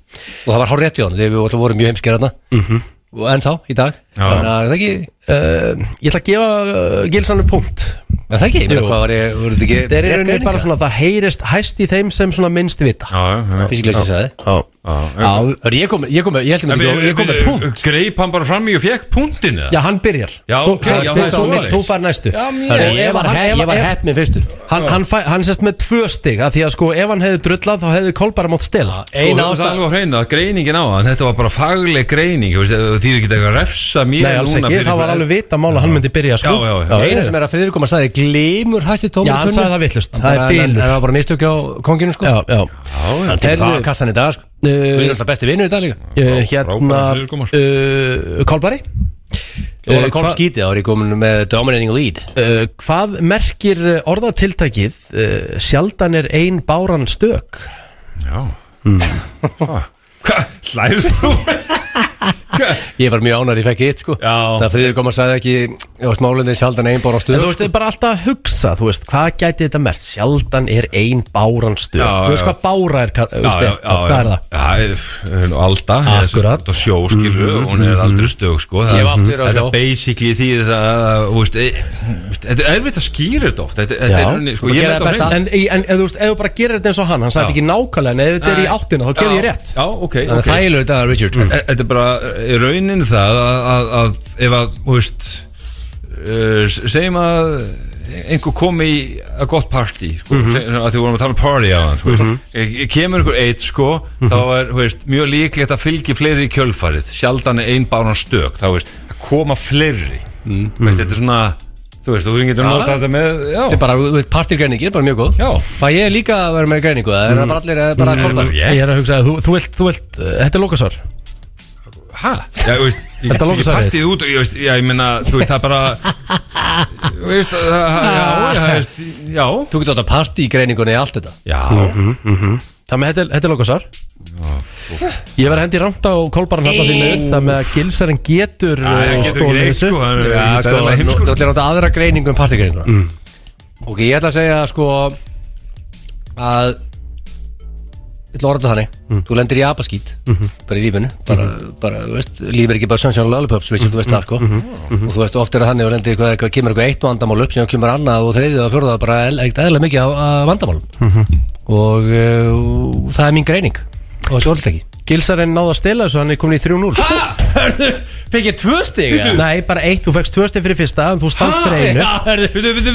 B: Og það var hár rétt í honum Þegar við alltaf vorum mjög heimskir hann Og ennþá í dag
C: Já.
B: Þannig að það ekki eh,
A: Uh, ég ætla að gefa uh, Gilsanu punkt
B: En það ekki, ég meina
A: Jú.
B: hvað var ég, voru þetta ekki
A: Þetta er í
B: rétt
A: rauninni
B: greiningar?
A: bara svona Það heyrist hæst í þeim sem svona minnst vita
C: Já, já, já
B: Basically sem sagði
A: Já,
C: Já,
A: já,
B: Hörru, ég kom, ég kom, ég held
C: En
B: að
C: við-
B: ég kom með
C: við-
B: punkt
C: Greip hann bara fram í og fekk punktin eða?
A: já hann byrjar
C: Já,
A: Svo-
C: ok,
A: svo-
C: já,
A: svo-
C: það er
A: svo-
C: svoleiðis.
A: Þú fær næstu
C: Já, mér-
B: Hörru,
A: Og
B: ég
A: ef
B: var
A: hann-
B: hepp-
A: ef-
B: ég var
A: ef-
B: hepp með fyrstu
A: Hann, hann, fæ, hann sérst með tvö stig að Því að sko ef hann hefði drullað þá hefði Kolbara mátt stela
C: Sko,
B: Eina
C: það er
B: ástæð
C: alveg að hreina, greiningin á hann, þetta var bara fagleg greining, þú veist, því er ekki eitthvað að refsa mér
A: Nei alls
C: núna
A: ekki,
C: fyrir-
A: það var alveg vita mál að hann myndi byrja sko
C: Já, já, já.
B: Eina sem er að fyrir kom að sagði Glimur hæsti tómi
A: Já, hann sagði það vitlaust. Það er bilur.
B: Það var bara mistök á konginu sko
A: Já, já,
C: Já, já,
B: Það er kassan í dag sko Við erum
A: Uh,
B: alltaf besti vinnur í dag líka
A: uh, Hérna
C: frábæra fyrirkomar.
A: uh, Kolbari
B: Þú var
A: Eh,
B: að kom
A: hva-
B: skítið árið komin með dominating lead
A: Uh, hvað merkir uh, orðatiltækið uh, sjaldan er ein báran stök
C: já Ah. Hvað, hlæður þú?
B: Ég var mjög ánar, ég fekk eitt sko
C: Já.
B: Það fyrir kom að sagði ekki Já, smálundin sjaldan einn bóra á sko.
A: en
B: stuð
A: þú veist, þið er bara alltaf að hugsa þú veist, hvað gæti þetta merkt, sjaldan er ein báran stök,
C: Já,
A: þú veist
C: já.
A: hvað bára er ka- þú veist, er- hvað er það?
C: það? Já, Alda
A: Akkurat. Mhm,
C: Og sjóskilu, hún er aldrei stög sko. Það-
B: Ég hef átt fyrir á
C: Þetta
B: sjó.
C: er basically því það að, þú veist, e- þú veist, Þetta er erfitt að skýra þetta oft Þetta þetta
A: Já.
C: er rauninni, sko,
B: Þú
C: ég
B: gerir
C: með
B: það
C: þetta á
B: besta.
C: hreinu.
A: en, í- en eða þú veist, ef þú bara gerir þetta eins og hann hann
C: Já.
A: sagði ekki nákvæmlega, en ef þetta er í áttina þá gerir ég
C: Já,
A: rétt
C: Já, ok
B: Þannig að
C: ok.
B: þægilegur dagar, Richard sko.
C: E- Þetta er bara e, raunin það að, að, að ef að, þú veist uh, s- segjum að einhver komi í að gott party sko,
B: Mhm.
C: mm að því vorum að tala um party á hann sko, e, kemur einhver eitt sko
B: Mhm.
C: þá er þú veist, mjög líklegt að fylgi fleiri í kjölfarið, sjaldan er ein báran stök þá veist, að koma fleiri
B: Mhm.
C: þú veist, þetta er svona þú veist, þú getur notað þetta með já,
B: Þetta er bara, þú veist, partirgreiningi er bara mjög góð
C: Já.
B: Fæ ég líka að vera með greiningu Það er það bara allir, það er bara
C: Nei,
B: kolbar
C: nú- Ég-
A: eh, ég er að hugsa, þú, þú vilt, þú vilt uh, þetta er lókasvar
C: hæ? Já, þú veist, ég
A: Þetta
C: ég
A: lokaði
C: partið út og ég veist, já, ég meina, þú veist, það er bara Þú veist, það, það- já, já, þú veist, já
B: Þú getur átt að parti í greiningunni í allt þetta
C: Já,
A: Það með þetta, þetta er lokasar Ég verði hendi rámt á kolbarn hérna þínu Það með að gilsarinn getur
C: Já, ég
A: eh,
C: getur ekki
A: stolið
C: neitt,
A: þessu.
C: sko, hann er
B: Já,
C: ekki
B: sko,
C: eðlilega
B: nú-
C: heimskur
B: Þú ætlir átt að aðra greiningu um partígreinuna
C: Mm.
B: Ok, ég ætla að segja sko að ég ætla að orða það þannig
C: Mm.
B: þú lendir í apaskít
C: Mhm.
B: bara í lífinu bara, bara, þú veist, líf er ekki bara sunshine og lollipops mm þú veist
C: Mm-hmm.
B: það sko og þú veist oftir að þannig og lendir í eitthvað, eitthvað kemur eitthvað eitt vandamál upp sem kemur annað og þriðið og fjórða bara el- ekkert eðla mikið af af vandamálum
C: Mm-hmm.
B: og, uh, og það er mín greining og þessi orðið ekki
A: Gilsarinn náði að stela þessu, hann er komin í 3-0 sko.
B: Fekk ég tvö stig?
A: Nei, bara eitt, þú fekkst tvö stið fyrir fyrsta En þú stannst fyrir einu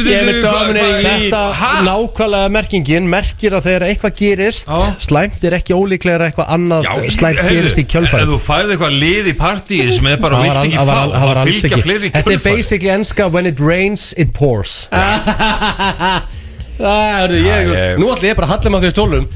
B: Ég er með dominating í
A: Þetta nákvæmlega merkingin merkir að þegar eitthvað gerist slæmt er ekki ólíklega eitthvað annað slæmt gerist í
C: Ef
A: kjölfæð
C: þú færði eitthvað lið í partíð sem er bara,
A: Það var,
C: þú vilt
A: al,
C: ekki
A: það
C: fá
A: var, það var
C: það
A: alls
C: fylgja
A: ekki
C: fleiri í
A: Þetta er
C: kjölfarið.
A: basically enska When it rains, it pours
B: Það er því, ég,
C: ég-
B: nú ætla ég bara að halla mig á því stólum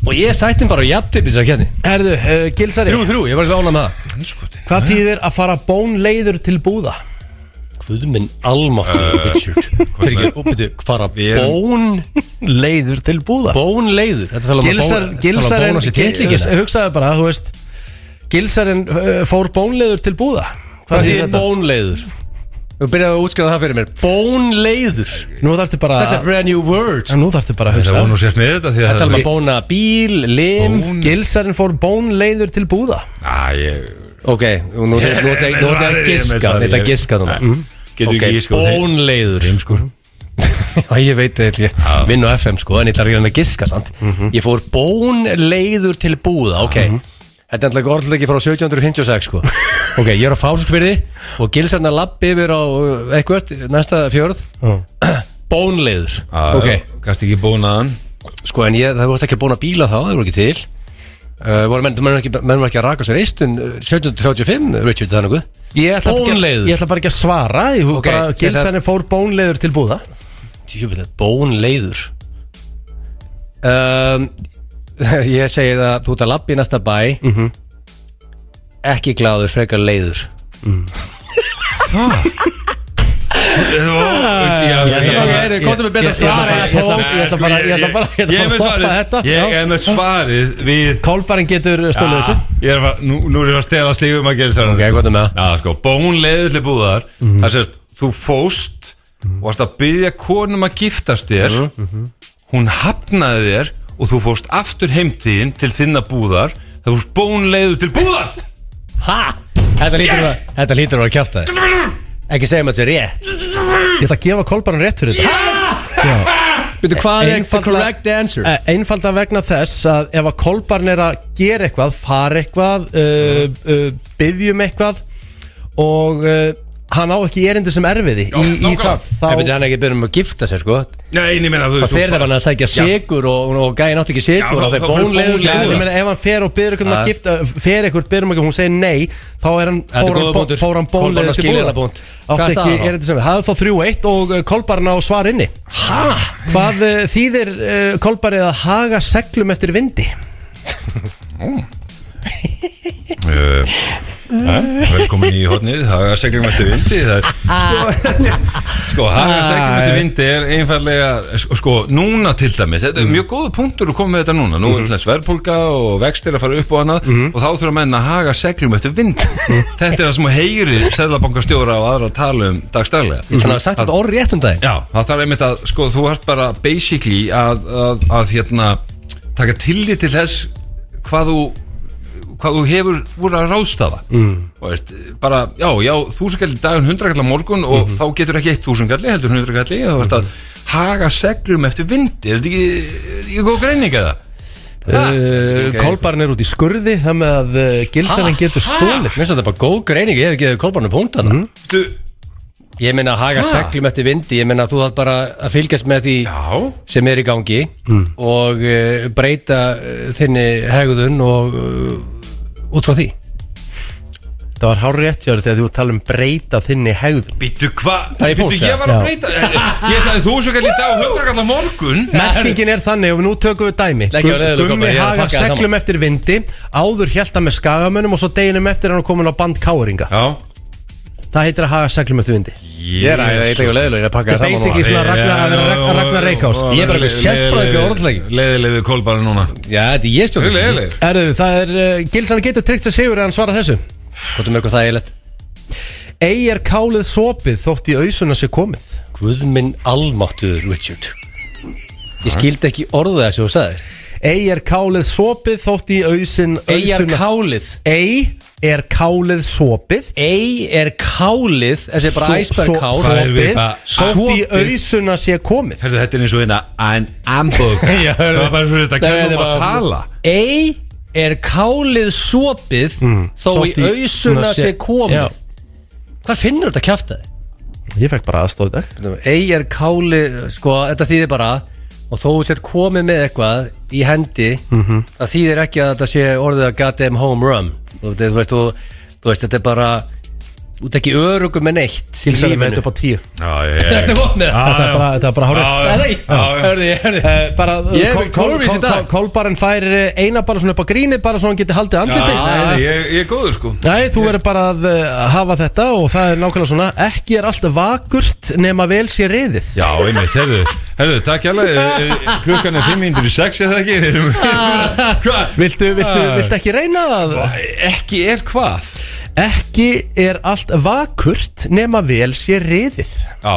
B: Og ég sætti bara jafntip í þessar kjarni
A: Herðu, uh, Gilsari,
B: þrjú, ég var ekki ánað með það
C: Sko, Eh?
A: hvað þýðir að fara bónleiður til búða? Eh,
B: Guð minn almátt Byrju, hvað er
C: Við erum-
A: Bónleiður til búða?
B: bón leiður Þetta tala um að
A: Gilsar,
B: bón- tala um
A: gilsarinn,
B: bón á sér titlingina
A: hugsaðu bara, þú veist Gilsarinn uh, fór bónleiður til búða
B: Hvað þýðir bón leiður? Þú byrjaði að útskjáða það fyrir mér Bón leiður
A: Nú þarftu bara
B: That's a brand new word
A: Nú þarftu bara að
C: Þetta
A: hugsa
C: voru nú sérst með þetta því að
B: Það tala um að bóna bíl, lim
C: Bón-
A: Gilsarinn fór bónleiður til búða
C: Æ, ég
B: Ok, nú nú- nú ætla ég nú ætla ég að giska Nú ætla ég að giska þannig
C: Getur
B: Ok,
C: ekki gíska
B: bónleiður
C: Heimskur
B: Já, ég veit það, ég vinn á FM sko, en ég ætla að reyna að giska samt Ég fór bónleiður til búða, ok Þetta er alltaf orðleiki frá 1756 sko Ok, ég er á fáskverði og gilsarna lappi yfir á uh, eitthvað, næsta fjörð Bónleiður, ok
C: Gast ekki bónaðan
B: Sko, en ég, það vorst ekki búin að bíla þá, það voru ekki til uh, voru menn, menn, voru ekki, menn voru ekki að raka sér eistun eh, 1735, eh, Richard, það er nokkuð
A: Ég ætla, ekki,
B: Bónleiður.
A: ég ætla bara ekki að svara Ég
B: Ok,
A: bara,
B: sem sagt-
A: Gilsarinn fór bónleiður til búða
B: Tjúfileg, bónleiður um, Ég segi það Þú ert að labba í næsta bæ
A: Mhm.
B: Ekki glaður, frekar leiður
C: Ég
B: Ég- komdu með betra
A: ég- ég ætla
B: svar,
A: bara- Ég ætla
B: eða
A: ég ætla bara Ég ætla bara ég ætla bara að stoppa þetta
C: Ég
A: Já.
C: er með svarið við
A: Kolbarinn getur stöluð þessu
C: Ég er að fara- Nú nú er ég að stela stífum að gera sér
B: Ah. Ok, hvað er með það?
C: Já, sko, bónleiður til búðar Það sést, þú fóst og varst að byggja konum að giftast þér mhm. hún hafnaði þér og þú fóst aftur heimtíðin til þinna búðar það fóst bónleiður til búðar
B: Ha? Þetta lítur yes! Þetta lítur að vera að kjafta þér Ekki segja maður sér rétt
A: Ég ætla að gefa kolbarinn rétt fyrir þetta
B: Býtu, hvað
A: er correct
B: answer?
A: Eh, Einfalda vegna þess að ef að kolbarinn er að gera eitthvað fara eitthvað uh,
C: Mhm.
A: uh, byggjum eitthvað og uh, hann á ekki erindi sem erfiði í, í það
C: nákvæmlega.
B: Þá... Ég
A: þá,
B: byrja hann ekki að byrja um að gifta sér sko
C: Nei, ég meina, þú
B: Það fer það hann að sækja sigur og, og gæði nátt ekki sigur
C: Já,
B: og það
C: þá-
B: er
C: þá fer
B: bónleiður
A: Já,
C: bónleiður.
A: ég meina, ef hann fer og byrður eitthvað um
B: Ja.
A: að gifta fer eitthvað, byrður um eitthvað, hún segir nei þá er hann,
B: er
A: fór
B: góður
A: hann, bó-
B: punktur.
A: fór hann
B: Kolbarn á
A: bónlega til
B: skilið
A: búða
B: þennan punkt. Hvað
A: átti ekki,
B: er staðan þá?
A: er þetta sem við, hafði fá 3-1 og uh, kolbarn á svar inni
B: Hæ?
A: hvað uh, þýðir uh, kolbarið að haga seglum eftir vindi?
C: Uh, velkomin í hodnið Haga seglum eftir vindi það
B: Ah,
C: er- Sko, haga seglum eftir vindi er einfallega sko, sko, núna til dæmis, þetta er mjög góð punktur að koma með þetta núna, nú
B: Mhm.
C: er þess verðpólka og vextir að fara upp og annað og þá þurfa menn að haga seglum eftir vindi
B: Mhm.
C: Þetta er það sem heyri seðlabankastjóra og aðra að tala um dagstælega
B: Þannig að sagt þetta orð rétt um daginn
C: Já, það þarf einmitt að, sko, þú ert bara basically að, að, að hérna, taka tillit til þess hvað þú hvað þú hefur voru að ráðstafa mm. og veist, bara, já, já, þúsungalli daginn hundrakalli á morgun og
B: Mhm.
C: þá getur ekki eitt þúsungalli, heldur hundrakalli þá veist að haga seglum eftir vindi er þetta ekki, er þetta ekki góð greining eða?
B: Eh,
A: Uh, kolbarinn er út í skurði það með að uh, gilsarinn getur Mhm. stólið
B: Mér finnst þetta bara góð greining, ég hef ekki kolbarnu punktana mm.
C: Þú,
B: Ég meina að haga seglum eftir vindi, ég meina að þú þarf bara að fylgjast með því
C: já,
B: sem er í gangi
A: Hmm.
B: og eh, uh, eh, breyta uh, þinni hegðun og uh, út frá því
A: Það var hár rétt hjá þér þegar þú var að tala um breyta þinni hegðun
C: Býttu hvað?
B: Það er í
C: Býttu
B: punkt,
C: ég
B: ja.
C: var að
A: Já.
C: breyta Ég sagði þú svo kall í dag og hundra kall á morgun
A: Merkingin er þannig og nú tökum við dæmi
B: Leggja á leiðinlegu
A: Gummi
B: kobba, ég er að
A: hagar
B: pakka það saman.
A: seglum eftir vindi Áður hjælt hann með skagamönnum og svo deginum eftir er hann komin á band káringa
C: Já
A: Það heitir að haga seglum eftir vindi
B: Ég er að ég er að leðilega að pakka
A: Þetta er
B: það saman
A: basically
B: núna.
A: svona Ragnar- að vera Ragnar- Ragnar Reykjás.
B: Ég er bara alveg sérfræðingur í orðleikjum.
C: Leðilegu kólbara núna
B: Já, þetta er ég stjórn
C: Leðilegu
A: Erðu, það er
B: eh,
A: uh, Gilsan getur tryggt að sigur en hann svara þessu
B: Hvort er mjög það eiginlegt?
A: Ei er kálið sopið þótt í ausuna sér komið
B: Guðminn almáttuður, Richard Ég skildi ekki orða þessu og sagði
A: Ei er kálið sopið þótt í ausin
B: Eyjar kálið
A: Ei er kálið sopið
B: Ey er kálið Þessi er bara
A: Svo- svo-
C: Hvað er
B: æsbergkál
C: við
A: sopið,
C: bara-
A: Þótt í
B: Sopið.
A: ausuna sér komið
C: Hörðu, þetta er eins og eina An ambug
B: Já,
C: Það
B: hörðu.
C: var bara svo
B: Nei, þetta
C: þetta kemur um
B: er
C: að
B: bara-
C: tala
B: Ey er kálið sopið Þó í
A: Mm. Þótt í-
B: ausuna sé komið
A: Já.
B: Hvað finnur þetta kjaftaði?
A: Ég fekk bara aðstóð í dag
B: Ey er kálið, sko, þetta þýðir bara Og þó þú sér komið með eitthvað í hendi
A: Mhm.
B: Það þýðir ekki að þetta sé orðið að goddamn home run Þú veit, þú veist, þú, þú veist þetta er bara Þú ert ekki örugum með neitt í
A: Gilsan er með
B: lífinu.
A: þetta upp á tíu
B: Þetta er gott með það
A: Þetta er bara, þetta er bara hárið
B: Það er ekki, hörðu, ég hörðu
A: Eh, bara,
B: Ég er í kólfís í dag.
A: Kolbarinn fær eh, eina bara svona upp á gríni bara svona hann geti haldið andliti
C: Ég ég er góður sko
A: Nei, þú verður bara að eh, hafa þetta og það er nákvæmlega svona ekki er allt vakurt nema vel sé reyðið
C: Já, einmitt, herðu, herðu, takk hérlega Eh, eh, Klukkan er 506 eða ekki Ah. Við erum- Hvað?
A: Viltu, viltu, viltu ekki reyna að
C: Ekki er hvað?
A: Ekki er allt vakurt nema vel sé reyðið
C: Já,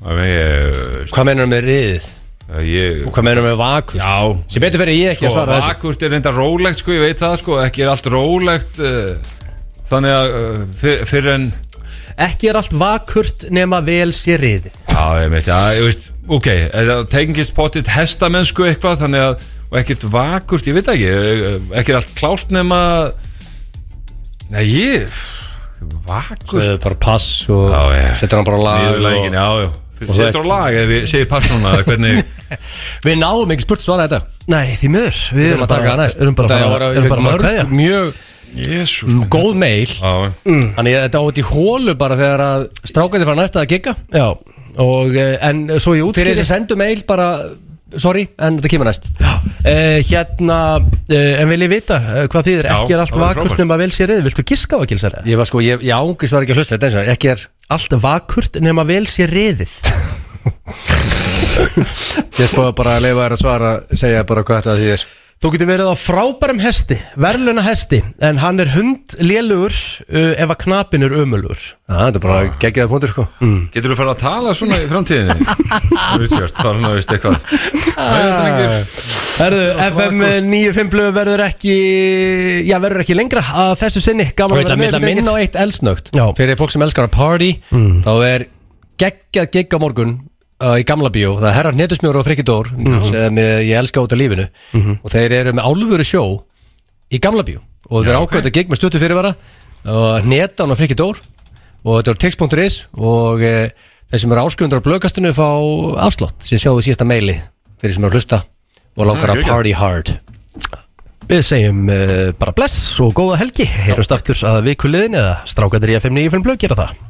C: það er ég,
B: Hvað meinar með riðið?
C: ég
B: Hvað meinar með vakur?
C: Já,
B: Sem betur fyrir ég ekki að
C: sko,
B: svara þessu
C: vakurt er reynda rólegt sko, ég veit það sko, ekki er allt rólegt uh, Þannig að uh, fyr, fyrir en
A: Ekki er allt vakurt nema vel sé reyðið
C: Já, ég veit, já, ég veist, ok Það tengist potið hestamennsku eitthvað Þannig að, og ekkert vakurt, ég veit það ekki eh, Ekki er allt klárt nema Nei, ég Vakurt
B: Sveðu bara pass og
C: Já, ég-
B: setur hann bara á lag
C: Nýður
B: og...
C: lægin, já, já
B: og
C: Setur á
B: það-
C: lag ef við segir persóna eða hvernig
B: Við náðum ekki spurt svara þetta
A: Nei, því miður, við
B: Við
A: erum bara, erum bara,
B: Það
A: bara,
B: var-
A: erum bara, bara að
B: mörg-
A: kveðja
B: Mjög
C: Jésús minn.
B: góð meil
C: Mm. Já, já
A: Mm.
B: Þannig að þetta átt í hólu bara þegar að strákandi frá næsta að gigga
A: Já, og eh, en svo ég
B: Fyrir
A: útskýri
B: þessi sendu meil bara Sorry, en þetta kemur næst
A: uh, Hérna, uh, en vil ég vita uh, hvað þýðir
C: Já,
A: Ekki er allt
C: það var
A: vakurt
C: frábært.
A: nema vel sé reyðið Viltu giska á að gilsæra?
B: Ég var sko, ég, ég ángist var ekki að hlusta Þetta er eins og ekki er
A: Allt vakurt nema vel sé reyðið
B: Ég spóði bara að leifa þér að svara Segja bara hvað þetta því er
A: Þú getur verið á frábærum hesti, verðluna hesti En hann er hund lélugur uh, ef að knapin er ömulugur
B: Það er bara geggjaði punktur sko
C: Getur þú fara að tala svona í framtíðinni? Richard, það er svona, veist, eitthvað
B: Ah.
C: Nei, drengir.
A: Herðu, FM 95 blöð verður ekki Já, verður ekki lengra að þessu sinni
B: Ég
A: Gaman
B: veit
A: að vera
B: að minna
A: með hérna
B: minna á
A: drengir.
B: eitt elsnögt
A: Já.
B: Fyrir fólk sem elskar að party
A: Mm.
B: Þá er geggjað gig á morgun uh, Í gamla bíó Það er herrar netusmjóru og frikidór
A: Mhm.
B: Sem eh, ég elska út af lífinu Og þeir eru með álfuru sjó Í gamla bíó Og þeir ákvæðu þetta gig með stuttu fyrirvara Og netan og frikidór Og þetta er tix.is Og uh, þeir sem eru áskjöndar á blöðkastinu Fá afslott sem sjáum við síðasta meili Fyrir sem eru að hlusta Og langar að
C: geggjað.
B: party hard
A: Ah, Við segjum eh, uh, bara bless og góða helgi Heyrjumst aftur að vikuliðin eða strákatir í FM 95 blöð gera það